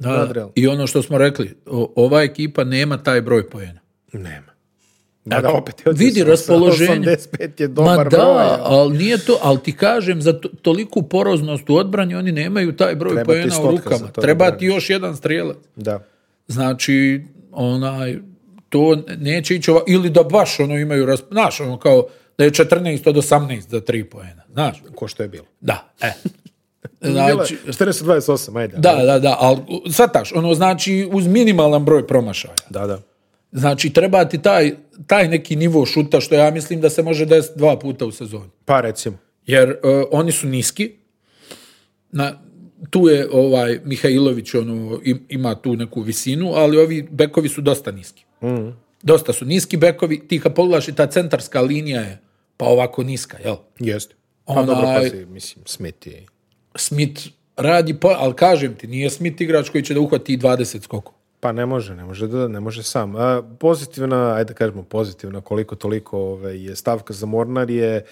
Speaker 1: Da, I ono što smo rekli, o- ova ekipa nema taj broj pojena.
Speaker 3: Nema. Mada opet je od
Speaker 1: E, vidi
Speaker 3: 80,
Speaker 1: raspoloženje.
Speaker 3: 85 je dobar
Speaker 1: Ma da,
Speaker 3: broj.
Speaker 1: ali nije to, ali ti kažem, za to- toliku poroznost u odbrani oni nemaju taj broj
Speaker 3: Treba ti
Speaker 1: pojena u
Speaker 3: stotka za
Speaker 1: rukama.
Speaker 3: to da
Speaker 1: Treba ti
Speaker 3: braniš.
Speaker 1: još jedan strijelac.
Speaker 3: Da.
Speaker 1: Znači, onaj, to neće ići ova, ili da baš ono imaju, rasp... znaš, ono kao da je 14 od 18 za 3 poena, znaš,
Speaker 3: Ko što je bilo.
Speaker 1: da, e.
Speaker 3: Znači,
Speaker 1: Znači,
Speaker 3: 428, ajde.
Speaker 1: da, da, da, ali svataš, ono znači uz minimalan broj promašaja.
Speaker 3: Da, da.
Speaker 1: Znači, treba ti taj, taj neki nivo šuta, što ja mislim da se može desiti dva puta u sezoni.
Speaker 3: Pa recimo.
Speaker 1: Jer e, oni su niski, na, tu je ovaj Mihajlović ono im- ima tu neku visinu, ali ovi bekovi su dosta niski.
Speaker 3: Mhm.
Speaker 1: Dosta su niski bekovi, ti kad pogledaš i ta centarska linija je pa ovako niska, jel?
Speaker 3: Jeste. Pa
Speaker 1: Onaj-
Speaker 3: dobro, pazi, mislim, Smith je.
Speaker 1: Smith radi, po, ali kažem ti, nije Smith igrač koji će da uhvati i 20 skokova.
Speaker 3: Pa ne može, ne može, da, ne može sam. A, pozitivna, ajde da kažemo pozitivna, koliko toliko ove, je stavka za Mornar je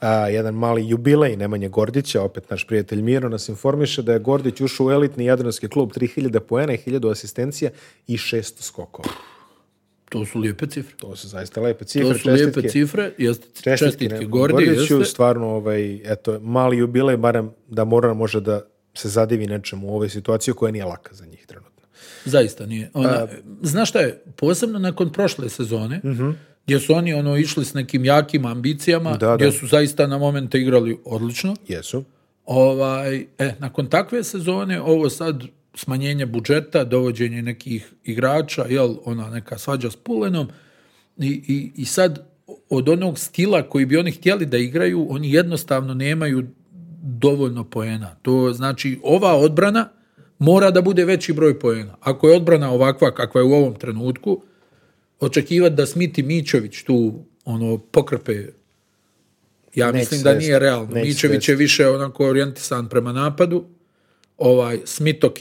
Speaker 3: a, jedan mali jubilej Nemanje Gordića, opet naš prijatelj Miro nas informiše da je Gordić ušao u elitni jadranski klub 3000 poena i 1000 asistencija i 600 skokova.
Speaker 1: To su lijepe cifre.
Speaker 3: To su zaista
Speaker 1: To
Speaker 3: lepe cifre,
Speaker 1: su lijepe
Speaker 3: čestitke.
Speaker 1: cifre, jeste čestitke,
Speaker 3: Nemanji
Speaker 1: Gordi,
Speaker 3: Gordiću,
Speaker 1: jeste.
Speaker 3: stvarno ovaj, eto, mali jubilej, barem da Mornar može da se zadivi nečemu u ovoj situaciji koja nije laka za njih trenutno.
Speaker 1: Zaista nije. Ona, znaš šta je, posebno nakon prošle sezone,
Speaker 3: Mhm.
Speaker 1: gdje su oni ono išli s nekim jakim ambicijama,
Speaker 3: Da, da.
Speaker 1: gdje su zaista na momente igrali odlično.
Speaker 3: Jesu.
Speaker 1: Ovaj, e, nakon takve sezone, ovo sad smanjenje budžeta, dovođenje nekih igrača, jel, ona neka svađa s Pulenom, i, i, i sad od onog stila koji bi oni htjeli da igraju, oni jednostavno nemaju dovoljno poena. To znači, ova odbrana mora da bude veći broj poena. Ako je odbrana ovakva kakva je u ovom trenutku, očekivati da Smith i Mićević tu ono pokrpe ja
Speaker 3: Neće
Speaker 1: mislim da
Speaker 3: svesti,
Speaker 1: nije realno.
Speaker 3: neće
Speaker 1: Mićević je više onako orijentisan prema napadu. Ovaj, Smith, ok,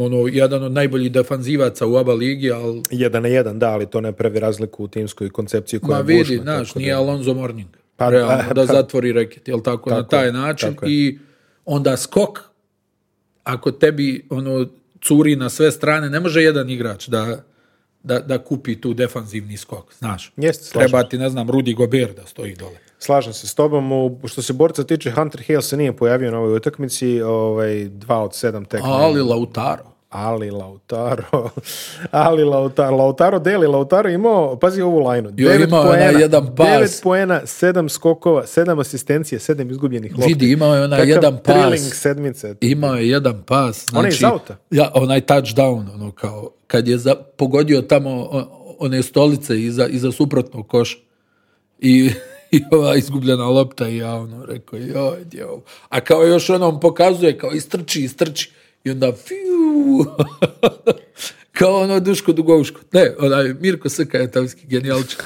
Speaker 1: ono, jedan od najboljih defanzivaca u aba ligi, ali
Speaker 3: Jedan na jedan, da, ali to ne pravi razliku u timskoj koncepciji koja
Speaker 1: ma
Speaker 3: je
Speaker 1: vidi,
Speaker 3: nužna,
Speaker 1: znaš,
Speaker 3: tako da-
Speaker 1: nije Alonzo Morning.
Speaker 3: Pa,
Speaker 1: realno,
Speaker 3: pa,
Speaker 1: da zatvori reket, jel tako, na
Speaker 3: Tako je,
Speaker 1: taj način.
Speaker 3: tako je.
Speaker 1: I onda skok, ako tebi ono, curi na sve strane, ne može jedan igrač da, da, da kupi tu defanzivni skok, znaš.
Speaker 3: Jeste, slažem.
Speaker 1: Treba ti, ne znam, Rudi Gober da stoji dole.
Speaker 3: Slažem se s tobom. U- Što se borca tiče, Hunter Hale se nije pojavio na ovoj utakmici, ovaj, dva od sedam tekme.
Speaker 1: Ali Lautaro.
Speaker 3: Ali Lautaro, ali Lautaro, Lautaro deli, Lautaro je imao, pazi ovu lajnu,
Speaker 1: Joj, imao je onaj jedan pas.
Speaker 3: 9 poena, 7 skokova, 7 asistencija, 7 izgubljenih lopti.
Speaker 1: Vidi, imao je onaj
Speaker 3: Takav
Speaker 1: jedan pas.
Speaker 3: thrilling sedmice.
Speaker 1: Imao je jedan pas. Znači,
Speaker 3: Onaj iz auta?
Speaker 1: Ja, onaj touchdown, ono kao, kad je za, pogodio tamo o- one stolice iza, iza suprotnog koša i, i ova izgubljena lopta i ja ono rekao, joj, djevo. A kao još ono on pokazuje, kao istrči, istrči i onda fiu, kao ono Duško Dugovško. Ne, onaj Mirko Srka je tamski genijalčan.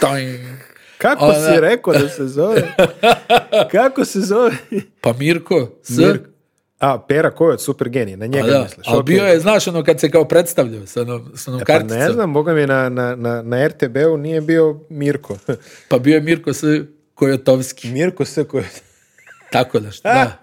Speaker 1: Tajn.
Speaker 3: Kako
Speaker 1: Ona-
Speaker 3: si rekao da se zove? Kako se zove?
Speaker 1: Pa Mirko, S,
Speaker 3: Mirko. A, Pera ko je od super genije, na njega
Speaker 1: Pa da,
Speaker 3: misliš.
Speaker 1: ali
Speaker 3: ok.
Speaker 1: bio je, znaš, ono kad se kao predstavljao sa onom, sa onom
Speaker 3: Pa
Speaker 1: karticom,
Speaker 3: ne znam, boga mi na, na, na, na RTB-u nije bio Mirko.
Speaker 1: pa bio je Mirko S. Kojotovski,
Speaker 3: Mirko se koje...
Speaker 1: tako da što, da.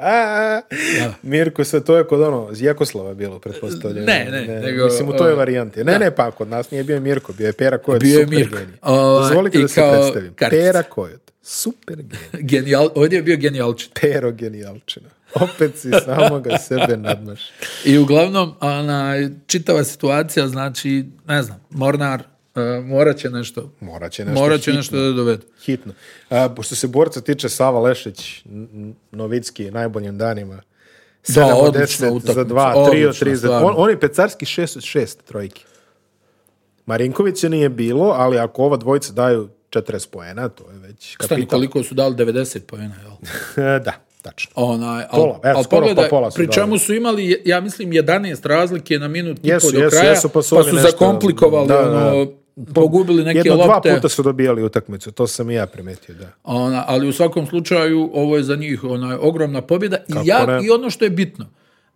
Speaker 3: Mirko se, to je kod ono, iz Jekoslava bilo, pretpostavljam.
Speaker 1: Ne, ne, nego,
Speaker 3: mislim, u toj
Speaker 1: o,
Speaker 3: varijanti. Ne, ne, pa kod nas nije bio Mirko, bio je Pera Kojot,
Speaker 1: Bio je
Speaker 3: super
Speaker 1: Mirko.
Speaker 3: genije.
Speaker 1: Ovaj,
Speaker 3: Dozvolite
Speaker 1: i
Speaker 3: da se
Speaker 1: kao
Speaker 3: predstavim.
Speaker 1: kartica.
Speaker 3: Pera Kojot, super genije.
Speaker 1: Genijal, ovdje je bio genijalčin.
Speaker 3: Pero genijalčina. Opet si samoga sebe nadmaš.
Speaker 1: I uglavnom, ona, čitava situacija, znači, ne znam, Mornar, e, morat će nešto,
Speaker 3: Morat će nešto
Speaker 1: morat će
Speaker 3: hitno.
Speaker 1: nešto da dovede.
Speaker 3: hitno. A, pošto se borca tiče, Sava Lešić, n- n- Novicki, najboljim danima. 7 od
Speaker 1: odlična
Speaker 3: 10 za
Speaker 1: utakmica,
Speaker 3: 2, 3 od
Speaker 1: odlična,
Speaker 3: 3 za...
Speaker 1: stvarno.
Speaker 3: On, on je pecarski 6 od 6 trojki. Marinković je nije bilo, ali ako ova dvojica daju 40 poena, to je već
Speaker 1: Stani,
Speaker 3: kapital. E,
Speaker 1: koliko su dali 90 pojena, jel?
Speaker 3: da, tačno.
Speaker 1: Onaj, al,
Speaker 3: Pola, evo,
Speaker 1: al
Speaker 3: skoro
Speaker 1: pogledaj,
Speaker 3: po pola su
Speaker 1: pri
Speaker 3: dali.
Speaker 1: čemu su imali, ja mislim, 11 razlike na minut i
Speaker 3: Jesu,
Speaker 1: po do
Speaker 3: jesu,
Speaker 1: kraja,
Speaker 3: jesu, pa
Speaker 1: pa
Speaker 3: su
Speaker 1: su,
Speaker 3: oni nešto-
Speaker 1: zakomplikovali,
Speaker 3: da, da,
Speaker 1: ono, pogubili neke
Speaker 3: Jedno,
Speaker 1: lopte.
Speaker 3: dva puta su dobijali utakmicu, to sam i ja primetio, da.
Speaker 1: Ona, ali u svakom slučaju ovo je za njih ona ogromna pobjeda i, ja,
Speaker 3: ne?
Speaker 1: i ono što je bitno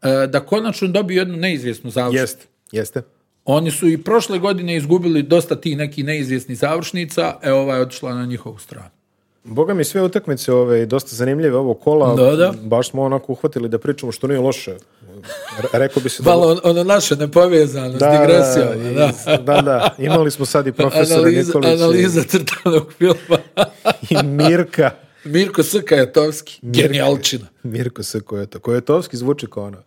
Speaker 1: e, da konačno dobiju jednu neizvjesnu završnicu.
Speaker 3: Jeste, jeste.
Speaker 1: Oni su i prošle godine izgubili dosta ti neki neizvjesni završnica, e ova je otišla na njihovu stranu.
Speaker 3: Boga mi sve utakmice ove dosta zanimljive ovo kola.
Speaker 1: Da, da.
Speaker 3: Baš smo onako uhvatili da pričamo što nije loše. Re- Rekao bi se da
Speaker 1: Malo on, ono naše nepovezanost, da, digresija. Da, da.
Speaker 3: iz- da, da. imali smo sad i profesora
Speaker 1: Analiza,
Speaker 3: Nikolića i-
Speaker 1: analiza crtanog filma.
Speaker 3: i Mirka.
Speaker 1: Mirko Srkajatovski, genijalčina.
Speaker 3: Mirko se koje to. Kojotovski zvuči kao ono,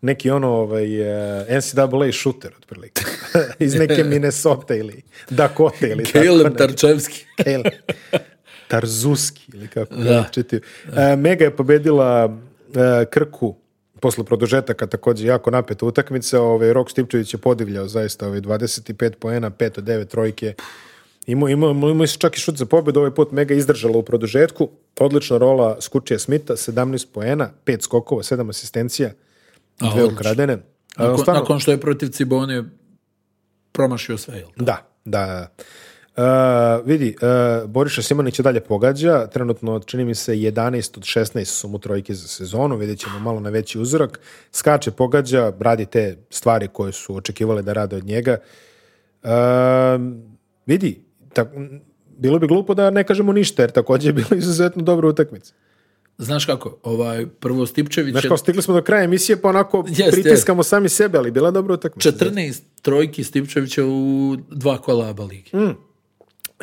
Speaker 3: neki ono ovaj, eh, NCAA šuter otprilike. Iz neke Minnesota ili Dakota ili tako
Speaker 1: Kalem
Speaker 3: nešto.
Speaker 1: Tarčevski.
Speaker 3: Kale. Tarzuski ili kako
Speaker 1: Da.
Speaker 3: da. čitio. E, Mega je pobedila e, Krku posle produžetaka takođe jako napeta utakmica. Ovaj, Rok Stipčević je podivljao zaista ovaj, 25 poena, 5 od 9 trojke. Imao ima, ima, ima čak i šut za pobedu, ovaj put Mega je izdržala u produžetku. Odlična rola Skučija Smita, 17 poena, 5 skokova, 7 asistencija.
Speaker 1: A,
Speaker 3: dve
Speaker 1: odlično.
Speaker 3: ukradene. A,
Speaker 1: Nakon,
Speaker 3: stvarno-
Speaker 1: nakon što je protiv Cibone promašio sve, jel?
Speaker 3: Da, da. da. E, vidi, e, Boriša Simonić je dalje pogađa, trenutno čini mi se 11 od 16 su mu trojke za sezonu, vidjet ćemo malo na veći uzorak, skače, pogađa, radi te stvari koje su očekivali da rade od njega. E, vidi, ta- bilo bi glupo da ne kažemo ništa, jer također je bilo izuzetno dobra utakmica.
Speaker 1: Znaš kako, ovaj, prvo Stipčević
Speaker 3: Znaš
Speaker 1: je
Speaker 3: kao, stigli smo do kraja emisije, pa onako
Speaker 1: Jest,
Speaker 3: pritiskamo sami sebe, ali bila je dobra utakmica.
Speaker 1: 14 trojki Stipčevića u dva kola ABA ligi.
Speaker 3: Mm.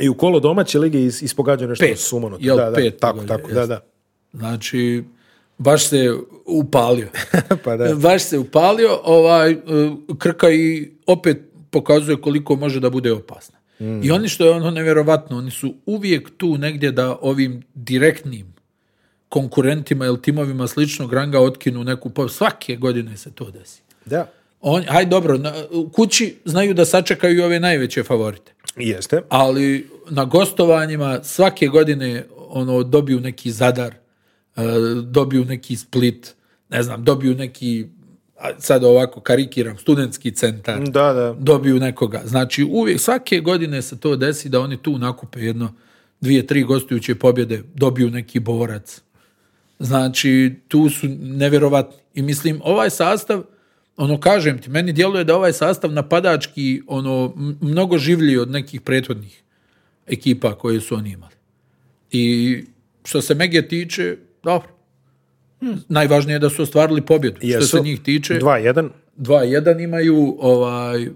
Speaker 3: I u kolo domaće lige is, ispogađa nešto
Speaker 1: Pet,
Speaker 3: sumanuto.
Speaker 1: jel,
Speaker 3: da, da,
Speaker 1: pet
Speaker 3: tako,
Speaker 1: pogađa,
Speaker 3: tako, da, da.
Speaker 1: Znači, baš se upalio.
Speaker 3: Pa da.
Speaker 1: Baš se upalio, ovaj, e, Krka i opet pokazuje koliko može da bude opasna.
Speaker 3: Mm.
Speaker 1: I oni što je ono nevjerovatno, oni su uvijek tu negdje da ovim direktnim konkurentima ili timovima sličnog ranga otkinu neku pa Svake godine se to desi.
Speaker 3: Da.
Speaker 1: On, aj dobro, na, u kući znaju da sačekaju i ove najveće favorite.
Speaker 3: Jeste.
Speaker 1: ali na gostovanjima svake godine ono dobiju neki zadar, e, dobiju neki split, ne znam, dobiju neki, a sad ovako karikiram, studentski centar,
Speaker 3: Da, da.
Speaker 1: dobiju nekoga. Znači uvijek, svake godine se to desi da oni tu nakupe jedno, dvije, tri gostujuće pobjede, dobiju neki borac. Znači, tu su nevjerovatni. I mislim, ovaj sastav, ono kažem ti, meni djeluje da ovaj sastav napadački ono m- mnogo življi od nekih prethodnih ekipa koje su oni imali. I što se Mege tiče, dobro. Najvažnije je da su ostvarili pobjedu. Što
Speaker 3: Jesu.
Speaker 1: se njih tiče,
Speaker 3: 2-1.
Speaker 1: 2-1 imaju, ovaj,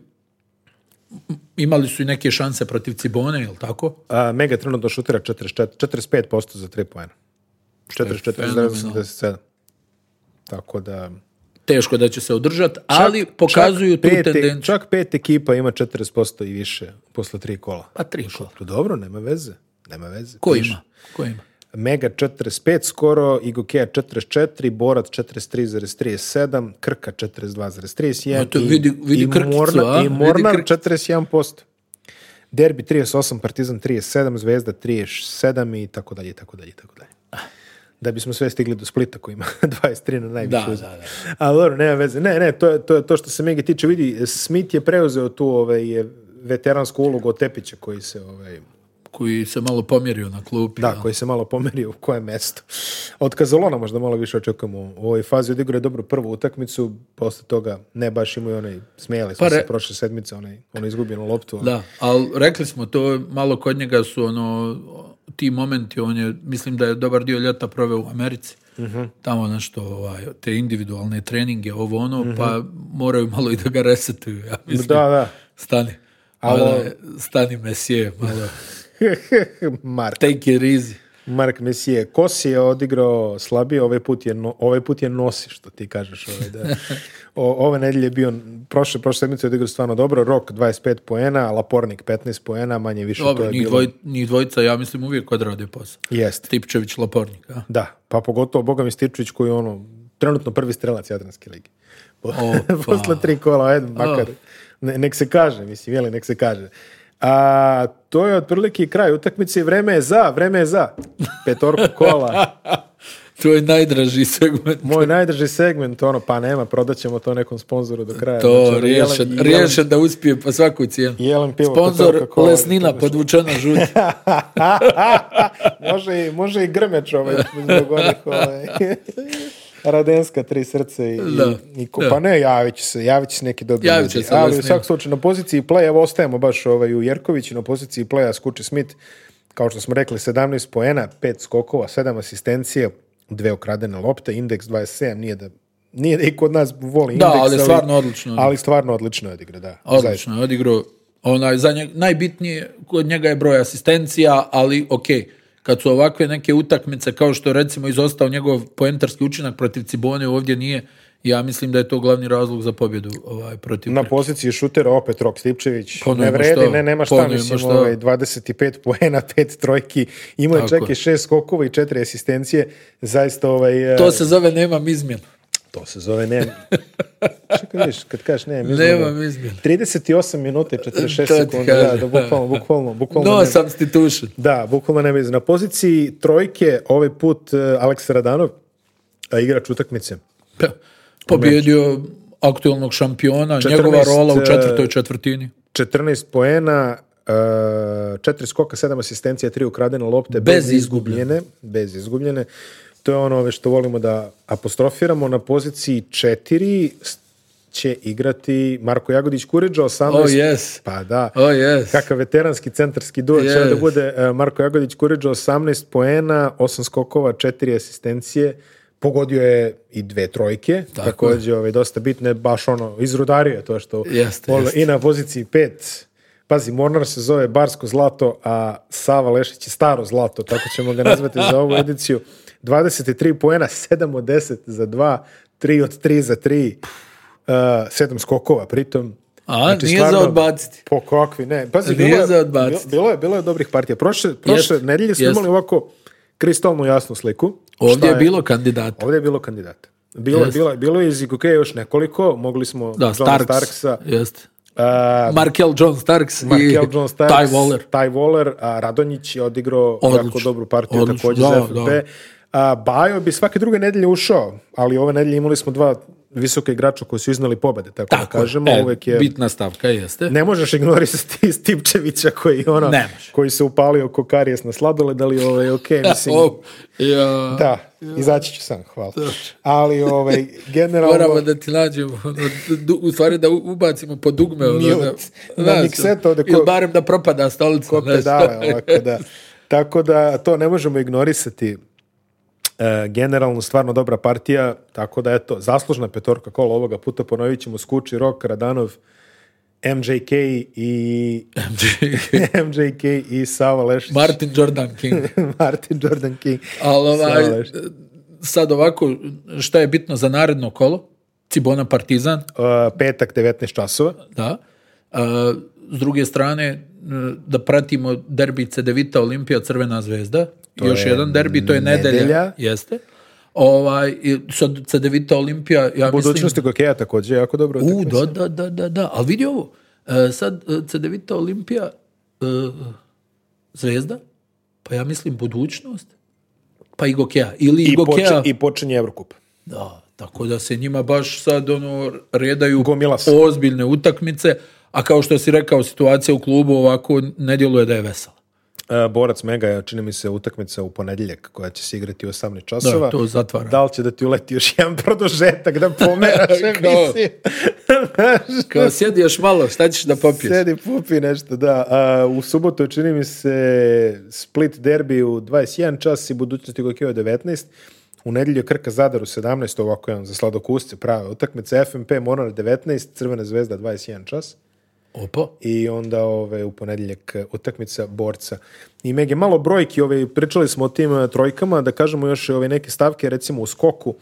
Speaker 1: imali su i neke šanse protiv Cibone, jel tako?
Speaker 3: A, Mega trenutno šutira 44, 45% za 3 poena. 44,87. Tako da...
Speaker 1: Teško da će se održati, ali pokazuju
Speaker 3: čak
Speaker 1: tu
Speaker 3: pet- e-
Speaker 1: tendenciju.
Speaker 3: Čak pet ekipa ima 40% i više posle tri kola.
Speaker 1: Pa tri kola.
Speaker 3: To dobro, nema veze. Nema veze.
Speaker 1: Ko
Speaker 3: Piše.
Speaker 1: ima? Ko ima?
Speaker 3: Mega 45 skoro, Igokea 44, Borac 43,37, Krka 42,31
Speaker 1: No to
Speaker 3: i-
Speaker 1: vidi- vidi
Speaker 3: i,
Speaker 1: Krkicu,
Speaker 3: Mornar-
Speaker 1: a?
Speaker 3: i
Speaker 1: Vidi
Speaker 3: Mornar
Speaker 1: Krk-
Speaker 3: 41%. Derbi 38, Partizan 37, Zvezda 37 i tako dalje, i tako dalje, i tako dalje. Da bismo sve stigli do Splita koji ima 23 na najviše.
Speaker 1: Da,
Speaker 3: uzme.
Speaker 1: da, da.
Speaker 3: Ali dobro, nema veze. Ne, ne, to je to, je to što se Megi tiče. Vidi, Smith je preuzeo tu ovaj, je, veteransku ulogu od Tepića koji se ovaj,
Speaker 1: Koji se malo pomjerio na klupi.
Speaker 3: da,
Speaker 1: jel?
Speaker 3: koji se malo pomerio u koje mesto. Od Kazalona možda malo više očekujemo u ovoj fazi. Odigrao je dobru prvu utakmicu, posle toga ne baš imaju onaj, smijeli smo
Speaker 1: Pa
Speaker 3: se
Speaker 1: re-
Speaker 3: prošle sedmice, onaj, onaj izgubljenu loptu.
Speaker 1: Da, ali rekli smo to, malo kod njega su ono, ti momenti, on je, mislim da je dobar dio ljeta proveo u Americi,
Speaker 3: Mhm.
Speaker 1: tamo nešto, ovaj, te individualne treninge, ovo ono, pa moraju malo i da ga resetuju, ja mislim.
Speaker 3: Mhm. Da, da.
Speaker 1: Stani.
Speaker 3: Alo.
Speaker 1: Malo, stani Mesije, malo.
Speaker 3: Mark,
Speaker 1: Take it easy.
Speaker 3: Mark Messier. Kosi je odigrao slabije, ovaj put je, no- ovaj put je nosi, što ti kažeš. Ovaj, da. O- ove nedelje je bio, prošle, prošle sedmice je odigrao stvarno dobro, Rok 25 poena, Lapornik 15 poena, manje više to
Speaker 1: Dobro,
Speaker 3: je
Speaker 1: njih,
Speaker 3: bilo.
Speaker 1: dvoj, njih dvojica, ja mislim, uvijek odrade posao.
Speaker 3: Jeste.
Speaker 1: Stipčević, Lapornik, a?
Speaker 3: Da, pa pogotovo Boga Mističević koji je ono, trenutno prvi strelac Jadranske lige. Po-
Speaker 1: Opa.
Speaker 3: Posle tri kola, ajde, makar. Ne, nek se kaže, mislim, jeli, nek se kaže. A to je otprilike i kraj utakmice i vreme je za, vreme je za. Petorku kola,
Speaker 1: To je najdraži segment.
Speaker 3: moj najdrži segment, ono, pa nema, prodat ćemo to nekom sponzoru do kraja.
Speaker 1: To,
Speaker 3: Znači, ono, jelen-
Speaker 1: riješen,
Speaker 3: jelen-
Speaker 1: riješen da uspije po svaku cijenu.
Speaker 3: Jelen pivo,
Speaker 1: Sponzor
Speaker 3: Petorka kola,
Speaker 1: Lesnina,
Speaker 3: to-
Speaker 1: podvučena žuti.
Speaker 3: može, i, može i Grmeć ovaj, zbog onih ovaj. Radenska, tri srce i,
Speaker 1: Da,
Speaker 3: i ko-
Speaker 1: da.
Speaker 3: pa ne, javit će se, javit će se neki dobri
Speaker 1: Javit će
Speaker 3: ljudi.
Speaker 1: se,
Speaker 3: ali u
Speaker 1: Lesnina.
Speaker 3: svakom slučaju na poziciji play, evo ostajemo baš ovaj, u Jerkoviću, na poziciji playa Skuči Smith, kao što smo rekli, 17 poena, 5 skokova, 7 asistencije, dve ukradene lopte, indeks 27, nije da Nije da i kod nas voli
Speaker 1: Da,
Speaker 3: indeks,
Speaker 1: ali stvarno odlično.
Speaker 3: Ali stvarno odlično je odigra, da. zaista.
Speaker 1: Odlično je odigrao. Onaj, za njeg- najbitnije kod njega je broj asistencija, ali ok, kad su ovakve neke utakmice, kao što je recimo izostao njegov poentarski učinak protiv Cibone, ovdje nije, ja mislim da je to glavni razlog za pobjedu ovaj, protiv
Speaker 3: Na poziciji šutera opet Rok Stipčević.
Speaker 1: Pa nema
Speaker 3: ne vredi,
Speaker 1: šta.
Speaker 3: ne, nema
Speaker 1: Pa
Speaker 3: šta,
Speaker 1: nema
Speaker 3: mislim,
Speaker 1: šta.
Speaker 3: ovaj, 25 poena, 5 trojke, imao je
Speaker 1: Tako
Speaker 3: čak
Speaker 1: je.
Speaker 3: i 6 skokova i 4 asistencije, zaista ovaj... eh,
Speaker 1: To se zove nemam izmjenu.
Speaker 3: to se zove ne... Čekaj, vidiš, kad kažeš ne, mi
Speaker 1: Nemam izmjenu.
Speaker 3: 38 minuta i 46
Speaker 1: To ti
Speaker 3: sekundi, da,
Speaker 1: kažem.
Speaker 3: da, bukvalno, bukvalno, bukvalno.
Speaker 1: No
Speaker 3: nema-
Speaker 1: substitution.
Speaker 3: Da, bukvalno nema izgleda. Na e, poziciji trojke ovaj put eh, Aleks Radanov, a igrač utakmice.
Speaker 1: Pa, Pobjedio aktualnog šampiona,
Speaker 3: 14,
Speaker 1: njegova rola u
Speaker 3: e,
Speaker 1: četvrtoj četvrtini.
Speaker 3: 14 poena, e, 4 skoka, 7 asistencija, 3 ukradene lopte.
Speaker 1: Bez izgubljene.
Speaker 3: Bez izgubljene. To je ono što volimo da apostrofiramo. Na poziciji 4 će igrati Marko Jagodić Kuriđa, 18...
Speaker 1: Oh, yes.
Speaker 3: Pa da.
Speaker 1: Oh, yes.
Speaker 3: Kakav veteranski centarski duo će
Speaker 1: Yes.
Speaker 3: da bude e, Marko Jagodić Kuriđa, 18 poena, 8 skokova, 4 asistencije. Pogodio je i dve trojke,
Speaker 1: Tako je.
Speaker 3: također ovaj, dosta bitne, baš ono, izrudario je to što
Speaker 1: Jeste,
Speaker 3: Vole-
Speaker 1: jeste.
Speaker 3: I na poziciji pet, pazi, Mornar se zove Barsko zlato, a Sava Lešić je staro zlato, tako ćemo ga nazvati za ovu ediciju. 23 poena, 7 od 10 za 2, 3 od 3 za 3, uh, 7 skokova pritom. Znači,
Speaker 1: A, nije za odbaciti.
Speaker 3: Po kakvi, ne. Pazi,
Speaker 1: Nije
Speaker 3: bilo je,
Speaker 1: za odbaciti.
Speaker 3: bilo- Bilo je, bilo je dobrih partija. Prošle, prošle
Speaker 1: Jeste,
Speaker 3: nedelje smo
Speaker 1: jeste.
Speaker 3: imali ovako kristalno jasnu sliku. Šta
Speaker 1: Ovdje je bilo kandidata.
Speaker 3: Ovdje je bilo kandidata. Bilo, je
Speaker 1: Jeste.
Speaker 3: bilo, je- bilo je iz IKK još nekoliko, mogli smo
Speaker 1: Da,
Speaker 3: Johna
Speaker 1: Starks.
Speaker 3: Starksa,
Speaker 1: Jeste.
Speaker 3: a,
Speaker 1: Markel John Starks
Speaker 3: Markel
Speaker 1: i
Speaker 3: John Starks,
Speaker 1: Ty Waller.
Speaker 3: Ty Waller, a Radonjić je odigrao
Speaker 1: Odlično.
Speaker 3: jako dobru partiju
Speaker 1: Odlično,
Speaker 3: također
Speaker 1: da,
Speaker 3: za FFP.
Speaker 1: da.
Speaker 3: A, Bajo bi svake druge nedelje ušao, ali ove nedelje imali smo dva visoka igrača koji su iznali pobede, tako, da
Speaker 1: Tako,
Speaker 3: kažemo,
Speaker 1: e,
Speaker 3: uvek je...
Speaker 1: bitna stavka jeste.
Speaker 3: Ne možeš ignorisati Stipčevića koji ono,
Speaker 1: Ne može.
Speaker 3: koji se upalio ko karijes na sladoled, ali ovaj, ok, mislim,
Speaker 1: O, E, ja,
Speaker 3: da, izaći ću sam, hvala. Ali, ovaj, generalno...
Speaker 1: Moramo da ti nađemo, ono, du- u stvari da u- ubacimo po dugme. ono,
Speaker 3: Mute.
Speaker 1: da-
Speaker 3: Na
Speaker 1: znaš, ono,
Speaker 3: miksetu ovdje ko-
Speaker 1: Ili barem da propada stolica.
Speaker 3: ko
Speaker 1: znaš.
Speaker 3: pedale, ovako da. Tako da to ne možemo ignorisati. E, generalno stvarno dobra partija, tako da eto, zaslužna petorka kola ovoga puta, ponovit ćemo Skuči, Rok, Radanov, MJK i MJK i Sava Lešić,
Speaker 1: Martin Jordan King.
Speaker 3: Martin Jordan King.
Speaker 1: Ali ovaj,
Speaker 3: Sava Lešić.
Speaker 1: sad ovako, šta je bitno za naredno kolo? Cibona Partizan,
Speaker 3: E, petak 19 časova.
Speaker 1: da. A, s druge strane, m, da pratimo derbi Cedevita Olimpija Crvena zvezda. Još
Speaker 3: je
Speaker 1: jedan derbi, to je nedelja.
Speaker 3: nedelja.
Speaker 1: Jeste. Ovaj, i sad Cedevita Olimpija, ja mislim...
Speaker 3: Budućnosti Gokeja također, jako dobro.
Speaker 1: U,
Speaker 3: utakmica.
Speaker 1: da, da, da, da, da. Ali vidi ovo. E, sad, e, Cedevita Olimpija, e, zvezda, pa ja mislim budućnost, pa i Gokea. Ili
Speaker 3: I,
Speaker 1: I
Speaker 3: poče-
Speaker 1: Gokea.
Speaker 3: I počinje Evrokup.
Speaker 1: Da, tako da se njima baš sad ono redaju
Speaker 3: Gomila se.
Speaker 1: ozbiljne utakmice, a kao što si rekao, situacija u klubu ovako ne djeluje da je vesela.
Speaker 3: E, Borac Mega je, čini mi se, utakmica u ponedjeljak koja će se igrati u 18 časova.
Speaker 1: Da, to zatvara.
Speaker 3: Da li će da ti uleti još jedan produžetak da pomeraš
Speaker 1: Kao-
Speaker 3: emisiju?
Speaker 1: Kao sjedi još malo, šta ćeš da popiješ?
Speaker 3: Sedi, pupi nešto, da. A, u subotu je, čini mi se Split derbi u 21 čas i budućnosti Gokio u 19. U nedjelju je Krka Zadar u 17, ovako jedan za sladokusce prave utakmice. FMP Monar 19, Crvena zvezda 21 čas.
Speaker 1: Opa,
Speaker 3: i onda ove, u ponedjeljak e, utakmica borca. I Meg je malo brojki, ove, pričali smo o tim e, trojkama, da kažemo još e, ove neke stavke, recimo u skoku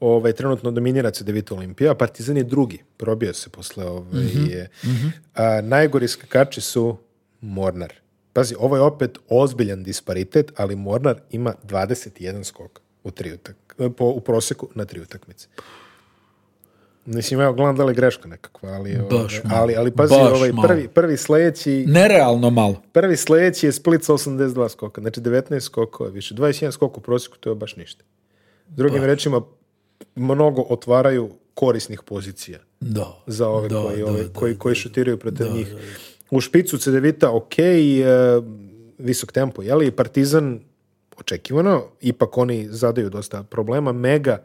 Speaker 3: ove, trenutno dominira CDVita Olimpija, a Partizan je drugi, probio se posle ove,
Speaker 1: Mhm,
Speaker 3: je. a, najgori skakači su Mornar. Pazi, ovo je opet ozbiljan disparitet, ali Mornar ima 21 skok u, tri utak, e, po, u proseku na tri utakmice. Mislim, evo, gledam da li je greška nekakva, ali, ove,
Speaker 1: Baš malo.
Speaker 3: ali, ali pazi,
Speaker 1: Baš
Speaker 3: ovaj,
Speaker 1: malo.
Speaker 3: prvi, prvi sledeći
Speaker 1: nerealno malo.
Speaker 3: prvi sledeći je Split sa 82 skoka. Znači 19 skokova više. 21 skok u prosjeku, to je baš ništa. Drugim rečima, mnogo otvaraju korisnih pozicija
Speaker 1: Da.
Speaker 3: za ove
Speaker 1: Da,
Speaker 3: koji,
Speaker 1: da,
Speaker 3: ove,
Speaker 1: da,
Speaker 3: koji, koji šutiraju protiv njih. U špicu Cedevita ok, e, visok tempo, jeli? Partizan očekivano, ipak oni zadaju dosta problema. Mega,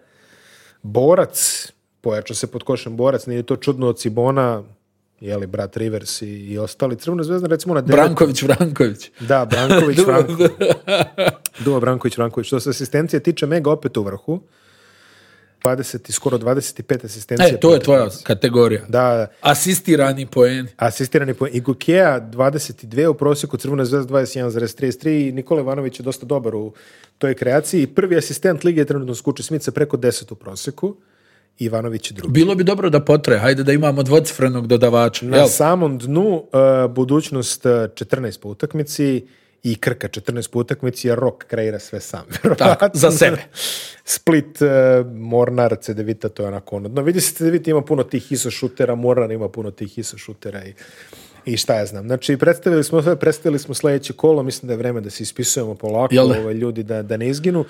Speaker 3: Borac, pojačao se pod košem Borac, nije to čudno od Cibona, jeli, brat Rivers i, i ostali. Crvena zvezda, recimo na devet-
Speaker 1: Branković, Branković. E,
Speaker 3: da, Branković,
Speaker 1: Duo-
Speaker 3: Branković. Duo Branković, Branković. Što se asistencije tiče, Mega opet u vrhu. 20, i skoro 25 asistencija.
Speaker 1: E, to je
Speaker 3: protiv
Speaker 1: tvoja
Speaker 3: nas.
Speaker 1: kategorija.
Speaker 3: Da, da.
Speaker 1: Asistirani poeni.
Speaker 3: asistirani po Igukea 22 u prosjeku, Crvena zvezda 21,33 i Nikola Ivanović je dosta dobar u toj kreaciji. Prvi asistent lige je trenutno skuči Smica preko 10 u prosjeku. Ivanović je drugi.
Speaker 1: Bilo bi dobro da potre, hajde da imamo dvocifrenog dodavača.
Speaker 3: Na
Speaker 1: jel?
Speaker 3: samom dnu e, budućnost e, 14 po utakmici i Krka 14 po utakmici, jer Rok kreira sve sam. verovatno.
Speaker 1: za sebe.
Speaker 3: Split, e, Mornar, Cedevita, to je onako ono. No, vidi se, Cedevita ima puno tih iso šutera, Mornar ima puno tih iso šutera i, i šta ja znam. Znači, predstavili smo sve, predstavili smo sledeće kolo, mislim da je vreme da se ispisujemo polako,
Speaker 1: Jel da?
Speaker 3: ovaj, ljudi da, da ne izginu.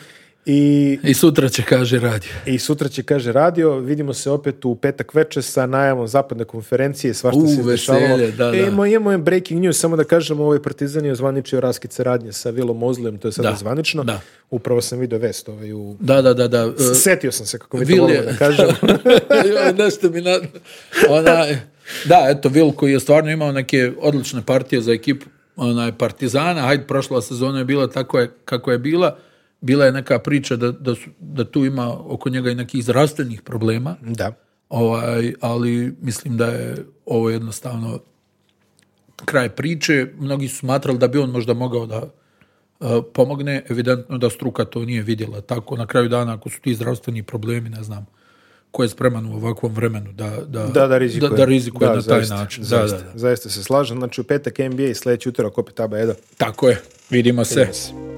Speaker 3: I,
Speaker 1: I sutra će, kaže, radio.
Speaker 3: I sutra će, kaže, radio, vidimo se opet u petak veče sa najavom zapadne konferencije, svašta
Speaker 1: U,
Speaker 3: se izdešavalo.
Speaker 1: veselje, da, da.
Speaker 3: E, imamo, imamo jedan breaking news, samo da kažemo, ovaj Partizan je ozvaničio raskid saradnje sa Vilom Ozlijem, to je sada
Speaker 1: Da,
Speaker 3: zvanično.
Speaker 1: da.
Speaker 3: Upravo sam vidio vest ovaj u...
Speaker 1: Da, da, da, da. e,
Speaker 3: Setio sam se kako mi to
Speaker 1: Vil
Speaker 3: volimo
Speaker 1: je-
Speaker 3: da kažem.
Speaker 1: Joj, nešto mi na... Ona, da, eto, Vil koji je stvarno imao neke odlične partije za ekipu onaj, Partizana. Hajde, prošla sezona je bila tako je, kako je bila. Bila je neka priča da, da, su, da tu ima oko njega i nekih zdravstvenih problema.
Speaker 3: da.
Speaker 1: Ovaj, ali mislim da je ovo jednostavno kraj priče. Mnogi su smatrali da bi on možda mogao da e, pomogne. Evidentno da struka to nije vidjela. Tako, na kraju dana, ako su ti zdravstveni problemi, ne znam, ko je spreman u ovakvom vremenu da, da,
Speaker 3: Da, da rizikuje.
Speaker 1: da, da rizikuje na taj
Speaker 3: zaista,
Speaker 1: način. Da,
Speaker 3: Zaista,
Speaker 1: da, E. da.
Speaker 3: zaista se slažem. Znači, u petak NBA i sljedeći utorak opet Aba Eda.
Speaker 1: Tako je. Vidimo se.
Speaker 3: Yes.